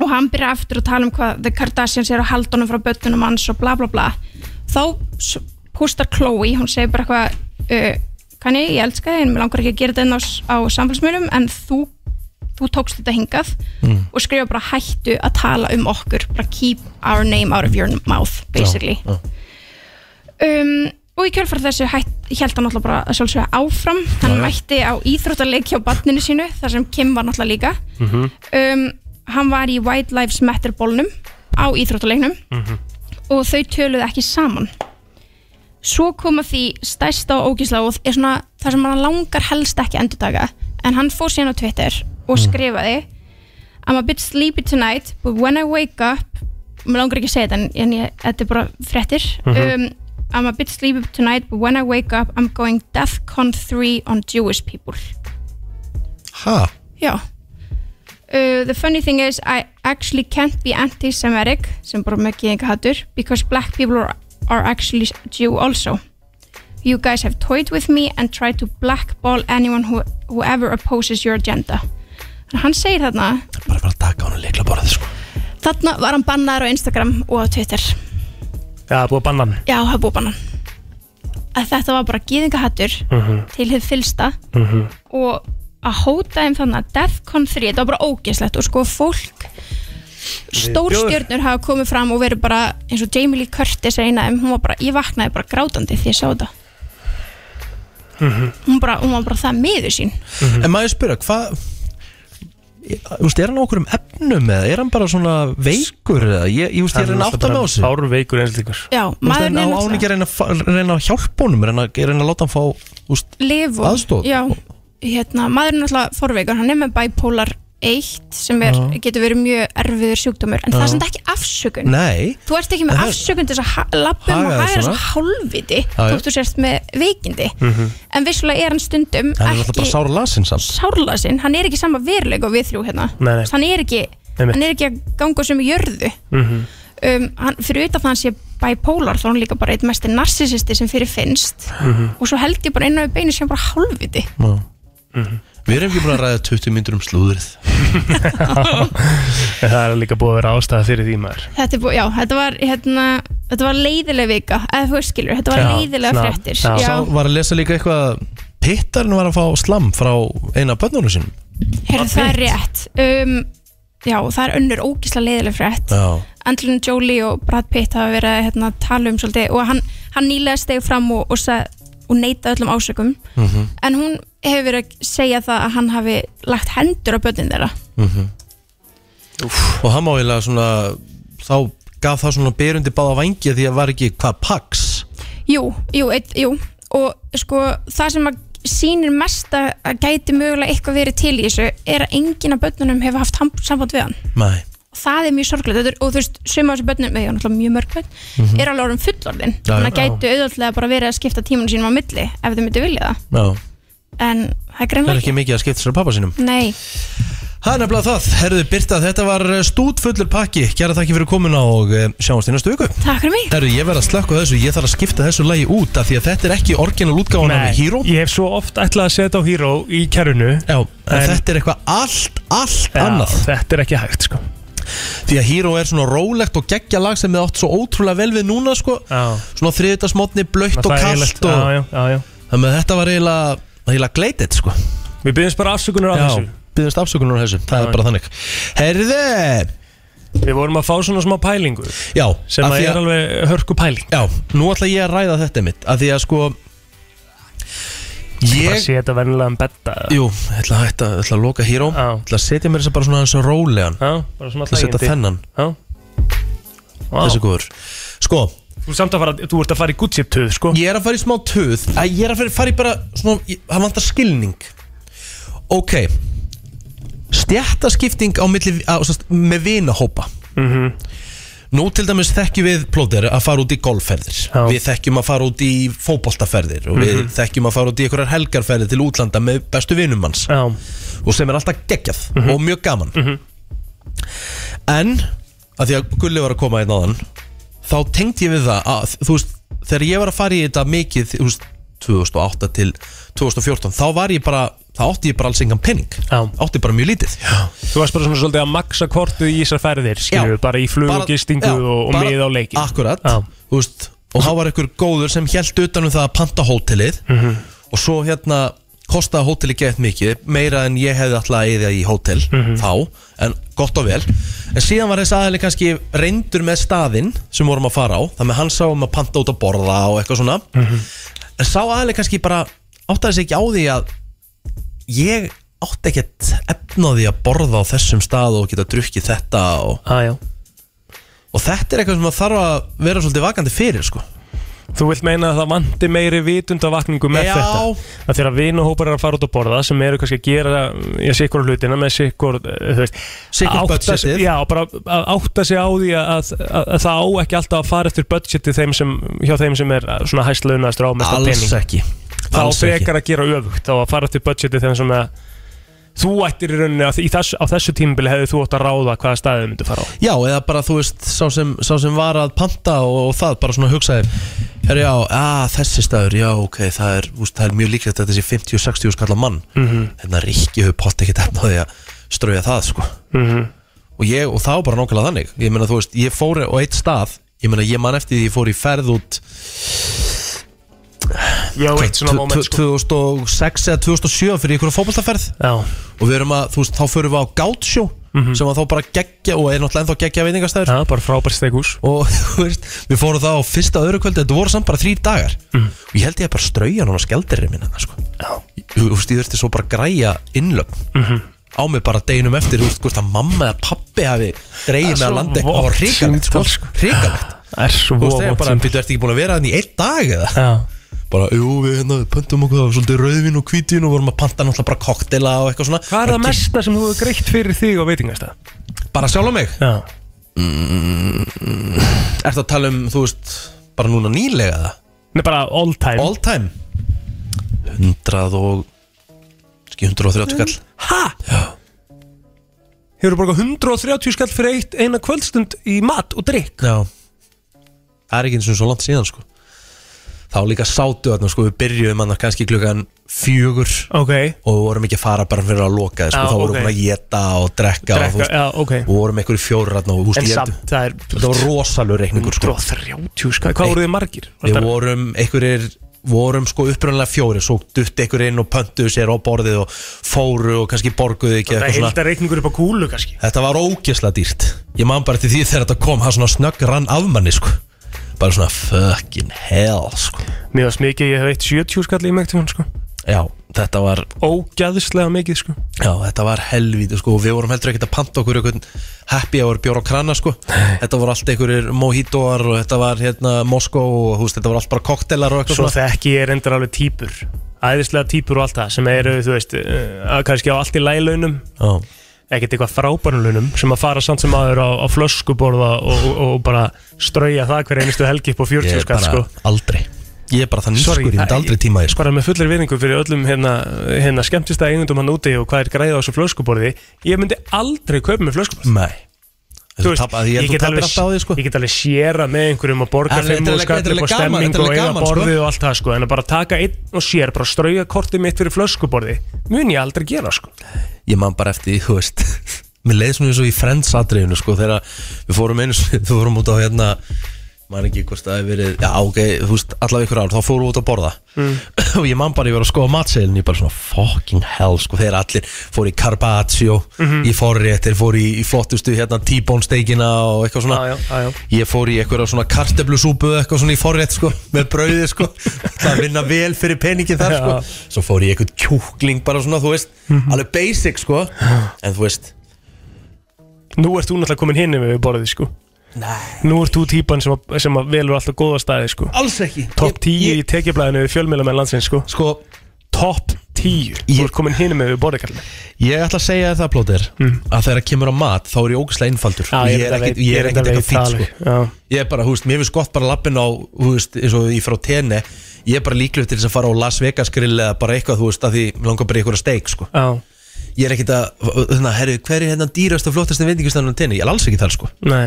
Speaker 9: og hann byrja aftur að tala um hvað The Kardashians eru að halda honum frá bötunum hans og bla bla bla þá s- postar Chloe, hún segir bara eitthvað uh, kanni, ég elska þig en mér langar ekki að gera þetta inn á, s- á samfélsmjölum en þú, þú tókst þetta hingað og skrifa bara hættu að tala um okkur bara keep our name out of your mouth basically um, og í kjölfar þessu hætt, held hann náttúrulega bara að sjálfsögja áfram hann mætti á íþróttaleik hjá barninu sínu þar sem Kim var náttúrulega líka um, hann var í White Lives Matter bólnum á íþróttaleiknum og þau töluðu ekki saman svo koma því stærsta og ógísla og er svona það sem hann langar helst ekki að endurtaka en hann fór síðan á Twitter og skrifaði I'm a bit sleepy tonight but when I wake up mér langar ekki að segja þetta en, en ég, þetta er bara fréttir um, I'm a bit sleepy tonight but when I wake up I'm going Deathcon 3 on Jewish people
Speaker 1: Ha?
Speaker 9: Já uh, The funny thing is I actually can't be anti-Semitic sem bara með geðinga hattur because black people are, are actually Jew also You guys have toyed with me and tried to blackball anyone who, whoever opposes your agenda Þannig að Hann segir þarna
Speaker 1: Bara bara taka hann að leikla bara þið sko
Speaker 9: Þarna var hann bannaður á Instagram og á Twitter
Speaker 4: Já, búið að banna hann
Speaker 9: Já, hafa búið bannan að þetta var bara gýðingahattur til þið fylsta og að hóta þeim þannig að Defcon 3, þetta var bara ógeðslegt og sko fólk stórstjörnur hafa komið fram og verið bara eins og Jamie Lee Curtis er eina þeim, hún var bara, ég vaknaði bara grátandi því ég sá þetta hún, bara, hún var bara það miður sín
Speaker 1: En maður spyrja, hvað Þú veist, er hann á okkur um efnum eða er hann bara svona veikur eða ég, ég veist, ég er hann átt að með á sig
Speaker 4: Árveikur einslíkur
Speaker 9: Já,
Speaker 1: Maður á án
Speaker 9: maðurinn
Speaker 1: ekki
Speaker 9: náttúrulega-
Speaker 1: að reyna að fa- reyna að hjálpa honum reyna, reyna að láta hann fá úst,
Speaker 9: lif og
Speaker 1: Aðstoð?
Speaker 9: já, hérna, maður er náttúrulega forveikur, hann er með bipolar 1 sem er, getur verið mjög erfiður sjúkdómur, en það er samt ekki afsökun
Speaker 1: Nei,
Speaker 9: þú ert ekki
Speaker 1: En
Speaker 9: með
Speaker 1: það-
Speaker 9: afsökun til þess að lappum
Speaker 1: Haga
Speaker 9: og
Speaker 1: þér
Speaker 9: hæra
Speaker 1: svona.
Speaker 9: svo hálfviti
Speaker 1: Já, já.
Speaker 9: þótt þú sért með veikindi en vissulega er hann
Speaker 1: hann er
Speaker 9: stundum
Speaker 1: náttúrulega
Speaker 9: ekki
Speaker 1: bara sára lasin samt
Speaker 9: sárla sinn, hann er ekki sama veruleik og við þrjú hérna,
Speaker 4: Nei, nei.
Speaker 9: hann er ekki
Speaker 4: Einmitt.
Speaker 9: hann er ekki að ganga sem jörðu
Speaker 4: Mhm.
Speaker 9: um, hann, fyrir utan það hann sé bipolar þá er hann líka bara eitt mestir narsissisti sem fyrir finnst
Speaker 4: Mhm.
Speaker 9: og svo held ég bara inn á beinu sem bara hálfviti
Speaker 1: Já. Við erum ekki búin að ræða 20 myndur um slúðrið
Speaker 4: En það er líka búið að vera ástæða fyrir því maður
Speaker 9: þetta, er bú- já, þetta var hérna, þetta var leiðileg vika eða þú veist skilur, þetta var
Speaker 4: Já,
Speaker 9: leiðilega
Speaker 4: svona-
Speaker 9: fréttir
Speaker 4: já.
Speaker 1: Sá var að lesa líka eitthvað að Pittarinn var að fá slam frá eina bönnunum sínum
Speaker 9: heyrðu, það er rétt um, já, það er önnur ógisla leiðileg frétt
Speaker 1: Já,
Speaker 9: Angelina Jolie og Brad Pitt hafa verið að hérna, tala um svolítið og hann, hann nýlega steg fram og, og, sa, og neita öllum ásökum
Speaker 1: Hm. Mhm.
Speaker 9: en hún hefur verið að segja það að hann hafi lagt hendur á börnin þeirra
Speaker 1: Mhm. og hann má eiginlega svona þá gaf það svona berundi báða vangi því að var ekki hvað Pax
Speaker 9: jú, jú, eitt, jú og sko það sem að sýnir mest að að gæti mögulega eitthvað verið til í þessu er að enginn af börnunum hefur haft ham- samband við hann
Speaker 1: Nei,
Speaker 9: og það er mjög sorglega þetta er, og þú veist, suma af þessu börnum, eða náttúrulega mjög mörg börn er alveg orðin fullorðin
Speaker 1: Mhm. Já,
Speaker 9: þannig að
Speaker 1: já.
Speaker 9: gætu auðvöldlega bara verið að skipta tímanum sínum á milli ef þau myndu vilja það
Speaker 1: já,
Speaker 9: en það er
Speaker 1: það
Speaker 9: greinlega
Speaker 1: er ekki mikið að skipta sér af pappa sínum
Speaker 9: Nei,
Speaker 1: Það er nefnilega það, herðu Birta, þetta var eh, stútfullur pakki Kjæra þakki fyrir komuna og eh, sjáumst í næstu viku
Speaker 9: takk fyrir mig
Speaker 1: Herru, ég verð að slökka á þessu, ég þarf að skipta þessu lagi út af því að þetta er ekki orginal útgáðan af Hero
Speaker 4: ég hef svo oft ætlað að setja á Hero í kærunu
Speaker 1: Já, en
Speaker 4: En-
Speaker 1: þetta er eitthvað allt, allt annað
Speaker 4: Þetta er ekki hægt sko
Speaker 1: Því að Hero er svona rólegt og geggja lag sem þið átt svo ótrúlega vel við núna sko
Speaker 4: Já.
Speaker 1: Svona þriðutasmotni, blöytt og
Speaker 4: Það er
Speaker 1: kallt
Speaker 4: eiginlegt-
Speaker 1: og
Speaker 4: já, já, já, já.
Speaker 1: Þannig að þetta var eiginlega, eiginlega gleitit sko
Speaker 4: Við byggjum bara afsökunar á þessu
Speaker 1: byggðast afsökunar á þessu, það er bara þannig Herðu,
Speaker 4: Við vorum að fá svona smá pælingu
Speaker 1: já
Speaker 4: Sem
Speaker 1: af
Speaker 4: að
Speaker 1: því
Speaker 4: er alveg hörku pæling
Speaker 1: Já, nú ætla ég að ræða þetta mitt Af því að sko
Speaker 4: Bara
Speaker 1: Ég
Speaker 4: setja vennilega um betta eða?
Speaker 1: Jú, ég ætla að hætta, ég ætla að loka Hero
Speaker 4: Já.
Speaker 1: Ég ætla að setja mér þess að bara svona hans rólegan
Speaker 4: Já, bara svona
Speaker 1: Ég ætla að setja
Speaker 4: hlægjandi.
Speaker 1: þennan,
Speaker 4: Já Vá.
Speaker 1: þessi góður Sko,
Speaker 4: Þú, samt að fara, þú ert að fara í Gucci-töð, sko
Speaker 1: Ég er að fara í smá töð að Ég er að fara, fara í bara svona, ég- Það vantar skilning Ok Stjættaskipting á milli á, sást, Með vinahópa
Speaker 4: Mhm.
Speaker 1: Nú til dæmis þekkjum við plóter að fara út í golfferðir
Speaker 4: Já. Mhm.
Speaker 1: Við þekkjum að fara út í fótboltaferðir Og við þekkjum að fara út í einhverjar helgarferðir til útlanda með bestu vinum hans
Speaker 4: Já,
Speaker 1: og sem er alltaf geggjað og mjög gaman en að því að Gulli var að koma einn áðan þá tengdi ég við það að þú veist, þegar ég var að fara í þetta mikið þú veist, 2008 til 2014 þá var ég bara, þá átti ég bara alls engan penning,
Speaker 4: Já.
Speaker 1: átti bara mjög lítið Já.
Speaker 4: þú varst bara svona svolítið að maksa kortið í þessar ferðir, skilju, bara í flug og gistingu
Speaker 1: já,
Speaker 4: og, og
Speaker 1: bara-
Speaker 4: mið á leikin
Speaker 1: akkurat,
Speaker 4: Já.
Speaker 1: þú veist, og þá var einhver góður sem held utanum það að panta hótelið
Speaker 4: Mhm.
Speaker 1: og svo hérna kostaði hótelið gett mikið meira en ég hefði alltaf að eyða í hótel
Speaker 4: Mhm.
Speaker 1: þá, en gott og vel en síðan var þess aðeins kannski reyndur með staðinn sem vorum að fara á þannig að hann sá um að panta út að borða og eitthvað svona
Speaker 4: Mhm.
Speaker 1: en sá aðeins kannski bara áttaði sig ekki á því að ég átti ekkert efnaði að borða á þessum stað og geta drukkið þetta og
Speaker 4: Já, já
Speaker 1: Og þetta er eitthvað sem maður þarf að vera svolítið vakandi fyrir sko.
Speaker 4: Þú vilt meina að það vanti meiri vitundavakningu með
Speaker 1: Já.
Speaker 4: þetta að þegar vinahópar eru að fara út að borða sem eru kannski að gera ég sikkur hlutina með sikkur eh, þú veist
Speaker 1: Sitt
Speaker 4: að
Speaker 1: upp
Speaker 4: átta sig-
Speaker 1: budgetið
Speaker 4: Já, bara að átta sig á því að, að, að það á ekki alltaf að fara eftir budgeti þeim sem, hjá þeim sem er eh, svona hæstlaunastur á mesta
Speaker 1: Alls
Speaker 4: pening
Speaker 1: ekki
Speaker 4: þá
Speaker 1: Alls ekki
Speaker 4: frekar að gera öfugt þá að fara eftir budgeti þeim sem að þú ættir í rauninni að í þess, á þessu tímbili hefði þú átt að ráða hvaða staðið myndu fara á
Speaker 1: Já, eða bara þú veist, sá sem, sá sem var að panta og, og það, bara svona hugsaði Herra já, að, þessi staður, já, ok, það er, úst, það er mjög líklegt að þetta sé 50-60 skalla mann mm
Speaker 4: Mhm.
Speaker 1: -hmm. En það ríkki hefur pott ekkert efna því að strauja það, sko
Speaker 4: Mhm.
Speaker 1: Og ég, og það var bara nákvæmlega þannig Ég meina, þú veist, ég fór á eitt stað Ég meina, ég man eftir því ég fór í ferð út
Speaker 4: Já, eitt svona
Speaker 1: hvað,
Speaker 4: moment sko
Speaker 1: 2006 eða 2007 fyrir ykkur fótboltaferð
Speaker 4: Já,
Speaker 1: Og við erum að, þú veist, þá förum við á Gátsjó Sem var þá bara geggja, og er náttúrulega ennþá geggja veitingastæður
Speaker 4: Mhm. já bara frábært steghús
Speaker 1: og þú veist, við fórum það á fyrsta og öðru kvöldi, þetta voru samt bara þrý dagar
Speaker 4: Mhm.
Speaker 1: og ég held ég að bara strauja núna skeldirri minna sko. þú veist, ég þurfti svo bara að græja innlögn
Speaker 4: Mhm.
Speaker 1: á mig bara deginum eftir, þú veist, hvort að mamma eða pappi hafi dreigið
Speaker 4: Það er
Speaker 1: mig að
Speaker 4: svo
Speaker 1: landa eitthvað, það
Speaker 4: vont
Speaker 1: var hrikalegt sko,
Speaker 4: símtal, sko.
Speaker 1: hrikalegt,
Speaker 4: Það er svo
Speaker 1: þú veist, þegar
Speaker 4: vont
Speaker 1: bara,
Speaker 4: sem-
Speaker 1: býttu, ertu ekki búin að vera þannig í einn dag eða
Speaker 4: Já,
Speaker 1: bara, jú, við hérna, pöntum okkur, það var svolítið rauðvin og hvítin og vorum að panta náttúrulega bara koktela og eitthvað svona
Speaker 4: Hvað er
Speaker 1: Bara
Speaker 4: það
Speaker 1: ke-
Speaker 4: mesta sem þú hefur greitt fyrir þig á veitingastæð?
Speaker 1: bara sjálf á mig,
Speaker 4: Já,
Speaker 1: ertu að tala um, þú veist, bara núna nýlega það
Speaker 4: Nei, bara all time
Speaker 1: All time 100 og Ski 130 kall
Speaker 4: Ha? Já Hefur bara 130 skall fyrir eitt eina kvöldstund í mat og drikk
Speaker 1: Já Það er ekki eins og svo langt síðan sko Þá líka sátu þarna sko Við byrjuðum hann kannski klukkan fjögur
Speaker 4: Ok
Speaker 1: Og við vorum ekki að fara bara fyrir að loka sko.
Speaker 4: Já,
Speaker 1: Þá vorum
Speaker 4: ok.
Speaker 1: við að geta og drekka, og, þú
Speaker 4: Drekka,
Speaker 1: veist,
Speaker 4: já, ok
Speaker 1: Við vorum einhverju fjórar þarna og, þú veist,
Speaker 4: En
Speaker 1: ég-
Speaker 4: samt, það er
Speaker 1: Þetta var rosalur reikningur sko
Speaker 4: 130 skall Hvað voruð þið margir?
Speaker 1: Við
Speaker 4: Var
Speaker 1: vorum einhverjir vorum sko upprunnilega fjóri svo dutt einhverjir inn og pöntuðu sér á borðið og fóru og kannski borguðu ekki
Speaker 4: Það
Speaker 1: eitthvað
Speaker 4: er
Speaker 1: svona.
Speaker 4: heilta reikningur upp á kúlu kannski
Speaker 1: Þetta var ógeðslega dýrt Ég man bara til því þegar þetta kom Það svona snögg rann af manni sko Bara svona fucking hell sko
Speaker 4: Mér varst mikið, ég hef eitt 70 skall í mæktum hann sko
Speaker 1: Já, þetta var,
Speaker 4: Ógæðislega mikið sko
Speaker 1: já, þetta var helvíti sko og Við vorum heldur ekkert að panta okkur einhvern happy hour bjór á krana sko Þetta voru allt einhverjir mojitóar og þetta var hérna Moskó og þú veist, þetta voru allt bara koktelar og eitthvað
Speaker 4: Svo
Speaker 1: svona
Speaker 4: þekki ég er endur alveg típur Æðislega típur og allt það sem eru, þú veist, eh, að kannski á allt í lælaunum
Speaker 1: Já,
Speaker 4: ekkert eitthvað frábærunlunum sem að fara samt sem aður á, á flöskuborða og, og, og bara strauja það hver einustu helgi upp á
Speaker 1: ég
Speaker 4: 40
Speaker 1: er
Speaker 4: skall
Speaker 1: bara
Speaker 4: sko.
Speaker 1: aldrei Ég er bara þannig skur, ég myndi aldrei tíma því sko
Speaker 4: bara með fullir viðningu fyrir öllum hérna, hérna skemmtista eigendum hann úti og hvað er græða á þessu flöskuborði ég myndi aldrei kaupa með flöskuborð
Speaker 1: Nei Þú
Speaker 4: Þú veist,
Speaker 1: tap- að Ég
Speaker 4: get
Speaker 1: held þú tapir
Speaker 4: alveg-
Speaker 1: alltaf á því sko
Speaker 4: ég get alveg séra með einhverjum að borga
Speaker 1: En
Speaker 4: fimm
Speaker 1: þetta er
Speaker 4: og
Speaker 1: alveg-
Speaker 4: skall
Speaker 1: þetta er
Speaker 4: upp á
Speaker 1: alveg gaman,
Speaker 4: stemming
Speaker 1: þetta er
Speaker 4: og
Speaker 1: alveg
Speaker 4: eiga
Speaker 1: gaman, sko.
Speaker 4: borðið og allt það sko en að bara taka einn og sér, bara strauja kortið mitt fyrir flöskuborði mun ég aldrei gera sko
Speaker 1: ég man bara eftir, því, þú veist mér leiði svona eins og í Friends atriðinu sko, þegar við fórum einu sinni- við fórum út á hérna maður ekki hvort það hefur verið, já ok, þú veist allavega ykkur ár, þá fórum við út að borða
Speaker 4: Mm.
Speaker 1: og ég man bara, ég var að skoða matseilin ég bara svona fucking hell, sko, þegar allir fóru í Carpaccio,
Speaker 4: Mhm.
Speaker 1: í forréttir fóru í, í flottustu, hérna, T-bone steikina og eitthvað svona,
Speaker 4: Já, já, já, já.
Speaker 1: ég fór í eitthvað svona karteblusúpu eða eitthvað svona í forrétt, sko, með brauði, sko það vinna vel fyrir peningin þar, sko
Speaker 4: Já.
Speaker 1: svo fór ég eitthvað kjúkling bara svona, þú veist alveg basic sko en þú veist,
Speaker 4: nú ert þú náttúrulega komin hinn við borðið sko
Speaker 1: nei,
Speaker 4: nú ert þú típan sem, að, sem að velur alltaf góða staði sko
Speaker 1: alls ekki
Speaker 4: Topp 10
Speaker 1: Ég-
Speaker 4: í tekjablaðinu við fjölmjölamenn landsins sko
Speaker 1: ég- sko,
Speaker 4: Topp 10 Þú
Speaker 1: Ég-
Speaker 4: ert komin hinum með við borðekallinu
Speaker 1: ég ætla að segja þér það plóter að þegar það kemur á mat þá er ég ógislega einfaldur Mm. ég, er ekkit, ég er ekkit eitthvað fínt sko
Speaker 4: Já,
Speaker 1: ég er bara, þú veist, mér finnst gott bara lappin á þú veist, eins og í frá tenni ég er bara líklegur til þess að fara á Las Vegas grill eða bara eitthvað, þú veist, að því mig langar bara í eitthvað steik sko,
Speaker 4: já,
Speaker 1: ég er ekkit að þannig, herru, hver er hérna dýrast og flottast en vendingustanum tenni, ég er alls ekki þar sko
Speaker 4: nei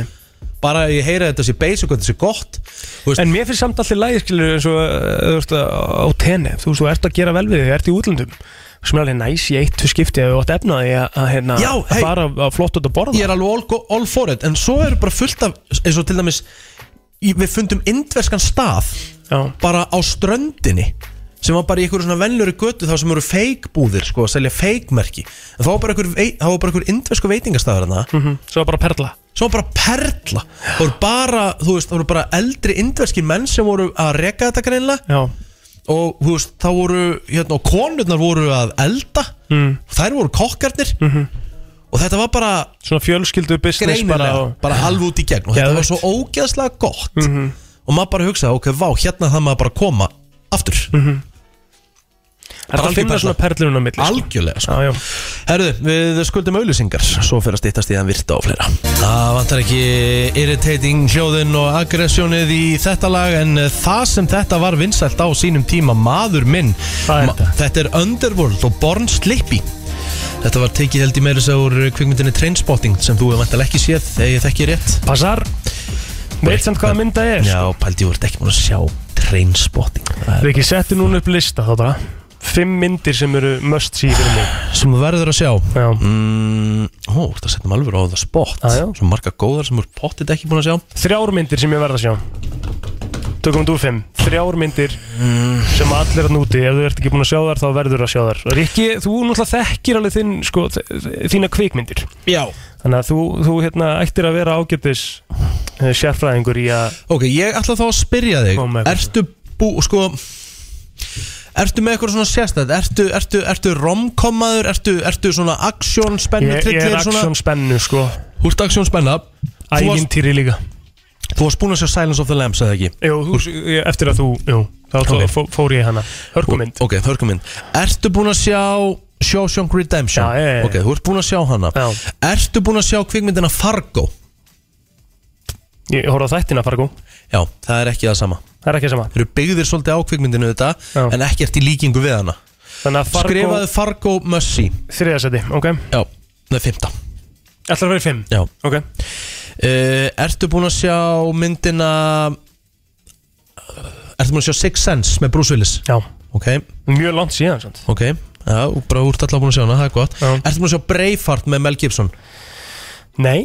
Speaker 1: bara ég heyra þetta sé basic og þetta sé gott þú veist,
Speaker 4: En mér finnst samt allir lægi skilur eins og uh, þú veist á tenni Þú veist, þú ert að gera vel við þig, þú ert í útlöndum sem er alveg næs í eitt skipti að þú átt efnaði að hérna
Speaker 1: Já,
Speaker 4: að
Speaker 1: hey.
Speaker 4: fara á flott út að borða
Speaker 1: ég er alveg all, all for it en svo eru bara fullt af eins og til dæmis í- við fundum indverskan stað
Speaker 4: Já,
Speaker 1: bara á ströndinni sem var bara í einhverju svona vennlöru götu þá sem eru feikbúðir sko að selja feikmerki en þá var bara einhver, vei- þá var bara einhver indversku veitingastafur þarna
Speaker 4: Mhm. svo er bara perla
Speaker 1: sem var bara perla það voru bara, þú veist, það voru bara eldri indverski menn sem voru að reka þetta greinlega
Speaker 4: Já,
Speaker 1: og þú veist, þá voru hérna, og konurnar voru að elda mm. Mhm. og þær voru kokkarnir og þetta var bara
Speaker 4: svona fjölskyldu business
Speaker 1: greinilega
Speaker 4: bara
Speaker 1: bara,
Speaker 4: og,
Speaker 1: alveg út í gegn og þetta var
Speaker 4: Geðveikt.
Speaker 1: svo ógeðslega gott og maður bara hugsa, ok, vá, hérna það maður bara að koma aftur,
Speaker 4: Það er að
Speaker 1: algjör
Speaker 4: finna svona perlunum á milli sko.
Speaker 1: algjörlega sko.
Speaker 4: Já, já.
Speaker 1: Herðu, við skuldum auðlýsingar Svo fyrir að stýttast í þann virta og fleira Það vantar ekki irritating hljóðin og aggressjónið í þetta lag En það sem þetta var vinsælt á sínum tíma Maður minn
Speaker 4: Hvað er
Speaker 1: þetta? Þetta er Underworld og Born Slippy Þetta var tekið held í meira þess að úr kvikmyndinni Trainspotting sem þú hefur vantilega ekki séð þegar ég þekki rétt
Speaker 4: Passar Veit samt hvaða mynda er
Speaker 1: Já, pældi, þú ert ekki múin að sjá Trainspotting Það er-
Speaker 4: Við ekki settu núna upp lista þá það Fimm myndir sem eru must see fyrir mig
Speaker 1: Sem þú verður að sjá
Speaker 4: Já,
Speaker 1: mm, Ó, það setjum alveg á það spott
Speaker 4: Ah, Já, já.
Speaker 1: Svo marga góðar sem úr pottit ekki búin að sjá
Speaker 4: Þrjár myndir sem ég verð að sjá Tökum þú fimm Þrjár myndir sem allir að núti Ef þú ert ekki búin að sjá þar þá verður að sjá þar Rikki, þú náttúrulega þekkir alveg þinn, sko, þ- þína kvikmyndir
Speaker 1: Já
Speaker 4: Þannig að þú, þú hérna, ættir að vera ágætis eh, sérfræðingur í að
Speaker 1: Ok, ég ætla þá að spyrja þig
Speaker 4: Kom með eitthvað.
Speaker 1: Ertu bú, sko Ertu með eitthvað svona sérstætt? Ertu, ertu, ertu romkommaður? Ertu, ertu svona aksjón, spennu,
Speaker 4: Ég, ég er
Speaker 1: trillir svona?
Speaker 4: aksjón spennu sko
Speaker 1: Þú ert aksjón, spenna Þú varst-
Speaker 4: Ævintýri líka
Speaker 1: Þú varst búin að sjá Silence of the Lambs, eða ekki?
Speaker 4: Jú, þú, ég- eftir að þú, jú, þá
Speaker 1: Ok.
Speaker 4: okay. fó, fór ég í hana Hörkumynd
Speaker 1: Ok, hörkumynd Ertu búin að sjá Shawshank Redemption?
Speaker 4: Já, já, já, já.
Speaker 1: Ok, þú ert búin að sjá hana
Speaker 4: Já.
Speaker 1: Ertu búin að sjá kvikmyndina Fargo?
Speaker 4: Ég horfði á þættina Fargo,
Speaker 1: Já, það er ekki það sama
Speaker 4: það er ekki sama
Speaker 1: Þeir eru byggðir svolítið á kvikmyndinu þetta
Speaker 4: Já.
Speaker 1: En ekkert í líkingu við hana
Speaker 4: Þannig að Fargo,
Speaker 1: Skrifaðu Fargo Mussi
Speaker 4: þriðasæti, ok
Speaker 1: Já, það er fymta
Speaker 4: Ætlar að vera í fimm
Speaker 1: Já
Speaker 4: Ok,
Speaker 1: Uh, ertu búinn að sjá myndina eh, Ertu búinn að sjá Six Sense með Bruce Willis
Speaker 4: já,
Speaker 1: Ok,
Speaker 4: mjög langt síðan sant?
Speaker 1: ok Já, og bara úr allar búinn að sjá hana, það er gott
Speaker 4: Já.
Speaker 1: Ertu búinn að sjá Braveheart með Mel Gibson
Speaker 4: Nei,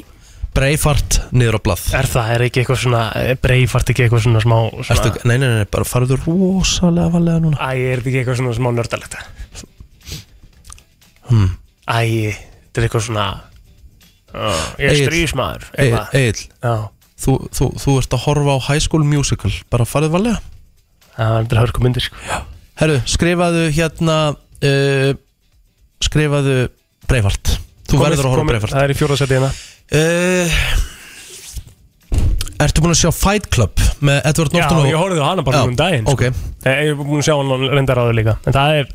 Speaker 1: Braveheart niður á blað
Speaker 4: er það, er ekki eitthvað svona Breifart ekki eitthvað svona smá svona,
Speaker 1: ertu, nei, nei, nei, nei, bara farðu rosalega valega núna
Speaker 4: Æ, er þetta ekki eitthvað svona smá nördalegt hmm.
Speaker 1: Hmm.
Speaker 4: Æ, þetta er eitthvað svona uh, Ég er
Speaker 1: Egill.
Speaker 4: strísmaður
Speaker 1: Egil,
Speaker 4: eitthvað. Já,
Speaker 1: þú, þú, þú ert að horfa á High School Musical Bara farðu valega
Speaker 4: það er þetta hörku myndir sko.
Speaker 1: Herru, skrifaðu hérna uh, Skrifaðu Braveheart Þú verður að horfa á
Speaker 4: Komið-
Speaker 1: Braveheart
Speaker 4: Það er í fjóraðsæti hérna
Speaker 1: uh, Ertu búinn að sjá Fight Club með Edward
Speaker 4: Já,
Speaker 1: Norton og...
Speaker 4: ég horfði á hana bara
Speaker 1: Já,
Speaker 4: um daginn
Speaker 1: ok.
Speaker 4: sko. Ég ég er búin að sjá hann reyndar áður líka En það er,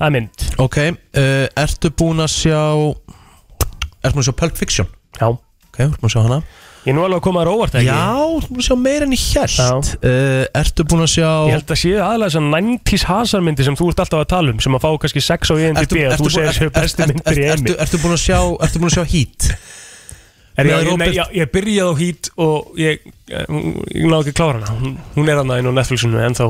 Speaker 4: það er mynd
Speaker 1: Ok, uh, ertu búinn að sjá Ertu búinn að sjá Pulp Fiction
Speaker 4: Já,
Speaker 1: Ok, ertu búinn að sjá hana
Speaker 4: ég er nú alveg að koma þér á óvart ekki
Speaker 1: Já, ertu búinn að sjá meira enn í hjælt
Speaker 4: Já.
Speaker 1: uh, Ertu búinn að sjá
Speaker 4: Ég held að séu aðalega þessar 90s hasarmyndi sem þú ert alltaf að tala um sem að fá kannski 6 á IMDb
Speaker 1: Ertu,
Speaker 4: að
Speaker 1: ertu,
Speaker 4: þú segir
Speaker 1: ertu,
Speaker 4: séu bestu
Speaker 1: ertu,
Speaker 4: myndir í
Speaker 1: ertu,
Speaker 4: heimi
Speaker 1: ertu búin að sjá Ertu búin að sjá Heat
Speaker 4: Er ég,
Speaker 1: með
Speaker 4: ég,
Speaker 1: Robert-
Speaker 4: nei, ég, ég byrjaði á Heat og ég, ég, ég náði ekki að klára hana hún, hún er hana inn á Netflixinu en þá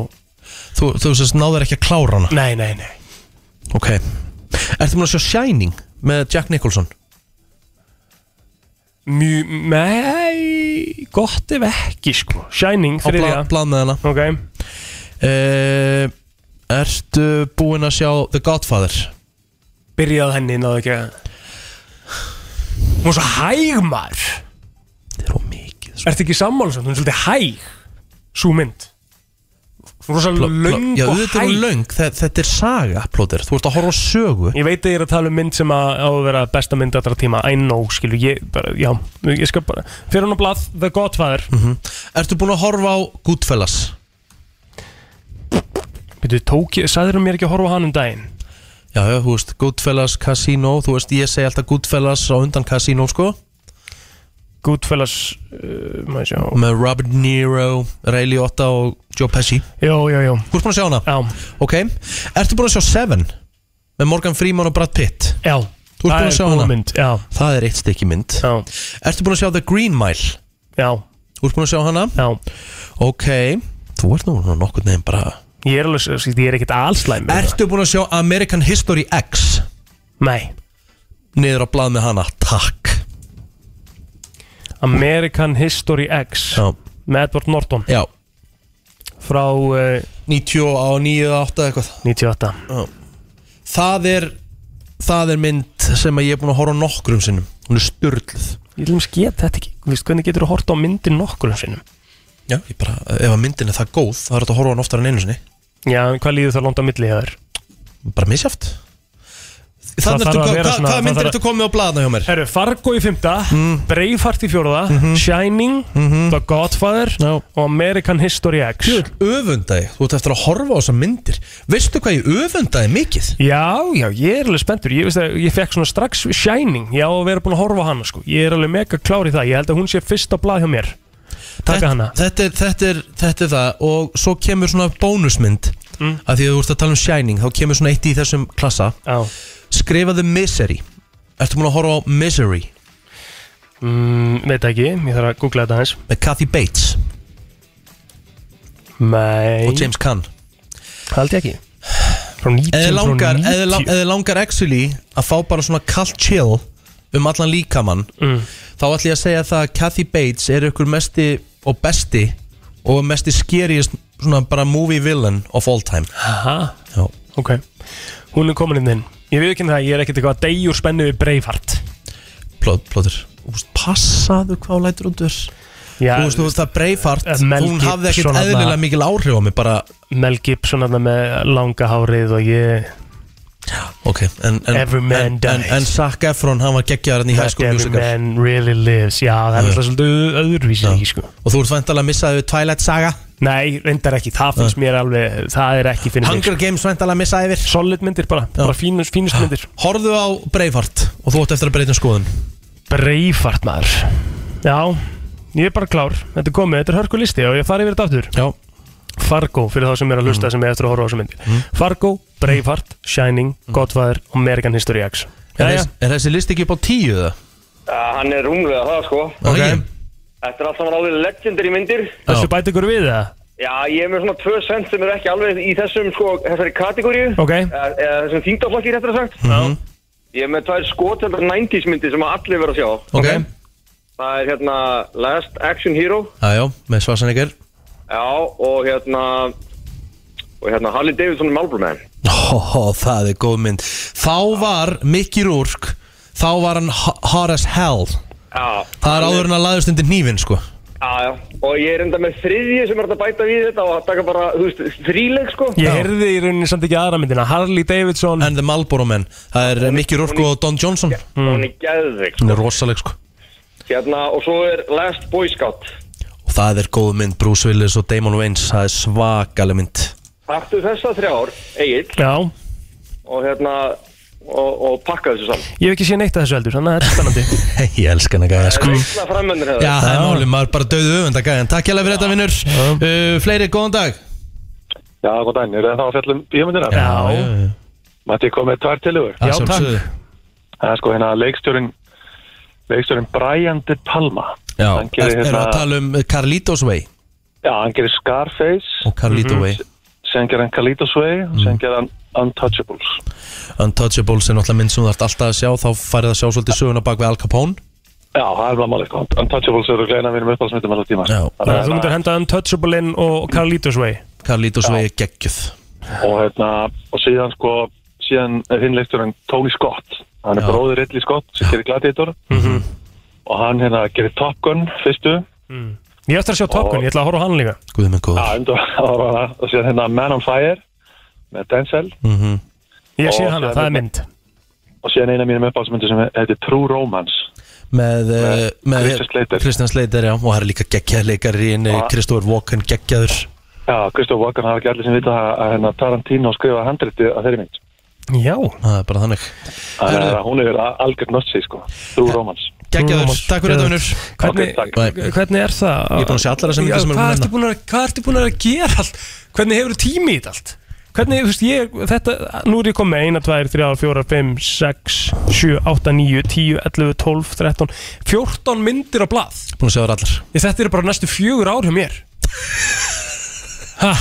Speaker 1: Þú, þú sérst náður ekki að klára hana
Speaker 4: Nei, nei, nei
Speaker 1: Ok Ertu búin að sjá Shining með Jack Nicholson
Speaker 4: Mjög, nei, gott ef ekki sko Shining,
Speaker 1: Á bla,
Speaker 4: þriðja
Speaker 1: blað með hana
Speaker 4: Ok,
Speaker 1: uh, Ertu búinn að sjá The Godfather
Speaker 4: byrjaði á henni, náði ekki að Hún er svo hæg maður
Speaker 1: Þetta er of mikið sko.
Speaker 4: Ertu ekki sammála samt, hún er svolítið hæg Sú mynd Hún er
Speaker 1: Pló-
Speaker 4: svolítið
Speaker 1: pló-
Speaker 4: löng
Speaker 1: Já,
Speaker 4: og
Speaker 1: þetta er
Speaker 4: hæg
Speaker 1: löng, Þe- þetta er saga plóter. Þú ert að horfa á sögu
Speaker 4: Ég veit að ég er að tala um mynd sem að á að vera besta mynd allra tíma I know, skilu, ég bara, já Ég skal bara, fyrir hún á blað, The Godfather mm.
Speaker 1: Ertu búinn að horfa á Goodfellas?
Speaker 4: Býtu, tók ég, sagður hún mér ekki að horfa á hann um daginn
Speaker 1: Já, já, þú veist, Goodfellas, Casino Þú veist, ég segi alltaf Goodfellas á undan Casino, sko
Speaker 4: Goodfellas, uh, maður sjá
Speaker 1: Með Robert De Niro, Ray Liotta og Joe Pesci
Speaker 4: Jó, jó, jó,
Speaker 1: Þú ert búinn að sjá hana?
Speaker 4: já,
Speaker 1: Ok, ertu búinn að sjá Seven? Með Morgan Freeman og Brad Pitt
Speaker 4: já
Speaker 1: Þú ert búin að sjá
Speaker 4: góð
Speaker 1: hana?
Speaker 4: mynd, já,
Speaker 1: Það er eitt stykki mynd
Speaker 4: já,
Speaker 1: Ertu búinn að sjá The Green Mile?
Speaker 4: já,
Speaker 1: Þú ert búinn að sjá hana?
Speaker 4: já
Speaker 1: Ok, þú ert nú nokkur nefn bara
Speaker 4: Ég er alveg, skilu, ég er ekkert allslæm
Speaker 1: Ertu búinn að sjá American History X?
Speaker 4: Nei,
Speaker 1: niður á blað með hana, takk
Speaker 4: American History X
Speaker 1: Já,
Speaker 4: Með Edward Norton
Speaker 1: já
Speaker 4: frá uh,
Speaker 1: 90 á 9 eða 8 eða eitthvað
Speaker 4: 98
Speaker 1: Það er, það er mynd sem að ég er búin að horfa á nokkrum sinnum Hún er störluð
Speaker 4: Ég vil um sketa þetta ekki, þú veist hvernig getur þú að horta á myndin nokkur um sinnum
Speaker 1: Já, ég bara, ef að myndin er það góð þá er þetta að horfa á hann oftar en einu sinni
Speaker 4: Já, en hvað líður það langt á milli hjá þér?
Speaker 1: Bara misjáft
Speaker 4: þarf
Speaker 1: Þannig ertu,
Speaker 4: að
Speaker 1: hvað,
Speaker 4: vera
Speaker 1: hvað,
Speaker 4: svona-
Speaker 1: hvað
Speaker 4: það
Speaker 1: myndir
Speaker 4: þarf að-
Speaker 1: ertu komið á bladna hjá mér?
Speaker 4: Herru, Fargo í fymta, Braveheart í fjórða, Shining,
Speaker 1: Mhm.
Speaker 4: The Godfather og American History X
Speaker 1: Öfundaði, þú ert eftir að horfa á þessa myndir Veistu hvað ég öfundaði mikið?
Speaker 4: Já, já, ég er alveg spenntur Ég, veist að ég fekk svona strax Shining Já, og vera búin að horfa á hana sko Ég er alveg mega klár í það Ég held að hún sé fyrst á blað hjá mér Taka
Speaker 1: Þetta-
Speaker 4: hana
Speaker 1: þetta er, þetta, er, þetta er það og svo kemur svona bónusmynd mm. að því að þú ert að tala um Shining þá kemur svona eitt í þessum klassa
Speaker 4: Já
Speaker 1: Skrifaðu Misery Ertu múin að horfa á Misery
Speaker 4: mm, Veit ekki, ég þarf að googla þetta aðeins
Speaker 1: með Kathy Bates og
Speaker 4: Nei,
Speaker 1: James Caan
Speaker 4: held ég ekki Frá 19,
Speaker 1: Eða langar,
Speaker 4: frá 90
Speaker 1: eða, la- eða langar actually að fá bara svona kalt chill um allan líkamann
Speaker 4: Mm.
Speaker 1: þá ætlum ég að segja það að Kathy Bates er ykkur mesti og besti og mesti skeriest svona bara movie villain of all time
Speaker 4: Aha,
Speaker 1: Já.
Speaker 4: ok Hún er komin inn inn Ég veit ekki það, ég er ekkert eitthvað að deyjur spennu við Braveheart
Speaker 1: Plóð, plóður Úst, passaðu hvað hún lætur út úr
Speaker 4: Já,
Speaker 1: Þú veist, þú veist það breyfart
Speaker 4: eh, Mel
Speaker 1: Hún hafði ekkert
Speaker 4: Gibson þarna.
Speaker 1: eðlilega mikil áhrif á mig bara,
Speaker 4: Mel Gibson þarna með langa hárið og ég
Speaker 1: ok en, en,
Speaker 4: Every man
Speaker 1: en, en,
Speaker 4: dies.
Speaker 1: en Zac Efron, hann var geggjaðarinn í High School
Speaker 4: Every
Speaker 1: Musical
Speaker 4: man really lives Já, það er alltaf svolítið öðruvísi ekki sko
Speaker 1: Og þú ert vantalega að missaði við Twilight Saga
Speaker 4: Nei, reyndar ekki, það finnst mér alveg Það er ekki fyrir mig
Speaker 1: Hunger Games vantalega að missaði yfir
Speaker 4: Solid myndir bara, bara fínust, fínust myndir
Speaker 1: Horðu á Breyfart og þú átt eftir að breyta um skoðun
Speaker 4: Breifart maður Já, ég er bara klár Þetta er komið, þetta er hörku listi og ég fari yfir þetta aftur
Speaker 1: Já
Speaker 4: Fargo, fyrir þá sem er að
Speaker 1: Mm.
Speaker 4: hlusta sem er eftir að horfa á þessu myndir Fargo, Breifart, Shining, Godfather og American History X
Speaker 1: Mm. Er,
Speaker 4: Jæja,
Speaker 1: þess, er þessi list ekki upp á tíu það?
Speaker 7: Ja, hann er rúmlega það sko
Speaker 1: Ok
Speaker 7: Þetta er alltaf hann alveg legendary myndir
Speaker 4: þessu bæti ykkur við það
Speaker 7: Já, ég er með svona tvö sent sem eru ekki alveg í þessum sko, þessari kategóriu
Speaker 4: Ok. Mhm.
Speaker 7: eða, eða þessum þingdaflokki réttur að sagt
Speaker 4: Já.
Speaker 7: Ég er með tvær skotendar 90s myndir sem að allir verða að sjá
Speaker 1: Ok
Speaker 7: Það er hérna Last Action Hero
Speaker 1: Jájá, með Svarsenegger
Speaker 7: Já, og hérna og hérna Harley Davidson Marlboro Man
Speaker 1: Ó, það er góð mynd Þá var Mickey Rourke Þá var hann ho- hot as hell
Speaker 7: Já,
Speaker 1: Það er áður en að laðast undir nýfin sko
Speaker 7: já, já Og ég er enda með þriðju sem er hægt að bæta við þetta og að taka bara, þú veist, þríleg sko
Speaker 4: Ég heyrði í rauninni samt ekki aðra myndina Harley Davidson
Speaker 1: And the Marlboro Men Það er Mickey Rourke og Don Johnson
Speaker 7: mm. Hún er geðveik sko.
Speaker 1: Hún er rosaleg sko
Speaker 7: Hérna, og svo er Last Boy Scout
Speaker 1: Og það er góð mynd Bruce Willis og Damon Wayans Það er svakaleg mynd
Speaker 7: Taktu þessa þrjár, Egil
Speaker 4: Já,
Speaker 7: og hérna og, og pakka þessu saman
Speaker 4: ég hef ekki séð neitt að þessu heldur Þannig að þetta er spennandi
Speaker 1: Ég elska hann ekki sko
Speaker 7: Reikna framöndir hérna. hefur
Speaker 1: Já, það er málið, maður er bara döðu öfunda gæðan Takk hjá fyrir þetta vinnur uh, Fleiri, góðan dag
Speaker 10: Já, góð dæn, eru það þá að fjalla um bíómyndina?
Speaker 4: Já,
Speaker 10: Mætti ég komið tvær tilugur.
Speaker 1: Að
Speaker 4: Já, takk.
Speaker 1: sjálfsögðu.
Speaker 10: Það er sko hérna leikstjórin, leikstjórin Brian De Palma.
Speaker 1: Já,
Speaker 10: Hann gerir
Speaker 1: er, erum við að
Speaker 10: hérna-
Speaker 1: tala um Carlitos Way
Speaker 10: Já, hann gerir Scarface,
Speaker 1: og Carlito Way
Speaker 10: sen gerir hann Kalitos Way
Speaker 1: Mhm.
Speaker 10: og sen gerir hann Untouchables.
Speaker 1: Untouchables er náttúrulega mynd sem þú þarft alltaf að sjá þá færið að sjá svolítið söguna bak við Al Capone
Speaker 10: Já, það er bara málið. sko. Untouchables eru gleina mínum uppáhaldsmyndum alltaf tíma.
Speaker 1: Já.
Speaker 10: Þannig
Speaker 4: Þannig
Speaker 10: að
Speaker 4: að þú myndir henda Untouchable inn og Carlitos Way
Speaker 1: Carlitos Way er geggjöð
Speaker 10: og hérna, og síðan sko, síðan er hinn leikstjórin Tony Scott. Hann er
Speaker 1: Já. Mhm.
Speaker 10: bróðir Ridley Scott sem gerir Gladiator og hann hérna gerir Top Gun fyrstu.
Speaker 4: Ég ætti að sjá Top Gun, ég ætla að horfa á hann líka
Speaker 1: Guðið minn
Speaker 10: Já,
Speaker 1: góður
Speaker 10: um það og síðan hérna Man on Fire með Denzel
Speaker 4: Ég sé
Speaker 10: Ó,
Speaker 4: hana,
Speaker 10: það
Speaker 4: það
Speaker 10: er
Speaker 4: er mynd
Speaker 10: og síðan eina af mínum uppáhaldsmyndir sem heitir True Romance
Speaker 1: með, uh, með
Speaker 10: Christian Slater.
Speaker 1: Christian Slater já, og það er líka geggjaðleikarinn
Speaker 10: Já.
Speaker 1: Kristófur Walken geggjaður
Speaker 10: Já, Kristof Walken hafa ekki allir sem vita að, að hérna, Tarantino skrifaði handriti að þeirri mynd
Speaker 4: Já,
Speaker 1: það er bara þannig
Speaker 10: Þannig
Speaker 1: Herðu.
Speaker 10: að hún hefur algjörn nötsi sko, True Romance
Speaker 1: geggjaður,
Speaker 4: Rúmast,
Speaker 1: takk fyrir þetta vinnur
Speaker 4: hvernig,
Speaker 10: takk.
Speaker 1: Bye.
Speaker 4: hvernig er það?
Speaker 1: Ég er búinn að sjá allar þessar myndir
Speaker 4: Já,
Speaker 1: sem eru
Speaker 4: hvað
Speaker 1: núna.
Speaker 4: ertu búin að- Hvað ertu búin að gera allt? Hvernig hefur tími í þetta allt? Hvernig, þú veist, ég, þetta, nú er ég komið með 1, 2, 3, 4, 5, 6, 7, 8, 9, 10, 11, 12, 13, 14 myndir á blað
Speaker 1: búin að sjá þér allar
Speaker 4: Ég, Þetta eru bara næstu fjögur ár hjá mér Ha,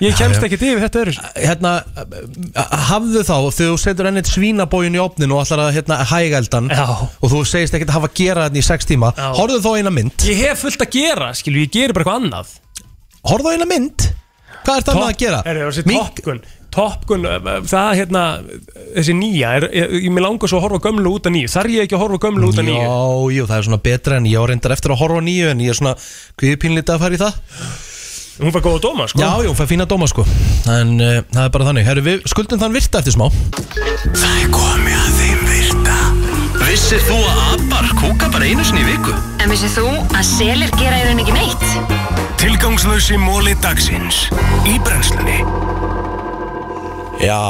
Speaker 4: ég kemst ekkert yfir þetta öðru
Speaker 1: hérna, eh, hafðu þá þegar þú setur ennit svínabójun í opnin og ætlar að hérna, hægældan
Speaker 4: Já.
Speaker 1: og þú segist ekkert að hafa að gera þetta í sex tíma
Speaker 4: Já.
Speaker 1: horfðu þá á eina mynd
Speaker 4: Ég hef fullt að gera, skilju, ég geri bara eitthvað annað
Speaker 1: horfðu á eina mynd hvað er það að gera?
Speaker 4: Er það þessi
Speaker 1: Mink-
Speaker 4: Top Gun Top Gun, uh, uh, það hérna Þessi nýja, er, ég, ég, mér langar svo að horfa á gömlu út af nýju Þar ég ekki að horfa á gömlu út af nýju
Speaker 1: Já, jú, það er svona betra en ég á reyndar eftir að horfa á nýju en ég er svona kviðpínlítið að fara í það
Speaker 4: Hún fær góða dóma, sko
Speaker 1: Já, jú, fæ fína eh, dóma sko En uh, það er bara þannig Herru, við skuldum þann virta eftir smá
Speaker 2: Það er komið að Vissir þú að abar kúka bara einu sinni í viku?
Speaker 8: En vissið þú að selir gera í raun ekki neitt?
Speaker 2: Tilgangslösi móli dagsins Í brennslunni
Speaker 1: Já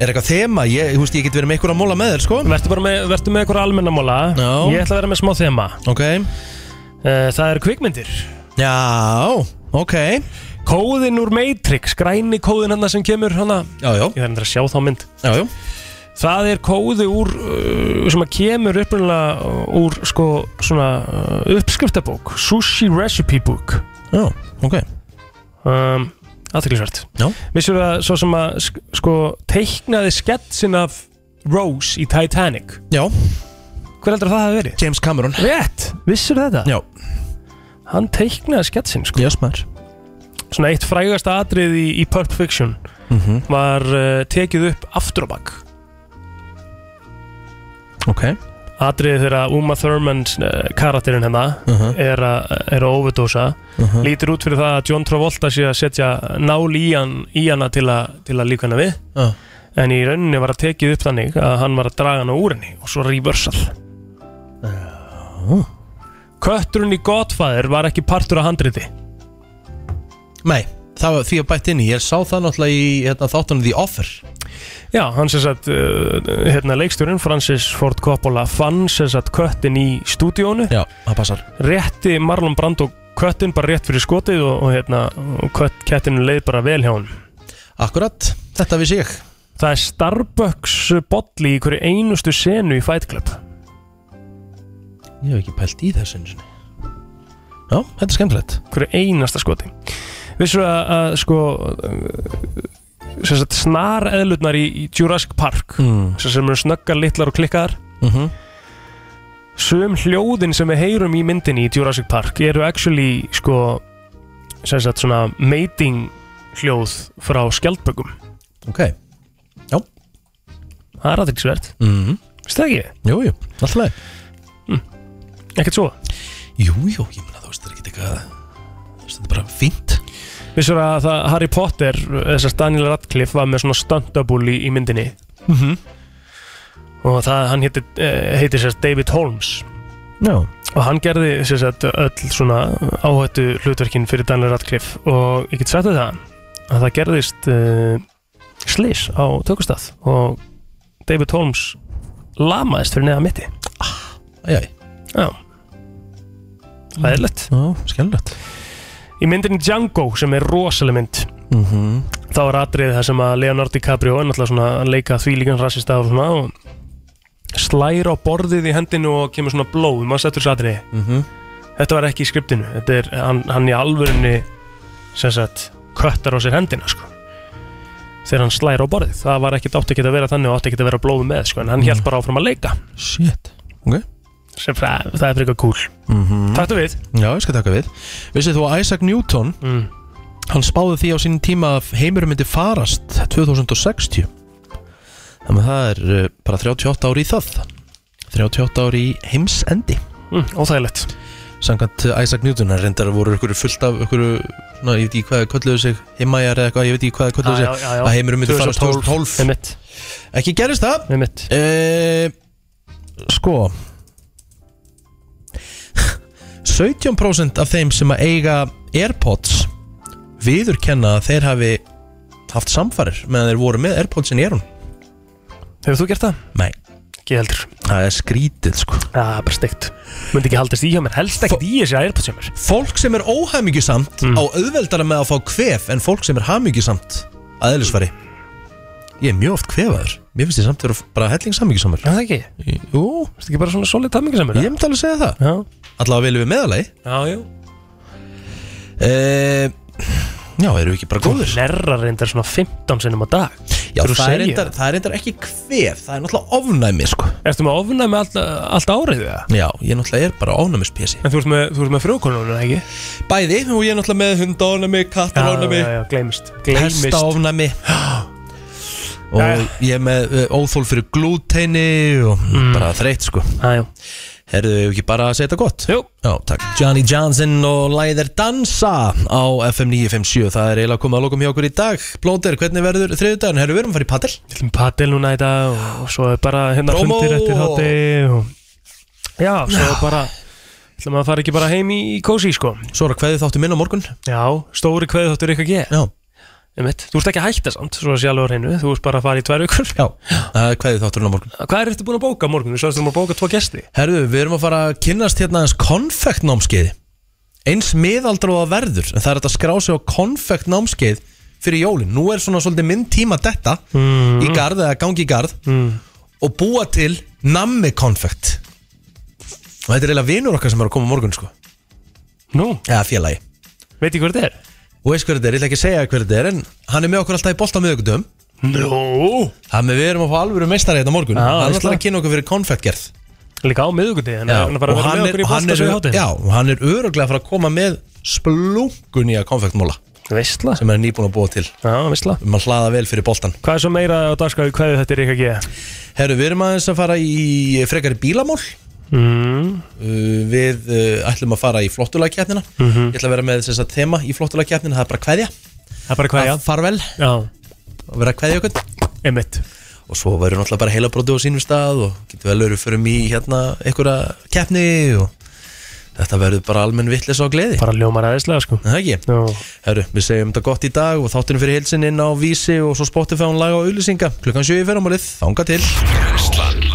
Speaker 1: Er eitthvað þema? Ég, þú veist, ég get verið með ykkur að móla með þér, sko
Speaker 4: Vertu bara með, vertu með ykkur almennamóla Já Ég ætla að vera með smá þema Uh,
Speaker 1: Ok
Speaker 4: Það eru kvikmyndir
Speaker 1: Já, ok
Speaker 4: Kóðin úr Matrix, græni kóðin hann sem kemur hann
Speaker 1: Já, já
Speaker 4: Ég þarf endur að sjá þá mynd
Speaker 1: Já, já
Speaker 4: Það er kóði úr, uh, sem að kemur upprunalega úr sko svona uh, uppskriftabók Sushi Recipe Book
Speaker 1: Já, ok
Speaker 4: um, Aðteklisvert
Speaker 1: Já
Speaker 4: Vissur það svo sem að sk- sko teiknaði sketsin af Rose í Titanic
Speaker 1: Já
Speaker 4: Hver heldur að það hafi verið?
Speaker 1: James Cameron
Speaker 4: Rétt, vissur þetta?
Speaker 1: Já
Speaker 4: Hann teiknaði sketsin sko
Speaker 1: Yes, maður
Speaker 4: Svona eitt frægasta atrið í, í Pulp Fiction
Speaker 1: Mhm.
Speaker 4: var uh, tekið upp aftur á bakk
Speaker 1: Ok
Speaker 4: atriðið þegar Uma Thurman eh, karakterinn hennar
Speaker 1: Mhm.
Speaker 4: er, að- er að overdosa
Speaker 1: Mhm.
Speaker 4: lítur út fyrir það að John Travolta sé að setja nál í, hann, í hana til, a, til að líka hana við
Speaker 1: Já.
Speaker 4: en í rauninni var að tekið upp þannig að hann var að draga hana úr henni og svo reversal Kötturinn í Godfather var ekki partur af handriti
Speaker 1: Nei, það var því að bætt inn í Ég sá það náttúrulega í hérna, þáttunum The Offer
Speaker 4: Já, hann sem sagt, uh, hérna leikstjórinn Francis Ford Coppola fann sem sagt köttin í stúdíónu
Speaker 1: Já, það passar
Speaker 4: rétti Marlon Brando köttin bara rétt fyrir skotið og, og hérna, og kött, kettinu leið bara vel hjá hann
Speaker 1: Akkurat, þetta vissi ég
Speaker 4: Það er Starbucks bolli í hverju einustu senu í Fight Club
Speaker 1: Ég hef ekki pælt í þessu einu sinni. Já, þetta er skemmtilegt
Speaker 4: hverju einasta skoti Vissu að, að sko sem sagt snar eðlutnar í, í Jurassic Park
Speaker 1: Mm.
Speaker 4: sem, sem eru snöggar, litlar og klikkaðar
Speaker 1: Mhm.
Speaker 4: sum hljóðin sem við heyrum í myndinni í Jurassic Park eru actually sko sem sagt svona mating hljóð frá skjaldbökum
Speaker 1: Ok, já
Speaker 4: Það er aðeinsverð,
Speaker 1: mm.
Speaker 4: veist það ekki?
Speaker 1: Jú, jú, alltaf
Speaker 4: Ekkert svo
Speaker 1: Jú, jú, ég meina þú veist það er ekki eitthvað þú veist, Þetta er bara fínt
Speaker 4: Vissur að það, Harry Potter, þessast Daniel Radcliffe var með svona stunt-double í, í myndinni
Speaker 1: Mhm.
Speaker 4: og það, hann heitir, heitir sérst David Holmes
Speaker 1: Já
Speaker 4: og hann gerði sérst öll svona áhættu hlutverkin fyrir Daniel Radcliffe og ég get sagt þér það að það gerðist uh, slís á tökustaf og David Holmes lamaðist fyrir neða mitti
Speaker 1: Æjæj
Speaker 4: Já Það er lett
Speaker 1: Já, skemmtilegt
Speaker 4: Í myndinni Django sem er rosaleg mynd
Speaker 1: mm -hmm.
Speaker 4: þá er atrið það sem að Leonardo DiCaprio er náttúrulega svona að leika þvílíkan rasista og svona og slæra á borðið í hendinu og kemur svona blóð maður settur þessu atrið
Speaker 1: Mhm.
Speaker 4: þetta var ekki í skriptinu þetta er hann, hann í alvörunni sem sagt köttar á sér hendina sko þegar hann slæra á borðið það var ekkit átti ekki að vera þannig og átti ekki að vera blóð með sko en hann mm.
Speaker 1: Mhm.
Speaker 4: held bara áfram að leika
Speaker 1: Shit Ok
Speaker 4: sem það, það er frekar cool
Speaker 1: mm
Speaker 4: Takk við
Speaker 1: Já, ég skal taka við Vissið þú að Isaac Newton
Speaker 4: mm.
Speaker 1: Hann spáði því á sínum tíma að heimurum myndi farast 2060 Þannig að það er uh, bara 38 ári í það 38 ári í heimsendi
Speaker 4: mm, Óþægilegt
Speaker 1: Samkvæmt Isaac Newton Hann reyndar voru ykkur fullt af ykkur Svona, ég veit ekki hvað þau kölluðu sig Heimajar eða eitthvað, ég veit ekki hvað þau kölluðu
Speaker 4: Já,
Speaker 1: sig
Speaker 4: já, já, já.
Speaker 1: Að heimurum myndi farast 2012
Speaker 4: Með mitt,
Speaker 1: Ekki gerist það
Speaker 4: með mitt
Speaker 1: Eh, Sko 17% af þeim sem að eiga Airpods viður kenna að þeir hafi haft samfarir meðan þeir voru með Airpodsin í erun
Speaker 4: Hefur þú gert það?
Speaker 1: Nei,
Speaker 4: Ekki heldur
Speaker 1: það er skrítið sko
Speaker 4: Það er bara steikt Möndi ekki haldast í hjá mér Helst ekkert í þessi airpods hjá mér
Speaker 1: Fólk sem er óhamingjusamt á auðveldara með að fá kvef en fólk sem er hamingjusamt að eðlisfari Ég er mjög oft kvefaður Mér finnst ég samt vera bara hellingshamingjusamur
Speaker 4: Já það ekki Það
Speaker 1: Jú,
Speaker 4: er ekki bara svona solid hamingi sem er
Speaker 1: ég myndi alveg segja það
Speaker 4: Já
Speaker 1: Allavega viljum við meðalagi
Speaker 4: Já, já
Speaker 1: Eh, Já, eru við ekki bara
Speaker 4: Þú
Speaker 1: góðir?
Speaker 4: lerrar reyndar svona 15 sinnum á dag
Speaker 1: Já,
Speaker 4: Þú
Speaker 1: það er,
Speaker 4: segir
Speaker 1: reyndar, það er reyndar ekki kvef, það er náttúrulega ofnæmi, sko.
Speaker 4: Ertu með ofnæmi allt, allt árið það?
Speaker 1: Já, ég náttúrulega er bara ofnæmispési.
Speaker 4: En þú ert með, þú ert með frjókonunum, ekki?
Speaker 1: Bæði, og ég er náttúrulega með hundaofnæmi, kattaofnæmi,
Speaker 4: já, já, gleymist Gleymist
Speaker 1: hestaofnæmi. Og
Speaker 4: Jæja.
Speaker 1: Mm. ég er með uh, óþól fyrir glúteini og bara þreytt, sko.
Speaker 4: Já, já
Speaker 1: Herðu, hefur ekki bara að segja þetta gott? Jú Já, takk Johnny Johnson og Læðir Dansa á FM 957 Það er eiginlega komið að lokum hjá okkur í dag Blóter, hvernig verður þriðudaginn? Herðu, við erum að fara í padel
Speaker 4: Við erum padel núna í dag og, og svo er bara hérna
Speaker 1: Promo
Speaker 4: fundir eftir
Speaker 1: og-
Speaker 4: hátti og... Já, svo er bara ætlum að fara ekki bara heim í kósi sko
Speaker 1: Svo er að kveði þáttu minn á morgun
Speaker 4: Já, stóri kveði þáttur ykkar ekki
Speaker 1: Já
Speaker 4: Einmitt. Þú ert ekki að hætta samt, svo að sé alveg á hreinu Þú ert bara að fara í tvær vikur
Speaker 1: Já, uh, kveði þátturinn á morgun
Speaker 4: Hvað er þetta búin að bóka á morgun? Þú sagðist að maður bóka tvo gesti
Speaker 1: Herðu, við erum að fara að kynnast hérna aðeins konfektnámskeið Eins miðaldra og það verður En það er hægt að skrá sig á konfektnámskeið fyrir jólin Nú er svona svolítið minn tíma detta
Speaker 4: Mm.
Speaker 1: Í garð eða gangi í garð
Speaker 4: mm.
Speaker 1: og búa til nammi konfekt og þetta er eiginlega vinur okkar sem er að koma á morgun sko
Speaker 4: Nú?
Speaker 1: Eða félagi
Speaker 4: Veit ég hver þetta er?
Speaker 1: Og veist hver þetta er, ég ætla ekki að segja hver þetta er en hann er með okkur alltaf í bolta miðugdum
Speaker 4: Nú
Speaker 1: Þannig að við erum að fá alvöru meistari hérna á morgun
Speaker 4: Já,
Speaker 1: Hann
Speaker 4: veistla.
Speaker 1: ætlar að kynna okkur fyrir konfektgerð
Speaker 4: Líka á miðugundi Hann er hann að fara
Speaker 1: Og
Speaker 4: að vera
Speaker 1: hann
Speaker 4: með okkur
Speaker 1: er,
Speaker 4: í
Speaker 1: og hann er,
Speaker 4: bósta svo í hátin
Speaker 1: já, og hann er öruglega að fara að koma með splungun í að konfektmóla
Speaker 4: Veistla
Speaker 1: Sem hann er nýbúin að búa til
Speaker 4: Já, veistla
Speaker 1: Um að hlaða vel fyrir boltan
Speaker 4: Hvað er svo meira á dagskráðu hvað þetta er ykkar ekki?
Speaker 1: Herru, við erum aðeins að fara í frekari bílamál
Speaker 4: Mm.
Speaker 1: Uh, Við uh, ætlum að fara í flottulagkeppnina
Speaker 4: Mhm.
Speaker 1: Ég ætla að vera með þess að þema í flottulagkeppnina Það er bara kveðja
Speaker 4: Það er bara kveðja
Speaker 1: Farvel
Speaker 4: Já
Speaker 1: Að vera að kveðja okkur
Speaker 4: Einmitt
Speaker 1: Og svo verður náttúrulega bara heilabróti á sínum stað Og getur vel verið fyrir mig hérna einhverja keppni og Þetta verður bara almenn vittlis og gleði
Speaker 4: Bara ljómar aðeinslega sko
Speaker 1: Það ekki Herru, við segjum þetta gott í dag og þáttunum fyrir heilsinn inn á Vísi og svo Spotify og laga og auðlýsinga klukkan 7 í fyrramálið, þanga til
Speaker 2: Brenslan